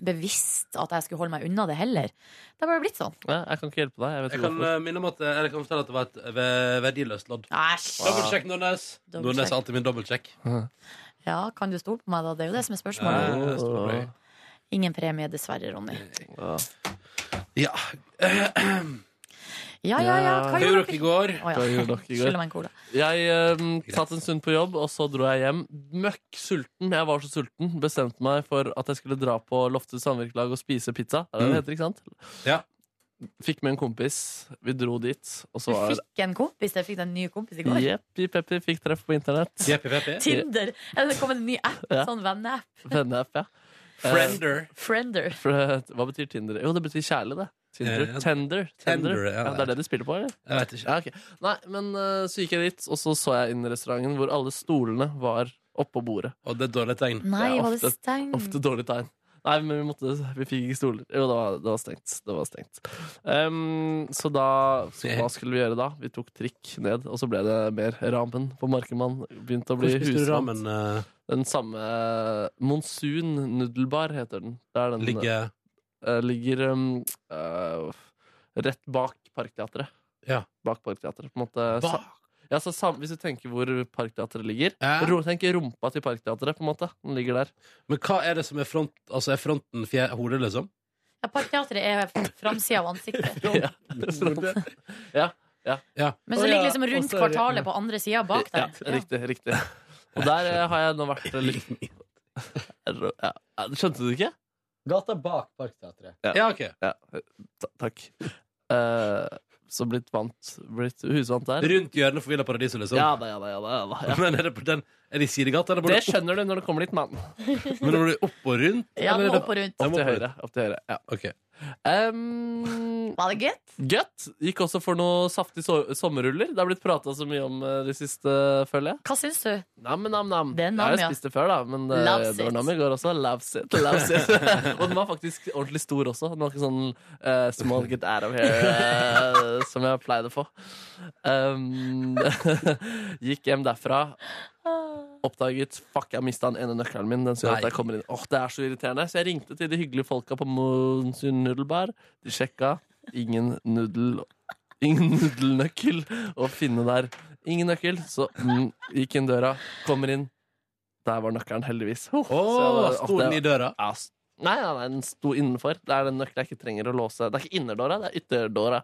[SPEAKER 3] bevisst at jeg skulle holde meg unna det heller. Det har bare blitt sånn.
[SPEAKER 4] Nei, jeg kan ikke hjelpe deg. Jeg vet
[SPEAKER 6] Jeg
[SPEAKER 4] ikke
[SPEAKER 6] kan
[SPEAKER 4] hvorfor.
[SPEAKER 6] eh, minne om at, eh, eller jeg kan fortelle at det var et eh, ve- verdiløst lodd.
[SPEAKER 3] Æsj!
[SPEAKER 6] Ah. Dobbeltsjekk, Nordnes.
[SPEAKER 3] Dobbeltsjekk.
[SPEAKER 6] Nordnes er alltid min dobbeltsjekk.
[SPEAKER 3] Ja, kan du stole på meg, da? Det er jo det som er
[SPEAKER 6] Ja, det
[SPEAKER 3] spørsmålet.
[SPEAKER 6] stoler på deg.
[SPEAKER 3] Ingen premie, dessverre, Ronny.
[SPEAKER 6] Ja.
[SPEAKER 3] Ja, ja, ja. Hva gjorde
[SPEAKER 6] dere i går?
[SPEAKER 3] Å, ja.
[SPEAKER 4] Hva gjorde dere i går?
[SPEAKER 3] Skylder meg en cola.
[SPEAKER 4] Jeg eh, satt en stund på jobb, og så dro jeg hjem møkk sulten. Jeg var så sulten. Bestemte meg for at jeg skulle dra på Loftet samvirkelag og spise pizza. Er det det
[SPEAKER 6] Mm.
[SPEAKER 4] heter, ikke sant?
[SPEAKER 6] Ja.
[SPEAKER 4] Fikk med en kompis. Vi dro dit, og
[SPEAKER 3] Du
[SPEAKER 4] så var
[SPEAKER 3] fikk en kompis? Jeg fikk deg en ny kompis i går?
[SPEAKER 4] Jeppi peppi fikk treff på internett.
[SPEAKER 3] Tinder. Ja, det kom en ny app.
[SPEAKER 4] Ja.
[SPEAKER 3] Sånn venneapp.
[SPEAKER 4] Venneapp, ja. Eh,
[SPEAKER 6] Friender.
[SPEAKER 3] Friender.
[SPEAKER 4] Fr- eh, Hva betyr Tinder? Jo, det betyr kjærlig, det. Tinder.
[SPEAKER 6] Eh, ja.
[SPEAKER 4] Tender. Tender.
[SPEAKER 6] Tender, ja,
[SPEAKER 4] ja, det er det de spiller på, eller?
[SPEAKER 6] Jeg vet ikke.
[SPEAKER 4] Ja, ok. Nei, men eh, så gikk jeg dit, og så så jeg inn i restauranten hvor alle stolene var oppå bordet.
[SPEAKER 6] Og det er dårlig tegn.
[SPEAKER 3] Nei, var det stengt?
[SPEAKER 4] Ofte dårlig tegn. Nei, men vi, måtte, vi fikk ikke stoler. Jo, det var, det var stengt. Det var stengt. Ehm, så da så Hva skulle vi gjøre da? Vi tok trikk ned, og så ble det mer ramen på Markemann. Begynte å bli
[SPEAKER 6] Hvor spiste du
[SPEAKER 4] husmann.
[SPEAKER 6] ramen, eh?
[SPEAKER 4] Den samme eh, Monsun Nudelbar heter den. Det er den
[SPEAKER 6] Ligger-
[SPEAKER 4] eh, ligger um, eh, rett bak Parkteatret.
[SPEAKER 6] Ja.
[SPEAKER 4] Bak Parkteatret, på en måte. Sa-
[SPEAKER 6] Bak?
[SPEAKER 4] Ja, så sam hvis du tenker hvor Parkteatret ligger
[SPEAKER 6] Ja.
[SPEAKER 4] ro Tenk rumpa til Parkteatret, på en måte. Den ligger der.
[SPEAKER 6] Men hva er det som er front, altså er fronten fje, hodet, liksom?
[SPEAKER 3] Ja, Parkteatret er framsida av ansiktet.
[SPEAKER 4] Ja, ja.
[SPEAKER 3] Men så
[SPEAKER 4] Å,
[SPEAKER 3] ligger
[SPEAKER 4] ja.
[SPEAKER 3] liksom rundt
[SPEAKER 4] Og så er det-
[SPEAKER 3] kvartalet på andre sida bak
[SPEAKER 4] Ja,
[SPEAKER 3] der.
[SPEAKER 4] riktig, riktig. Og der eh, har jeg nå vært litt Ro- ja. Ja, Skjønte du ikke?
[SPEAKER 15] Gata bak Parkteatret.
[SPEAKER 6] Ja, ok.
[SPEAKER 4] Ta takk. Eh, så blitt vant, blitt husvant der.
[SPEAKER 6] Rundt hjørnet for Villa Paradiso, liksom?
[SPEAKER 4] Ja da, ja da. ja da, ja da ja.
[SPEAKER 6] Men er det på den Er det i sidegata? eller bor
[SPEAKER 4] Det
[SPEAKER 6] du opp-
[SPEAKER 4] skjønner du når det kommer litt mann.
[SPEAKER 6] Men når du opp og rundt?
[SPEAKER 3] Ja,
[SPEAKER 6] eller er
[SPEAKER 3] den
[SPEAKER 6] det-
[SPEAKER 3] opp og rundt.
[SPEAKER 6] Ja,
[SPEAKER 4] Opp til
[SPEAKER 6] opp og
[SPEAKER 4] høyre. Opp til høyre ja. Em,
[SPEAKER 3] Var det gøtt?
[SPEAKER 4] Gøtt. Gikk også for noe saftig so sommerruller. Det har blitt prata så mye om eh, det siste, føler jeg.
[SPEAKER 3] Hva syns du?
[SPEAKER 4] Nam-nam-nam.
[SPEAKER 3] Det er
[SPEAKER 4] Jeg
[SPEAKER 3] nam,
[SPEAKER 4] har jo
[SPEAKER 3] ja.
[SPEAKER 4] spist det før, da, men eh,
[SPEAKER 3] Loves
[SPEAKER 4] det var
[SPEAKER 3] it.
[SPEAKER 4] nam i går også. Loves it. Loves it. og den var faktisk ordentlig stor også. Den var ikke sånn eh, small get out of here eh, som jeg pleide å få. Um, gikk hjem derfra. Oppdaget Fuck, jeg mista den ene nøkkelen min. Den skal
[SPEAKER 6] Nei.
[SPEAKER 4] at jeg kommer inn Åh, Det er så irriterende. Så jeg ringte til de hyggelige folka på Monsun nudelbar. De sjekka. Ingen nudel Ingen nudelnøkkel å finne der. Ingen nøkkel. Så mm, gikk inn døra, kommer inn. Der var nøkkelen, heldigvis. Oh,
[SPEAKER 6] Åh, sto den i døra?
[SPEAKER 4] Ja, s- Nei, nei, nei, den sto innenfor. Det er den nøkkelen jeg ikke trenger å låse. Det er ikke innerdøra, det er ytterdøra.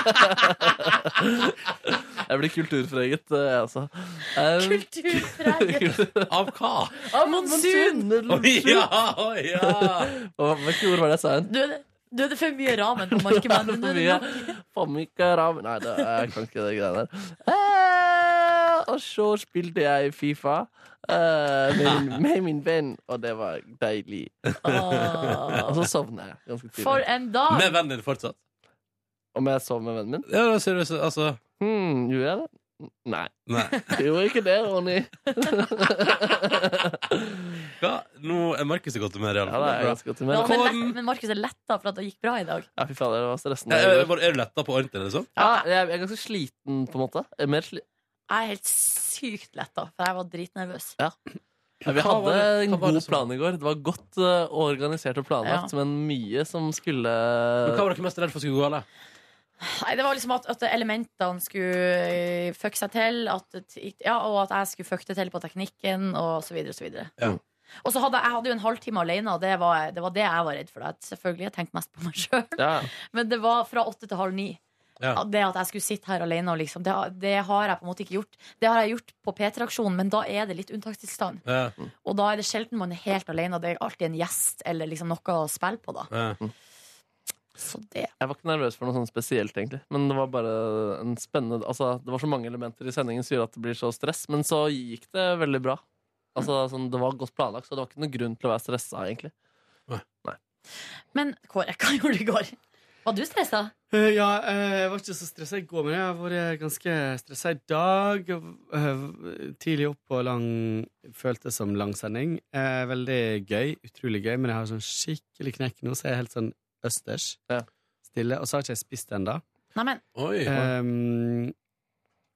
[SPEAKER 4] jeg blir kulturfreget, eh, jeg også. Um,
[SPEAKER 6] Kulturfreget? Av hva?
[SPEAKER 4] Eh,
[SPEAKER 3] Av monsun!
[SPEAKER 6] Oi, ja, oi, ja.
[SPEAKER 4] Og Hvilke ord var det jeg sa igjen?
[SPEAKER 3] Du, er- du hadde for mye ramen på markemann.
[SPEAKER 4] for mye. For mye ram. Nei, det, jeg kan ikke det greiene der. Eh, og så spilte jeg Fifa eh, med, min- med min venn, og det var deilig. Og så sovna jeg ganske tidlig.
[SPEAKER 3] Ah. For en dag!
[SPEAKER 6] Med vennen din fortsatt?
[SPEAKER 4] Om jeg sov med vennen min?
[SPEAKER 6] Ja, da ser du så- altså
[SPEAKER 4] Hmm, gjorde jeg det? Nei.
[SPEAKER 6] Nei.
[SPEAKER 4] Gjorde ikke det, Ronny.
[SPEAKER 6] Hva? Nå er Markus i godt humør,
[SPEAKER 4] Ja,
[SPEAKER 6] iallfall.
[SPEAKER 4] da er jeg ganske godt humør.
[SPEAKER 3] Ja, men
[SPEAKER 4] Kom.
[SPEAKER 3] lett- men Markus er letta for at det gikk bra i dag.
[SPEAKER 4] Ja, fy fader, det var stressende.
[SPEAKER 6] Er, Eh, er, er du letta på ordentlig, liksom?
[SPEAKER 4] Ja, jeg er ganske sliten, på en måte. Jeg er Mer sli
[SPEAKER 3] Jeg er helt sykt letta, for jeg var dritnervøs.
[SPEAKER 4] Ja. Ja, vi
[SPEAKER 3] Hva var
[SPEAKER 4] hadde
[SPEAKER 3] det-
[SPEAKER 4] en
[SPEAKER 3] hva var
[SPEAKER 4] god
[SPEAKER 3] det som-
[SPEAKER 4] plan i går. Det var godt eh, organisert og planlagt,
[SPEAKER 3] Ja.
[SPEAKER 4] men mye som skulle
[SPEAKER 6] Men hva var dere mest redd for skulle gå galt?
[SPEAKER 3] Nei, det var liksom at, at elementene skulle eh, fucke seg til, at, ja, og at jeg skulle fucke det til på teknikken, og så videre og så videre.
[SPEAKER 6] Ja.
[SPEAKER 3] Og så hadde jeg- jeg hadde jo en halvtime alene, og det var det, var det jeg var redd for. Jeg, selvfølgelig, jeg tenkte mest på meg sjøl. Men det var fra åtte til halv ni.
[SPEAKER 6] Ja.
[SPEAKER 3] At Det at jeg skulle sitte her alene, og liksom, det, har- det har jeg på en måte ikke gjort. Det har jeg gjort på P3-aksjonen, men da er det litt unntakstilstand.
[SPEAKER 6] Ja.
[SPEAKER 3] Og da er det sjelden man er helt alene, og det er alltid en gjest eller liksom noe å spille på, da.
[SPEAKER 4] Mm.
[SPEAKER 3] Så det
[SPEAKER 4] Jeg var ikke nervøs for noe sånn spesielt, egentlig. Men det var bare en spennende Altså, det var så mange elementer i sendingen som gjør at det blir så stress, men så gikk det veldig bra. Altså, sånn, Det var godt planlagt, så det var ikke noen grunn til å være stressa, egentlig.
[SPEAKER 3] Men Kåre, hva gjorde du i går? Var du stressa?
[SPEAKER 1] Eh, Ja, eh, jeg var ikke så stressa i går, men jeg har vært ganske stressa i dag. Jeg var, eh, Tidlig opp og lang Føltes som lang sending. Eh, Veldig gøy. Utrolig gøy, men jeg har sånn skikkelig knekk nå, så jeg er helt sånn østers. Stille. Og så har ikke jeg spist ennå.
[SPEAKER 3] Neimen.
[SPEAKER 6] Oi.
[SPEAKER 1] Ehm,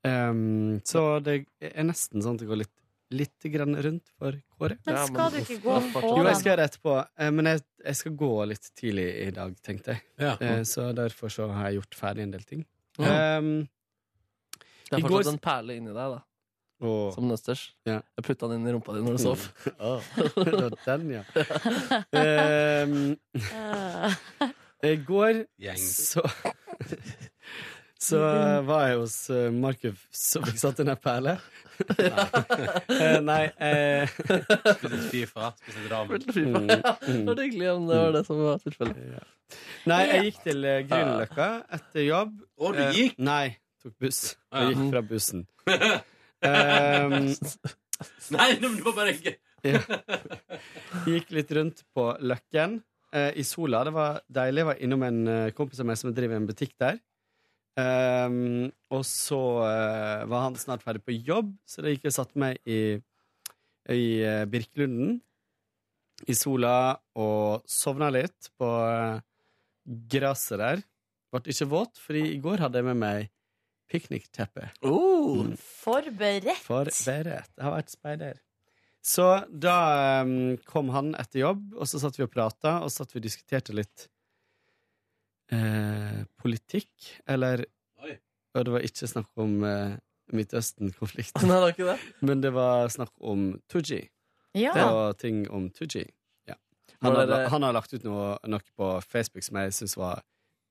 [SPEAKER 1] ehm, så det er nesten sånn at det går litt, litt grann rundt for Kåre.
[SPEAKER 3] Men Ja, skal men- du ikke gå og få
[SPEAKER 1] Jo,
[SPEAKER 3] den?
[SPEAKER 1] jeg skal gjøre det etterpå. Eh, Men jeg, jeg skal gå litt tidlig i dag, tenkte jeg.
[SPEAKER 6] Ja.
[SPEAKER 1] Eh, Så derfor så har jeg gjort ferdig en del ting.
[SPEAKER 4] Ja.
[SPEAKER 1] Ehm,
[SPEAKER 4] Det
[SPEAKER 1] i
[SPEAKER 4] er
[SPEAKER 1] går-
[SPEAKER 4] fortsatt en perle inni deg, da.
[SPEAKER 1] Åh. Mm.
[SPEAKER 4] Som nøsters. Jeg putta den inn i rumpa di når du sov.
[SPEAKER 1] Åh, det var den, ja. Ehm, I går så Så var jeg hos eh, Markus som fikk satt inn ei perle. Eh, Nei eh,
[SPEAKER 6] Spiste litt Fifa, spiste litt ramen.
[SPEAKER 1] Mm, mm.
[SPEAKER 4] Det var hyggelig om det var det som var tilfellet.
[SPEAKER 1] Nei, jeg gikk til eh, Grünerløkka etter jobb.
[SPEAKER 6] Å, du
[SPEAKER 1] Eh,
[SPEAKER 6] gikk?
[SPEAKER 1] Nei, tok buss.
[SPEAKER 6] Ah, ja.
[SPEAKER 1] Jeg gikk fra bussen. Ehm,
[SPEAKER 6] Nei, nå- det var bare ikke
[SPEAKER 1] ja. Gikk litt rundt på Løkken eh, i sola. Det var deilig. Jeg var innom en eh, kompis av meg som driver en butikk der. Ehm, og så eh, var han snart ferdig på jobb, så da gikk jeg og satte meg i, i eh, Birkelunden i sola og sovna litt på eh, gresset der. Ble ikke våt, fordi i går hadde jeg med meg piknikteppe. Mm.
[SPEAKER 3] Forberedt.
[SPEAKER 1] Forberedt. Jeg har vært speider. Så da um, kom han etter jobb, og så satt vi og prata, og så satt vi og diskuterte litt eh, politikk, eller Og det var ikke snakk om eh, Midtøsten-konflikten.
[SPEAKER 4] Nei, det var ikke det.
[SPEAKER 1] Men det var snakk om Tooji.
[SPEAKER 3] Ja.
[SPEAKER 1] Og ting om Tooji. Ja. Han,
[SPEAKER 4] Var
[SPEAKER 1] har,
[SPEAKER 4] det-
[SPEAKER 1] la- han har lagt ut noe, noe på Facebook som jeg syns var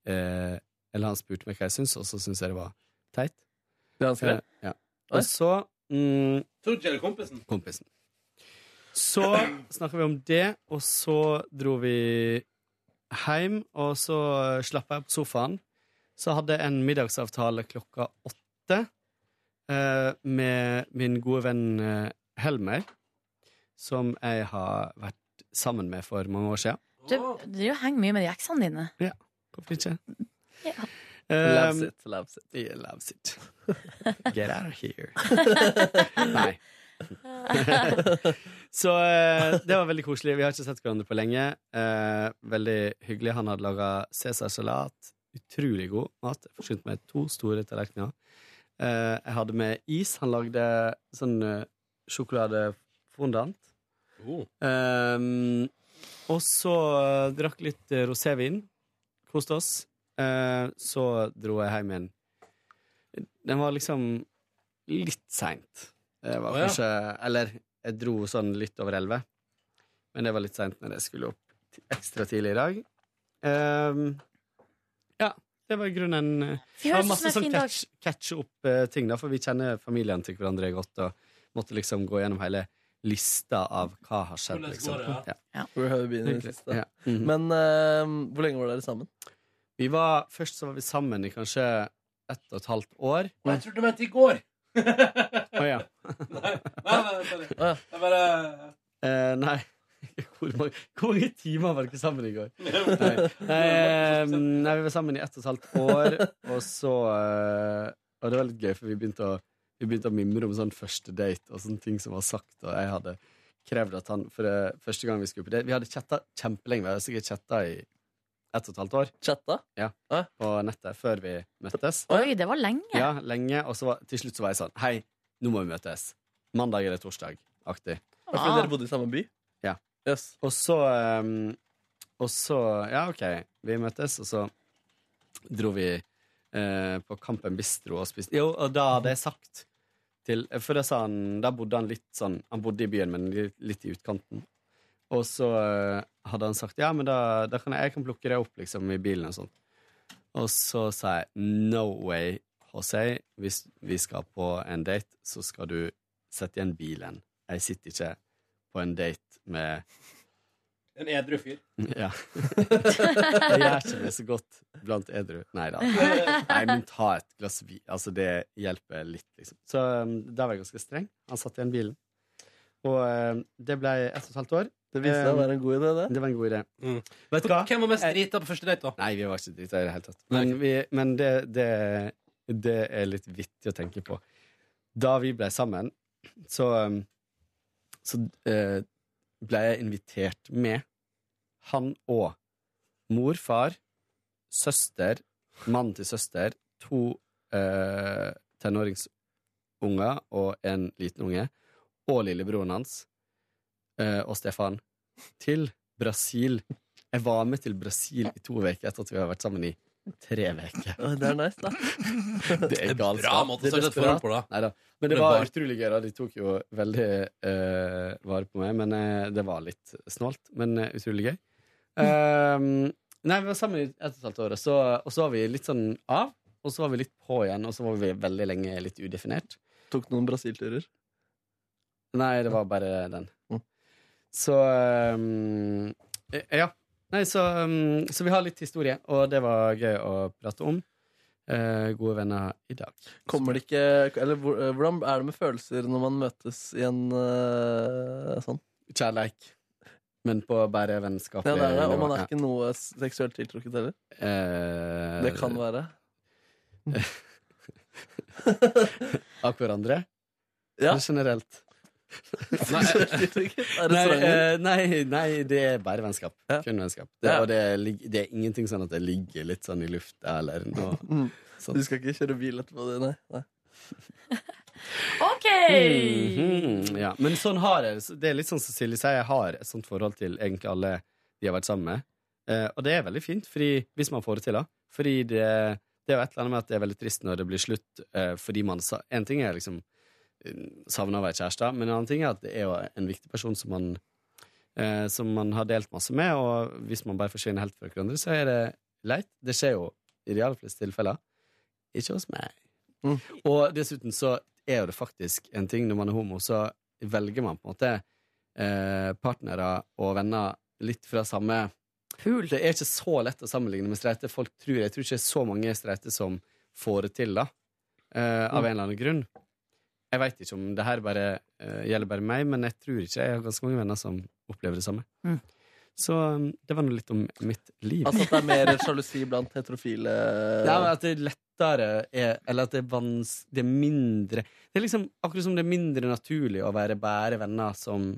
[SPEAKER 1] eh, Eller han spurte meg hva jeg syns, og så syns jeg det var teit.
[SPEAKER 4] Det han skrev?
[SPEAKER 1] Eh, ja.
[SPEAKER 4] Oi.
[SPEAKER 1] Og så mm,
[SPEAKER 6] Tror du ikke det er kompisen?
[SPEAKER 1] kompisen. Så snakka vi om det, og så dro vi hjem, og så slappa jeg på sofaen. så hadde jeg en middagsavtale klokka åtte eh, med min gode venn eh, Helmer, som jeg har vært sammen med for mange år siden.
[SPEAKER 3] Du, du henger mye med de eksene dine.
[SPEAKER 1] Ja, hvorfor ikke?
[SPEAKER 4] Loves
[SPEAKER 1] Eh,
[SPEAKER 4] it, loves it.
[SPEAKER 1] Yeah, loves it. Get out of here. Nei. Så eh, det var veldig koselig. Vi har ikke sett hverandre på lenge. Eh, veldig hyggelig. Han hadde laga cæsarsalat. Utrolig god mat. Jeg forsynte meg to store tallerkener. Eh, jeg hadde med is. Han lagde sånn eh, sjokoladefondant.
[SPEAKER 6] Oh.
[SPEAKER 1] Um, og så eh, drakk litt eh, rosévin. Koste oss. Eh, så dro jeg hjem igjen. Den var liksom litt seint. Det var
[SPEAKER 6] Å, ja.
[SPEAKER 1] kanskje Eller jeg dro sånn litt over elleve. Men det var litt seint når jeg skulle opp ti- ekstra tidlig i dag. Ehm, ja. Det var i grunnen eh,
[SPEAKER 3] Vi
[SPEAKER 1] det var
[SPEAKER 3] høres ut som
[SPEAKER 1] masse
[SPEAKER 3] en
[SPEAKER 1] sånn
[SPEAKER 3] fin dag.
[SPEAKER 1] catch, catch up-ting, da, for vi kjenner familien til hverandre godt. Og måtte liksom gå gjennom hele lista av hva har skjedd.
[SPEAKER 4] Hvordan går
[SPEAKER 1] Liksom.
[SPEAKER 4] det, ja?
[SPEAKER 1] Ja.
[SPEAKER 4] Hvor har vi begynt i det
[SPEAKER 1] Hyggelig.
[SPEAKER 4] siste?
[SPEAKER 1] Ja. Mhm.
[SPEAKER 4] Men eh, hvor lenge var dere sammen?
[SPEAKER 1] Vi var, først så var vi sammen i kanskje ett og et halvt år.
[SPEAKER 2] Og jeg trodde du mente i går.
[SPEAKER 1] Å ja.
[SPEAKER 2] Nei, nei, sorry. Jeg bare
[SPEAKER 1] Eh, nei. Hvor mange, hvor mange timer var dere sammen i går? Nei. Eh, nei, vi var sammen i ett og et halvt år, og så eh, Og det var litt gøy, for vi begynte å, vi begynte å mimre om sånn første date og sånne ting som var sagt, og jeg hadde krevd at han For eh, første gang vi skulle på date Vi hadde chatta kjempelenge. Vi hadde sikkert chatta i ett og et halvt år.
[SPEAKER 4] Chatta?
[SPEAKER 1] Ja, På nettet før vi møttes.
[SPEAKER 3] Oi, det var lenge.
[SPEAKER 1] Ja, lenge. Og så var, til slutt så var jeg sånn Hei, nå må vi møtes. Mandag eller torsdag. Aktig.
[SPEAKER 4] Ja, fordi Ah. dere bodde i samme by?
[SPEAKER 1] Ja. Og så um, Og så Ja, OK, vi møtes, og så dro vi eh, på Kampen Bistro og spiste Jo, og da hadde jeg sagt til For da sa han Da bodde han litt sånn Han bodde i byen, men litt, litt i utkanten. Og så eh, hadde han sagt Ja, men da, da kan jeg, jeg kan plukke deg opp liksom i bilen og sånn. Og så sa jeg no way, Jose. Hvis vi skal på en date, så skal du sette igjen bilen. Jeg sitter ikke på en date med
[SPEAKER 2] En edru fyr.
[SPEAKER 1] Ja. Jeg gjør ikke det så godt blant edru. Nei da. Nei, men ta et glass vin. Altså, det hjelper litt, liksom. Så um, der var jeg ganske streng. Han satte igjen bilen. Og um, det ble ett og et halvt år.
[SPEAKER 4] Det viste seg å være en god idé, det.
[SPEAKER 1] Det var en god idé.
[SPEAKER 2] Vet du hva? Hvem var mest drita på første date, da?
[SPEAKER 1] Nei, vi var ikke drita i det hele tatt. Men, vi, men det, det, det er litt vittig å tenke på. Da vi ble sammen, så, um, så eh, ble jeg invitert med han og mor, far, søster, mann til søster, to eh, tenåringsunger og en liten unge, og lillebroren hans eh, og Stefan til Brasil. Jeg var med til Brasil i to uker etter at vi har vært sammen i tre uker.
[SPEAKER 4] Oi, Det er nice, da.
[SPEAKER 1] Det er galskap.
[SPEAKER 6] bra måte å
[SPEAKER 1] Det er
[SPEAKER 6] starte et
[SPEAKER 1] desperat.
[SPEAKER 6] forhold på, da.
[SPEAKER 1] Neida. Men det
[SPEAKER 6] Det
[SPEAKER 1] var
[SPEAKER 6] var-
[SPEAKER 1] utrolig gøy. da. De tok jo veldig eh, vare på meg, men eh, det var litt snålt. Men eh, utrolig gøy. Ehm, nei, vi var sammen i ett og et halvt år, og så, og så var vi litt sånn av. Og så var vi litt på igjen, og så var vi veldig lenge litt udefinert.
[SPEAKER 4] Tok noen Brasil-turer?
[SPEAKER 1] Nei, det var bare den. Så ehm, eh, Ja. Nei, så, ehm, så vi har litt historie, og det var gøy å prate om. Eh, gode venner i dag.
[SPEAKER 4] Kommer det ikke Eller hvor- eh, hvordan er det med følelser når man møtes i en eh, sånn?
[SPEAKER 1] Kjærleik. Men på bare vennskap.
[SPEAKER 4] Ja, det er det. Og man er ikke noe s- seksuelt tiltrukket heller?
[SPEAKER 1] Eh,
[SPEAKER 4] Det kan være.
[SPEAKER 1] Av hverandre?
[SPEAKER 4] Ja.
[SPEAKER 1] Eller generelt?
[SPEAKER 4] Seksuelt tiltrukket? Er det
[SPEAKER 1] Nei,
[SPEAKER 4] svanger?
[SPEAKER 1] eh, nei, nei, det er bare vennskap. Kun vennskap. Det,
[SPEAKER 4] Ja.
[SPEAKER 1] Og det, lig- det er ingenting sånn at det ligger litt sånn i lufta eller noe.
[SPEAKER 4] Mm.
[SPEAKER 1] sånt.
[SPEAKER 4] Du skal ikke kjøre bil etterpå, du? Nei. nei.
[SPEAKER 3] OK!
[SPEAKER 1] Mhm, ja. Men sånn har jeg det. Så det. er Litt sånn som Silje sier, jeg har et sånt forhold til egentlig alle de har vært sammen med. Eh, og det er veldig fint, fordi, hvis man får det til, da. Fordi det, det er jo et eller annet med at det er veldig trist når det blir slutt, eh, fordi man sa En ting er liksom savna å være kjæreste, men en annen ting er at det er jo en viktig person som man eh, som man har delt masse med, og hvis man bare forsvinner helt fra hverandre, så er det leit. Det skjer jo i de aller fleste tilfeller. Ikke hos meg. Mm. Og dessuten så er jo det faktisk en ting når man er homo, så velger man på en måte eh, partnere og venner litt fra samme
[SPEAKER 3] Pool.
[SPEAKER 1] Det er ikke så lett å sammenligne med streite. Folk tror, jeg tror ikke det er så mange streite som får det til, da. eh, av en eller annen grunn. Jeg veit ikke om det her bare eh, gjelder bare meg, men jeg tror ikke jeg har ganske mange venner som opplever det samme.
[SPEAKER 15] Mm.
[SPEAKER 1] Så um, det var nå litt om mitt liv.
[SPEAKER 15] Altså at det er mer sjalusi blant heterofile
[SPEAKER 1] Ja, men at det lettere er Eller at det er vans... Det er mindre Det er liksom akkurat som det er mindre naturlig å være bare venner som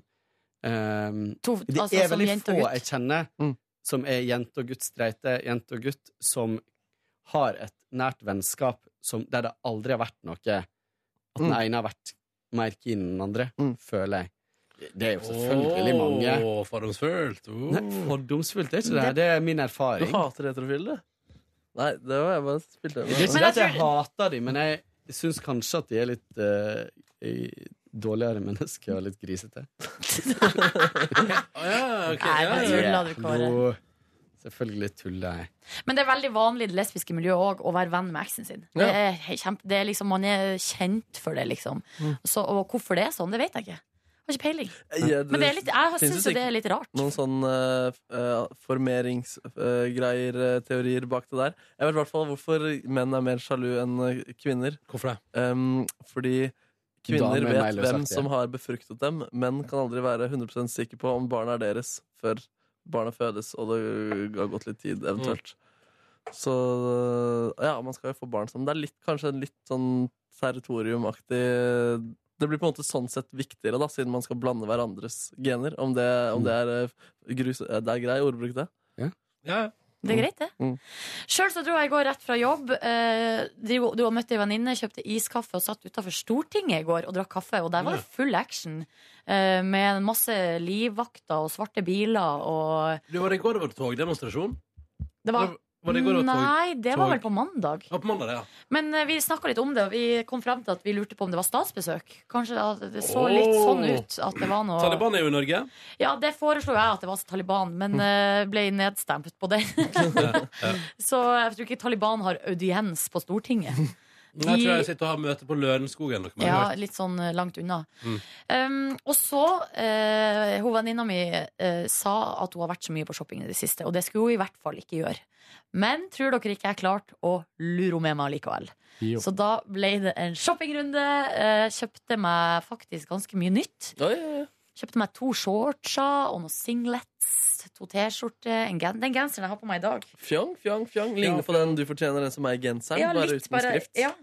[SPEAKER 1] ehm,
[SPEAKER 3] To-
[SPEAKER 1] Det
[SPEAKER 3] altså,
[SPEAKER 1] er
[SPEAKER 3] som
[SPEAKER 1] veldig
[SPEAKER 3] jente og
[SPEAKER 1] få
[SPEAKER 3] gutt.
[SPEAKER 1] jeg kjenner som er jente og gutt streite, jente og gutt, som har et nært vennskap som, der det aldri har vært noe At den
[SPEAKER 15] Mm.
[SPEAKER 1] ene har vært mer keen enn den andre, føler jeg. Det er jo selvfølgelig mange.
[SPEAKER 6] Åh, fordomsfullt. Åh.
[SPEAKER 1] Nei, fordomsfullt er ikke det. her. Det er min
[SPEAKER 15] Du
[SPEAKER 1] erfaring.
[SPEAKER 15] hater heterofile, du? Nei, det var jeg bare spilte
[SPEAKER 1] Det er ikke det at jeg hater dem, men jeg syns kanskje at de er litt eh, i- dårligere mennesker og litt grisete.
[SPEAKER 6] ja, ok,
[SPEAKER 3] Nei, men tulla du, Kåre.
[SPEAKER 1] Jo, Selvfølgelig tuller jeg.
[SPEAKER 3] Men det er veldig vanlig i det lesbiske miljøet òg å være venn med eksen sin.
[SPEAKER 1] Ja.
[SPEAKER 3] Det er he- kjempe, det er liksom, man er kjent for det, liksom.
[SPEAKER 15] Mm.
[SPEAKER 3] Så, og hvorfor det er sånn, det vet jeg ikke. Har ikke peiling.
[SPEAKER 15] Ja,
[SPEAKER 3] Men det er litt, jeg
[SPEAKER 15] finnes
[SPEAKER 3] syns jo det
[SPEAKER 15] sikkert
[SPEAKER 3] er litt rart.
[SPEAKER 15] Noen sånn eh, formeringsgreier, eh, teorier bak det der. Jeg vet i hvert fall hvorfor menn er mer sjalu enn eh, kvinner.
[SPEAKER 6] Hvorfor det?
[SPEAKER 15] Ehm, fordi kvinner
[SPEAKER 1] Damer er mer
[SPEAKER 15] vet
[SPEAKER 1] løsaktige.
[SPEAKER 15] hvem som har befruktet dem. Menn kan aldri være 100 sikker på om barna er deres før barna fødes, og det har gått litt tid, eventuelt. Så ja, man skal jo få barn sammen. Det er litt, kanskje en litt sånn territoriumaktig Det blir på en måte sånn sett viktigere, da, siden man skal blande hverandres gener. Om det, om det er eh, grus... eh, Det er grei ordbruk, det.
[SPEAKER 3] Det er greit, det.
[SPEAKER 15] Mm.
[SPEAKER 3] Sjøl så dro jeg i går rett fra jobb. Eh, dro- dro og møtte ei venninne, kjøpte iskaffe og satt utafor Stortinget i går og drakk kaffe. Og der var det full action. eh, med masse livvakter og svarte biler og
[SPEAKER 6] Du, var det i går det var togdemonstrasjon?
[SPEAKER 3] Det var,
[SPEAKER 6] Var det i går det var tog-
[SPEAKER 3] Nei, det var
[SPEAKER 6] tog-
[SPEAKER 3] vel på mandag.
[SPEAKER 6] Ja, på mandag, ja.
[SPEAKER 3] Men eh, vi snakka litt om det, og vi kom fram til at vi lurte på om det var statsbesøk. Kanskje at det så litt sånn ut at det var noe
[SPEAKER 6] Taliban Mm. er jo i Norge.
[SPEAKER 3] Ja, det foreslo jeg at det var Taliban, men eh, ble nedstemt på det. så jeg tror ikke Taliban har audiens på Stortinget.
[SPEAKER 6] Jeg tror jeg sitter og har møte på Lørenskogen. dere må ha
[SPEAKER 3] Ja,
[SPEAKER 6] hørt.
[SPEAKER 3] litt sånn eh, langt unna.
[SPEAKER 6] Mm.
[SPEAKER 3] Um, og så uh, Hun venninna mi eh, sa at hun har vært så mye på shopping i det siste, og det skulle hun i hvert fall ikke gjøre. Men tror dere ikke jeg klarte å lure henne med meg likevel?
[SPEAKER 11] Jo.
[SPEAKER 3] Så da ble det en shoppingrunde. eh, kjøpte meg faktisk ganske mye nytt. Kjøpte meg to shortser og noen singlets, to T-skjorter, en gen den genseren jeg har på meg i dag.
[SPEAKER 15] Fjong, fjong, fjong. Ligner på den du fortjener, den som er i genseren,
[SPEAKER 3] Ja,
[SPEAKER 15] bare
[SPEAKER 3] litt,
[SPEAKER 15] uten skrift.
[SPEAKER 3] Ja.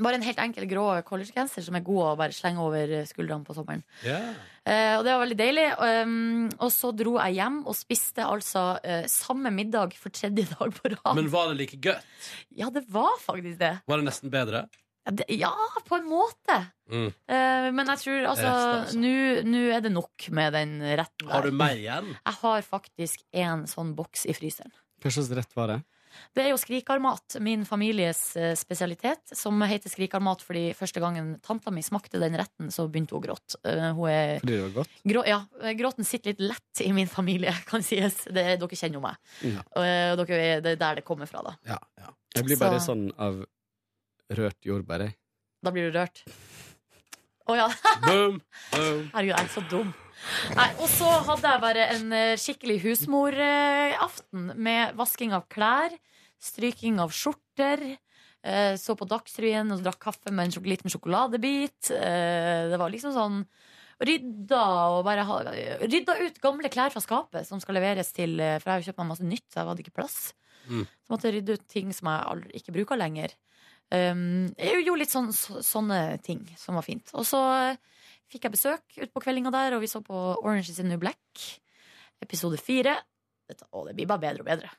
[SPEAKER 3] Bare en helt enkel grå collegegenser som er god å bare slenge over skuldrene på sommeren. Eh, og det var veldig deilig. Um, og så dro jeg hjem og spiste altså eh, samme middag for tredje dag på rad.
[SPEAKER 6] Men var det like godt?
[SPEAKER 3] Ja, det var faktisk det.
[SPEAKER 6] Var det nesten bedre?
[SPEAKER 3] Ja, det, ja på en måte.
[SPEAKER 6] Mm.
[SPEAKER 3] Eh, men jeg tror altså
[SPEAKER 6] Resten, altså.
[SPEAKER 3] Nå nå er det nok med den retten der.
[SPEAKER 6] Har du mer igjen?
[SPEAKER 3] Jeg har faktisk en sånn boks i fryseren.
[SPEAKER 1] Hva slags rett var det?
[SPEAKER 3] Det er jo skrikarmat, min families eh, spesialitet, som heter skrikarmat fordi første gangen tanta mi smakte den retten, så begynte hun å gråte. Eh, hun er
[SPEAKER 1] Fordi det var godt?
[SPEAKER 3] grå, ja, eh, gråten sitter litt lett i min familie, kan sies. Det, dere kjenner jo meg.
[SPEAKER 1] Ja.
[SPEAKER 3] Og, eh, dere, er- det er der det kommer fra, da.
[SPEAKER 1] Jeg blir bare
[SPEAKER 3] Så-
[SPEAKER 1] sånn av rørt jordbær, jeg.
[SPEAKER 3] Da blir du rørt. Å ja.
[SPEAKER 6] Boom, boom.
[SPEAKER 3] Herregud, jeg er så dum. Nei, og så hadde jeg bare en eh, skikkelig husmoraften med vasking av klær, stryking av skjorter. eh, Så på Dagsrevyen og drakk kaffe med en sjok- liten sjokoladebit. Eh, Det var liksom sånn Rydda og bare ha, Rydda ut gamle klær fra skapet som skal leveres til eh, For jeg har jo kjøpt meg masse nytt, så jeg hadde ikke plass.
[SPEAKER 11] Mm.
[SPEAKER 3] Så måtte jeg rydde ut ting som jeg aldri, ikke bruker lenger. Um, jeg gjorde litt sånn, så, sånne ting som var fint. Og så eh, fikk jeg besøk utpå kveldinga der, og vi så på Orange is the New Black, episode fire. Dette, å, det blir bare bedre og bedre.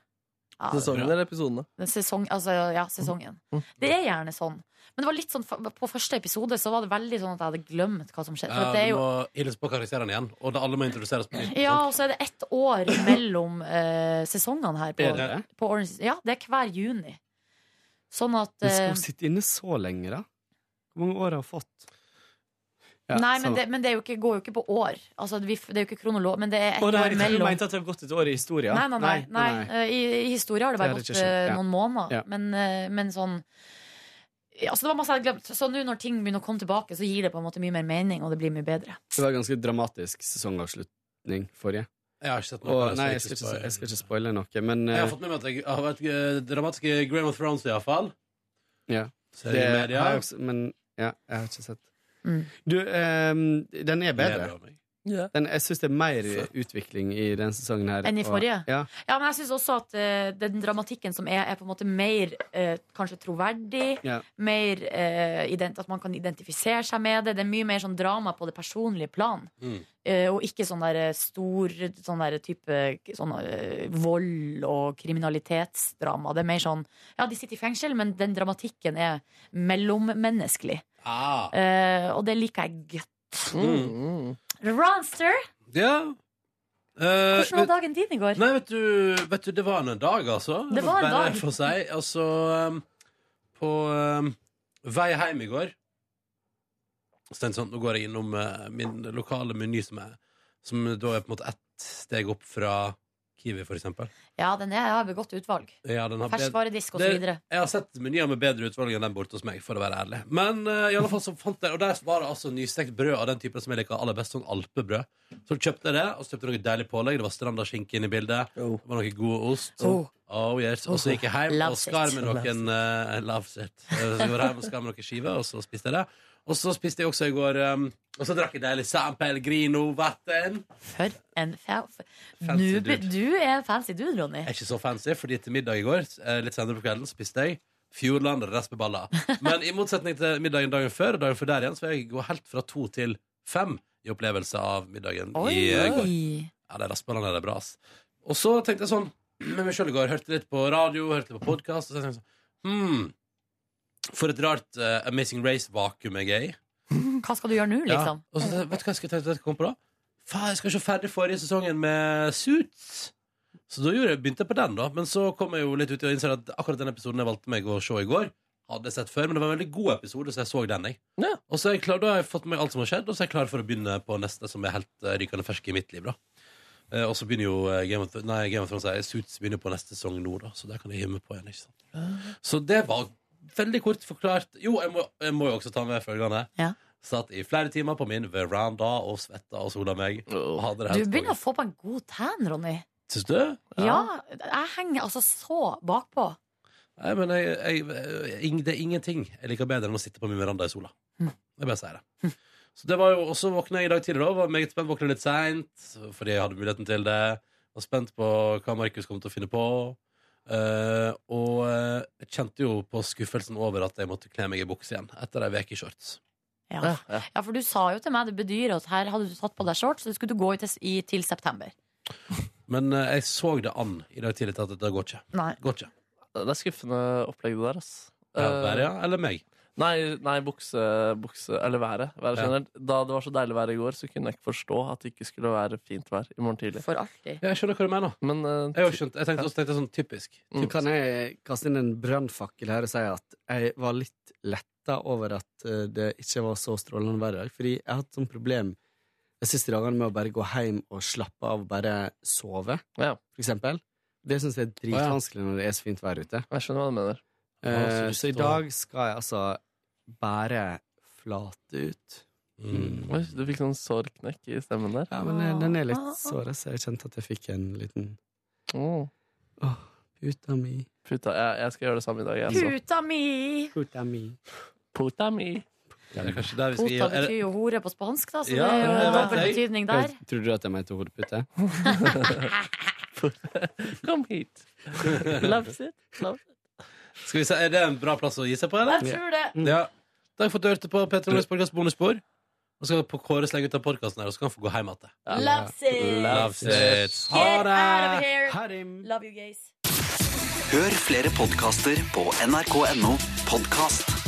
[SPEAKER 3] Ja,
[SPEAKER 15] Sesongen eller episodene?
[SPEAKER 3] det- Sesong, altså, ja, sesongen. Det er gjerne sånn. Men det var litt sånn, på første episode så var det veldig sånn at jeg hadde glemt hva som skjedde. For
[SPEAKER 6] Ja,
[SPEAKER 3] at det er
[SPEAKER 6] Eh, du
[SPEAKER 3] jo
[SPEAKER 6] må hilse på karakterene igjen, og da alle må introduseres på nytt. Sånn.
[SPEAKER 3] ja, og så er det ett år mellom eh, sesongene her. På,
[SPEAKER 6] Er det?
[SPEAKER 3] på Orange. is- Ja, det er hver juni. Sånn at
[SPEAKER 1] Men skal
[SPEAKER 3] eh,
[SPEAKER 1] hun sitte inne så lenge, da? Hvor mange år har hun fått? Ja,
[SPEAKER 3] Nei, men
[SPEAKER 1] sånn.
[SPEAKER 3] det, men det er jo ikke, går jo ikke på år. Altså, vi, f- det er jo ikke kronolog, men det er ett
[SPEAKER 1] Å, nei,
[SPEAKER 3] år
[SPEAKER 1] jeg
[SPEAKER 3] mellom.
[SPEAKER 1] mente at det har gått et år i historien.
[SPEAKER 3] Nei, nei, nei. nei, I, I historie har det bare
[SPEAKER 1] Det er det
[SPEAKER 3] gått
[SPEAKER 1] ikke
[SPEAKER 3] eh,
[SPEAKER 1] skjønt, ja.
[SPEAKER 3] noen måneder.
[SPEAKER 1] Ja.
[SPEAKER 3] Men, eh, men sånn ja, så det var masse jeg hadde glemt. Så nå når ting begynner å komme tilbake, så gir det på en måte mye mer mening, og det blir mye bedre.
[SPEAKER 1] Det var en ganske dramatisk sesongavslutning forrige.
[SPEAKER 6] Jeg har ikke sett noe
[SPEAKER 1] Og,
[SPEAKER 6] av det, så
[SPEAKER 1] nei,
[SPEAKER 6] jeg
[SPEAKER 1] jeg skal,
[SPEAKER 6] ikke
[SPEAKER 1] ikke,
[SPEAKER 6] spoil.
[SPEAKER 1] jeg skal ikke spoile noe, men
[SPEAKER 6] Jeg har
[SPEAKER 1] eh,
[SPEAKER 6] fått med meg at det har vært eh, dramatiske Game of Thrones, iallfall.
[SPEAKER 1] ja.
[SPEAKER 6] Ser i media.
[SPEAKER 1] har jeg også, men ja, jeg har ikke sett.
[SPEAKER 3] Mm.
[SPEAKER 1] Du, eh, den er bedre.
[SPEAKER 6] Lever av
[SPEAKER 15] Ja.
[SPEAKER 1] Den, jeg syns det er mer utvikling i denne sesongen her.
[SPEAKER 3] Enn i
[SPEAKER 1] og-
[SPEAKER 3] forrige?
[SPEAKER 1] Ja.
[SPEAKER 3] Ja, men jeg syns også at eh, den dramatikken som er, er på en måte mer eh, kanskje troverdig.
[SPEAKER 1] Ja.
[SPEAKER 3] Mer eh, ident at man kan identifisere seg med det. Det er mye mer sånn drama på det personlige plan.
[SPEAKER 6] Mm.
[SPEAKER 3] Eh, og ikke sånn der eh, stor sånn der type sånn, eh, vold og kriminalitetsdrama. Det er mer sånn Ja, de sitter i fengsel, men den dramatikken er mellommenneskelig.
[SPEAKER 6] Ah.
[SPEAKER 3] Eh, og det liker jeg godt.
[SPEAKER 6] Mm.
[SPEAKER 3] Ronster,
[SPEAKER 6] Ja. Eh,
[SPEAKER 3] hvordan var dagen din i går?
[SPEAKER 6] Nei, vet du, vet du, det var en dag, altså.
[SPEAKER 3] Det var en
[SPEAKER 6] Bare
[SPEAKER 3] dag.
[SPEAKER 6] for å si. Altså, um, på um, vei hjem i går så tenkte jeg sånn, Nå går jeg innom eh, min lokale meny, som, er, som da er på en måte ett steg opp fra Kiwi, for eksempel.
[SPEAKER 3] Ja, den er, jeg har begått utvalg.
[SPEAKER 6] Ja, den har bedre-
[SPEAKER 3] Ferskvaredisk og så
[SPEAKER 6] Det-
[SPEAKER 3] videre.
[SPEAKER 6] Jeg har sett menyer med bedre utvalg enn den borte hos meg, for å være ærlig. Men eh, i alle fall så fant jeg Og der var det altså nystekt brød av den typen som jeg liker aller best, sånn alpebrød. Så kjøpte jeg det, og så kjøpte jeg noe deilig pålegg. Det var strandaskinke inne i bildet. Det var noe god ost.
[SPEAKER 2] Oh.
[SPEAKER 6] Oh, yes. Og så gikk jeg hjem og
[SPEAKER 2] Loves it.
[SPEAKER 6] skar med noen
[SPEAKER 2] Loves
[SPEAKER 6] uh, Loves it. Eh, Så jeg var hjem og skar med noen skiver, og så spiste jeg det. Og så spiste jeg også i går um, Og så drakk jeg deilig San Pellegrino-vann.
[SPEAKER 3] For en fa f-
[SPEAKER 6] Fancy
[SPEAKER 3] du, be-
[SPEAKER 6] dude.
[SPEAKER 3] du er en fancy dude, Ronny.
[SPEAKER 6] er ikke så fancy, fordi til middag i går, eh, litt senere på kvelden, spiste jeg Fjordland raspeballer. Men i motsetning til middagen dagen før og dagen før der igjen, så vil jeg gå helt fra to til fem i opplevelse av middagen
[SPEAKER 2] Oi.
[SPEAKER 6] i eh, går. Ja, de raspeballene er bra, ass. Og så tenkte jeg sånn med meg sjøl i går, hørte litt på radio, hørte litt på podkast, og så tenkte jeg sånn Hmm. For et rart eh, Amazing Race-vakuum jeg er i.
[SPEAKER 3] Hva skal du gjøre nå, liksom?
[SPEAKER 6] Ja. Og så, vet du hva jeg skal tenke kom på da? Faen, jeg skal se ferdig forrige sesongen med Suits. Så da gjorde jeg, begynte jeg på den, da. Men så kom jeg jo litt ut og innså at akkurat den episoden jeg valgte meg å se i går, hadde jeg sett før, men det var en veldig god episode, så jeg så den, jeg. Og så er jeg klar, da har jeg fått med meg alt som har skjedd, og så er jeg klar for å begynne på neste, som er helt eh, rykende fersk i mitt liv, da. Eh, og så begynner jo eh, Game of, Thrones- nei, Game of Thrones sier jeg, Suits begynner på neste sesong nå, da, så der kan jeg hive meg på igjen. ikke sant?
[SPEAKER 3] Ah.
[SPEAKER 6] Så det var veldig kort forklart. Jo, jeg må, jeg må jo også ta med følgende.
[SPEAKER 3] Ja.
[SPEAKER 6] Satt i flere timer på min veranda og svetta og sola meg. Og hadde det
[SPEAKER 3] Du
[SPEAKER 6] helt
[SPEAKER 3] begynner å få på en god tan, Ronny.
[SPEAKER 6] konge. Syns du?
[SPEAKER 3] Ja, jeg henger altså så bakpå.
[SPEAKER 6] Nei, men jeg, jeg, eh, ing- det er ingenting jeg liker bedre enn å sitte på min veranda i sola. Jeg bare sier det. Så det var jo også våkna jeg i dag tidlig, da. Var meget spent, våkna litt seint fordi jeg hadde muligheten til det. Var spent på hva Markus kom til å finne på. Eh, og eh, jeg kjente jo på skuffelsen over at jeg måtte kle meg i bukse igjen etter ei uke i shorts.
[SPEAKER 3] Ja. Ja, for du sa jo til meg det bedyr at her hadde du tatt på deg shorts, så skulle du gå i til, i, til september.
[SPEAKER 6] Men eh, jeg så det an i dag tidlig til at dette går ikke.
[SPEAKER 3] Nei.
[SPEAKER 6] Går ikke.
[SPEAKER 15] Det er skuffende opplegg det der, ass. Eh,
[SPEAKER 6] Ja, været, ja, eller meg?
[SPEAKER 15] Nei, nei bukse, bukse Eller været. været
[SPEAKER 6] Ja.
[SPEAKER 15] generelt. Da det var så deilig vær i går, så kunne jeg ikke forstå at det ikke skulle være fint vær i morgen tidlig.
[SPEAKER 3] For alltid.
[SPEAKER 6] Ja, jeg skjønner hva du mener.
[SPEAKER 15] Men, eh,
[SPEAKER 6] Jeg, har jo skjønt, jeg tenkte også tenkte jeg sånn typisk.
[SPEAKER 15] Mm.
[SPEAKER 1] Kan jeg kaste inn en brannfakkel her og si at jeg var litt letta over at eh, det ikke var så strålende vær i dag? Fordi jeg har hatt sånn problem de siste dagene med å bare gå hjem og slappe av og bare sove, for eksempel. Det syns jeg er dritvanskelig når det er så fint vær ute.
[SPEAKER 15] Jeg skjønner hva du mener.
[SPEAKER 1] Eh, så i dag skal jeg altså bære flate ut.
[SPEAKER 6] Mm.
[SPEAKER 15] Oi, du fikk sånn sårknekk i stemmen der.
[SPEAKER 1] Ja, men eh, den er
[SPEAKER 3] Ah.
[SPEAKER 1] litt såra, så jeg kjente at jeg fikk en liten
[SPEAKER 15] Åh.
[SPEAKER 1] puta mi.
[SPEAKER 15] Puta, jeg, jeg skal gjøre det samme i dag. jeg, altså.
[SPEAKER 3] Puta mi!
[SPEAKER 1] Puta mi.
[SPEAKER 15] Puta mi.
[SPEAKER 6] Det er kanskje der vi skal
[SPEAKER 3] Puta
[SPEAKER 6] er
[SPEAKER 3] betyr
[SPEAKER 6] det-
[SPEAKER 3] jo hore på spansk, da, så
[SPEAKER 6] Ja,
[SPEAKER 3] det er jo
[SPEAKER 6] jeg vet
[SPEAKER 3] dobbel
[SPEAKER 6] det.
[SPEAKER 3] betydning der.
[SPEAKER 1] Tror du at jeg mente hodepute?
[SPEAKER 15] Kom hit. Loves it. Loves it.
[SPEAKER 6] Skal vi se, Er det en bra plass å gi seg på, eller?
[SPEAKER 15] Jeg tror det.
[SPEAKER 6] Ja. Da har jeg fått hørt på Petter Morgens podkast bonusspor. Og så skal Kåre slenge ut av podkasten her, og så kan han få gå hjem igjen.
[SPEAKER 3] Ja. Loves it.
[SPEAKER 6] Loves it. Ha
[SPEAKER 3] Get out of
[SPEAKER 6] det!
[SPEAKER 3] here! Love you guys.
[SPEAKER 16] Hør flere podkaster på nrk.no podkast.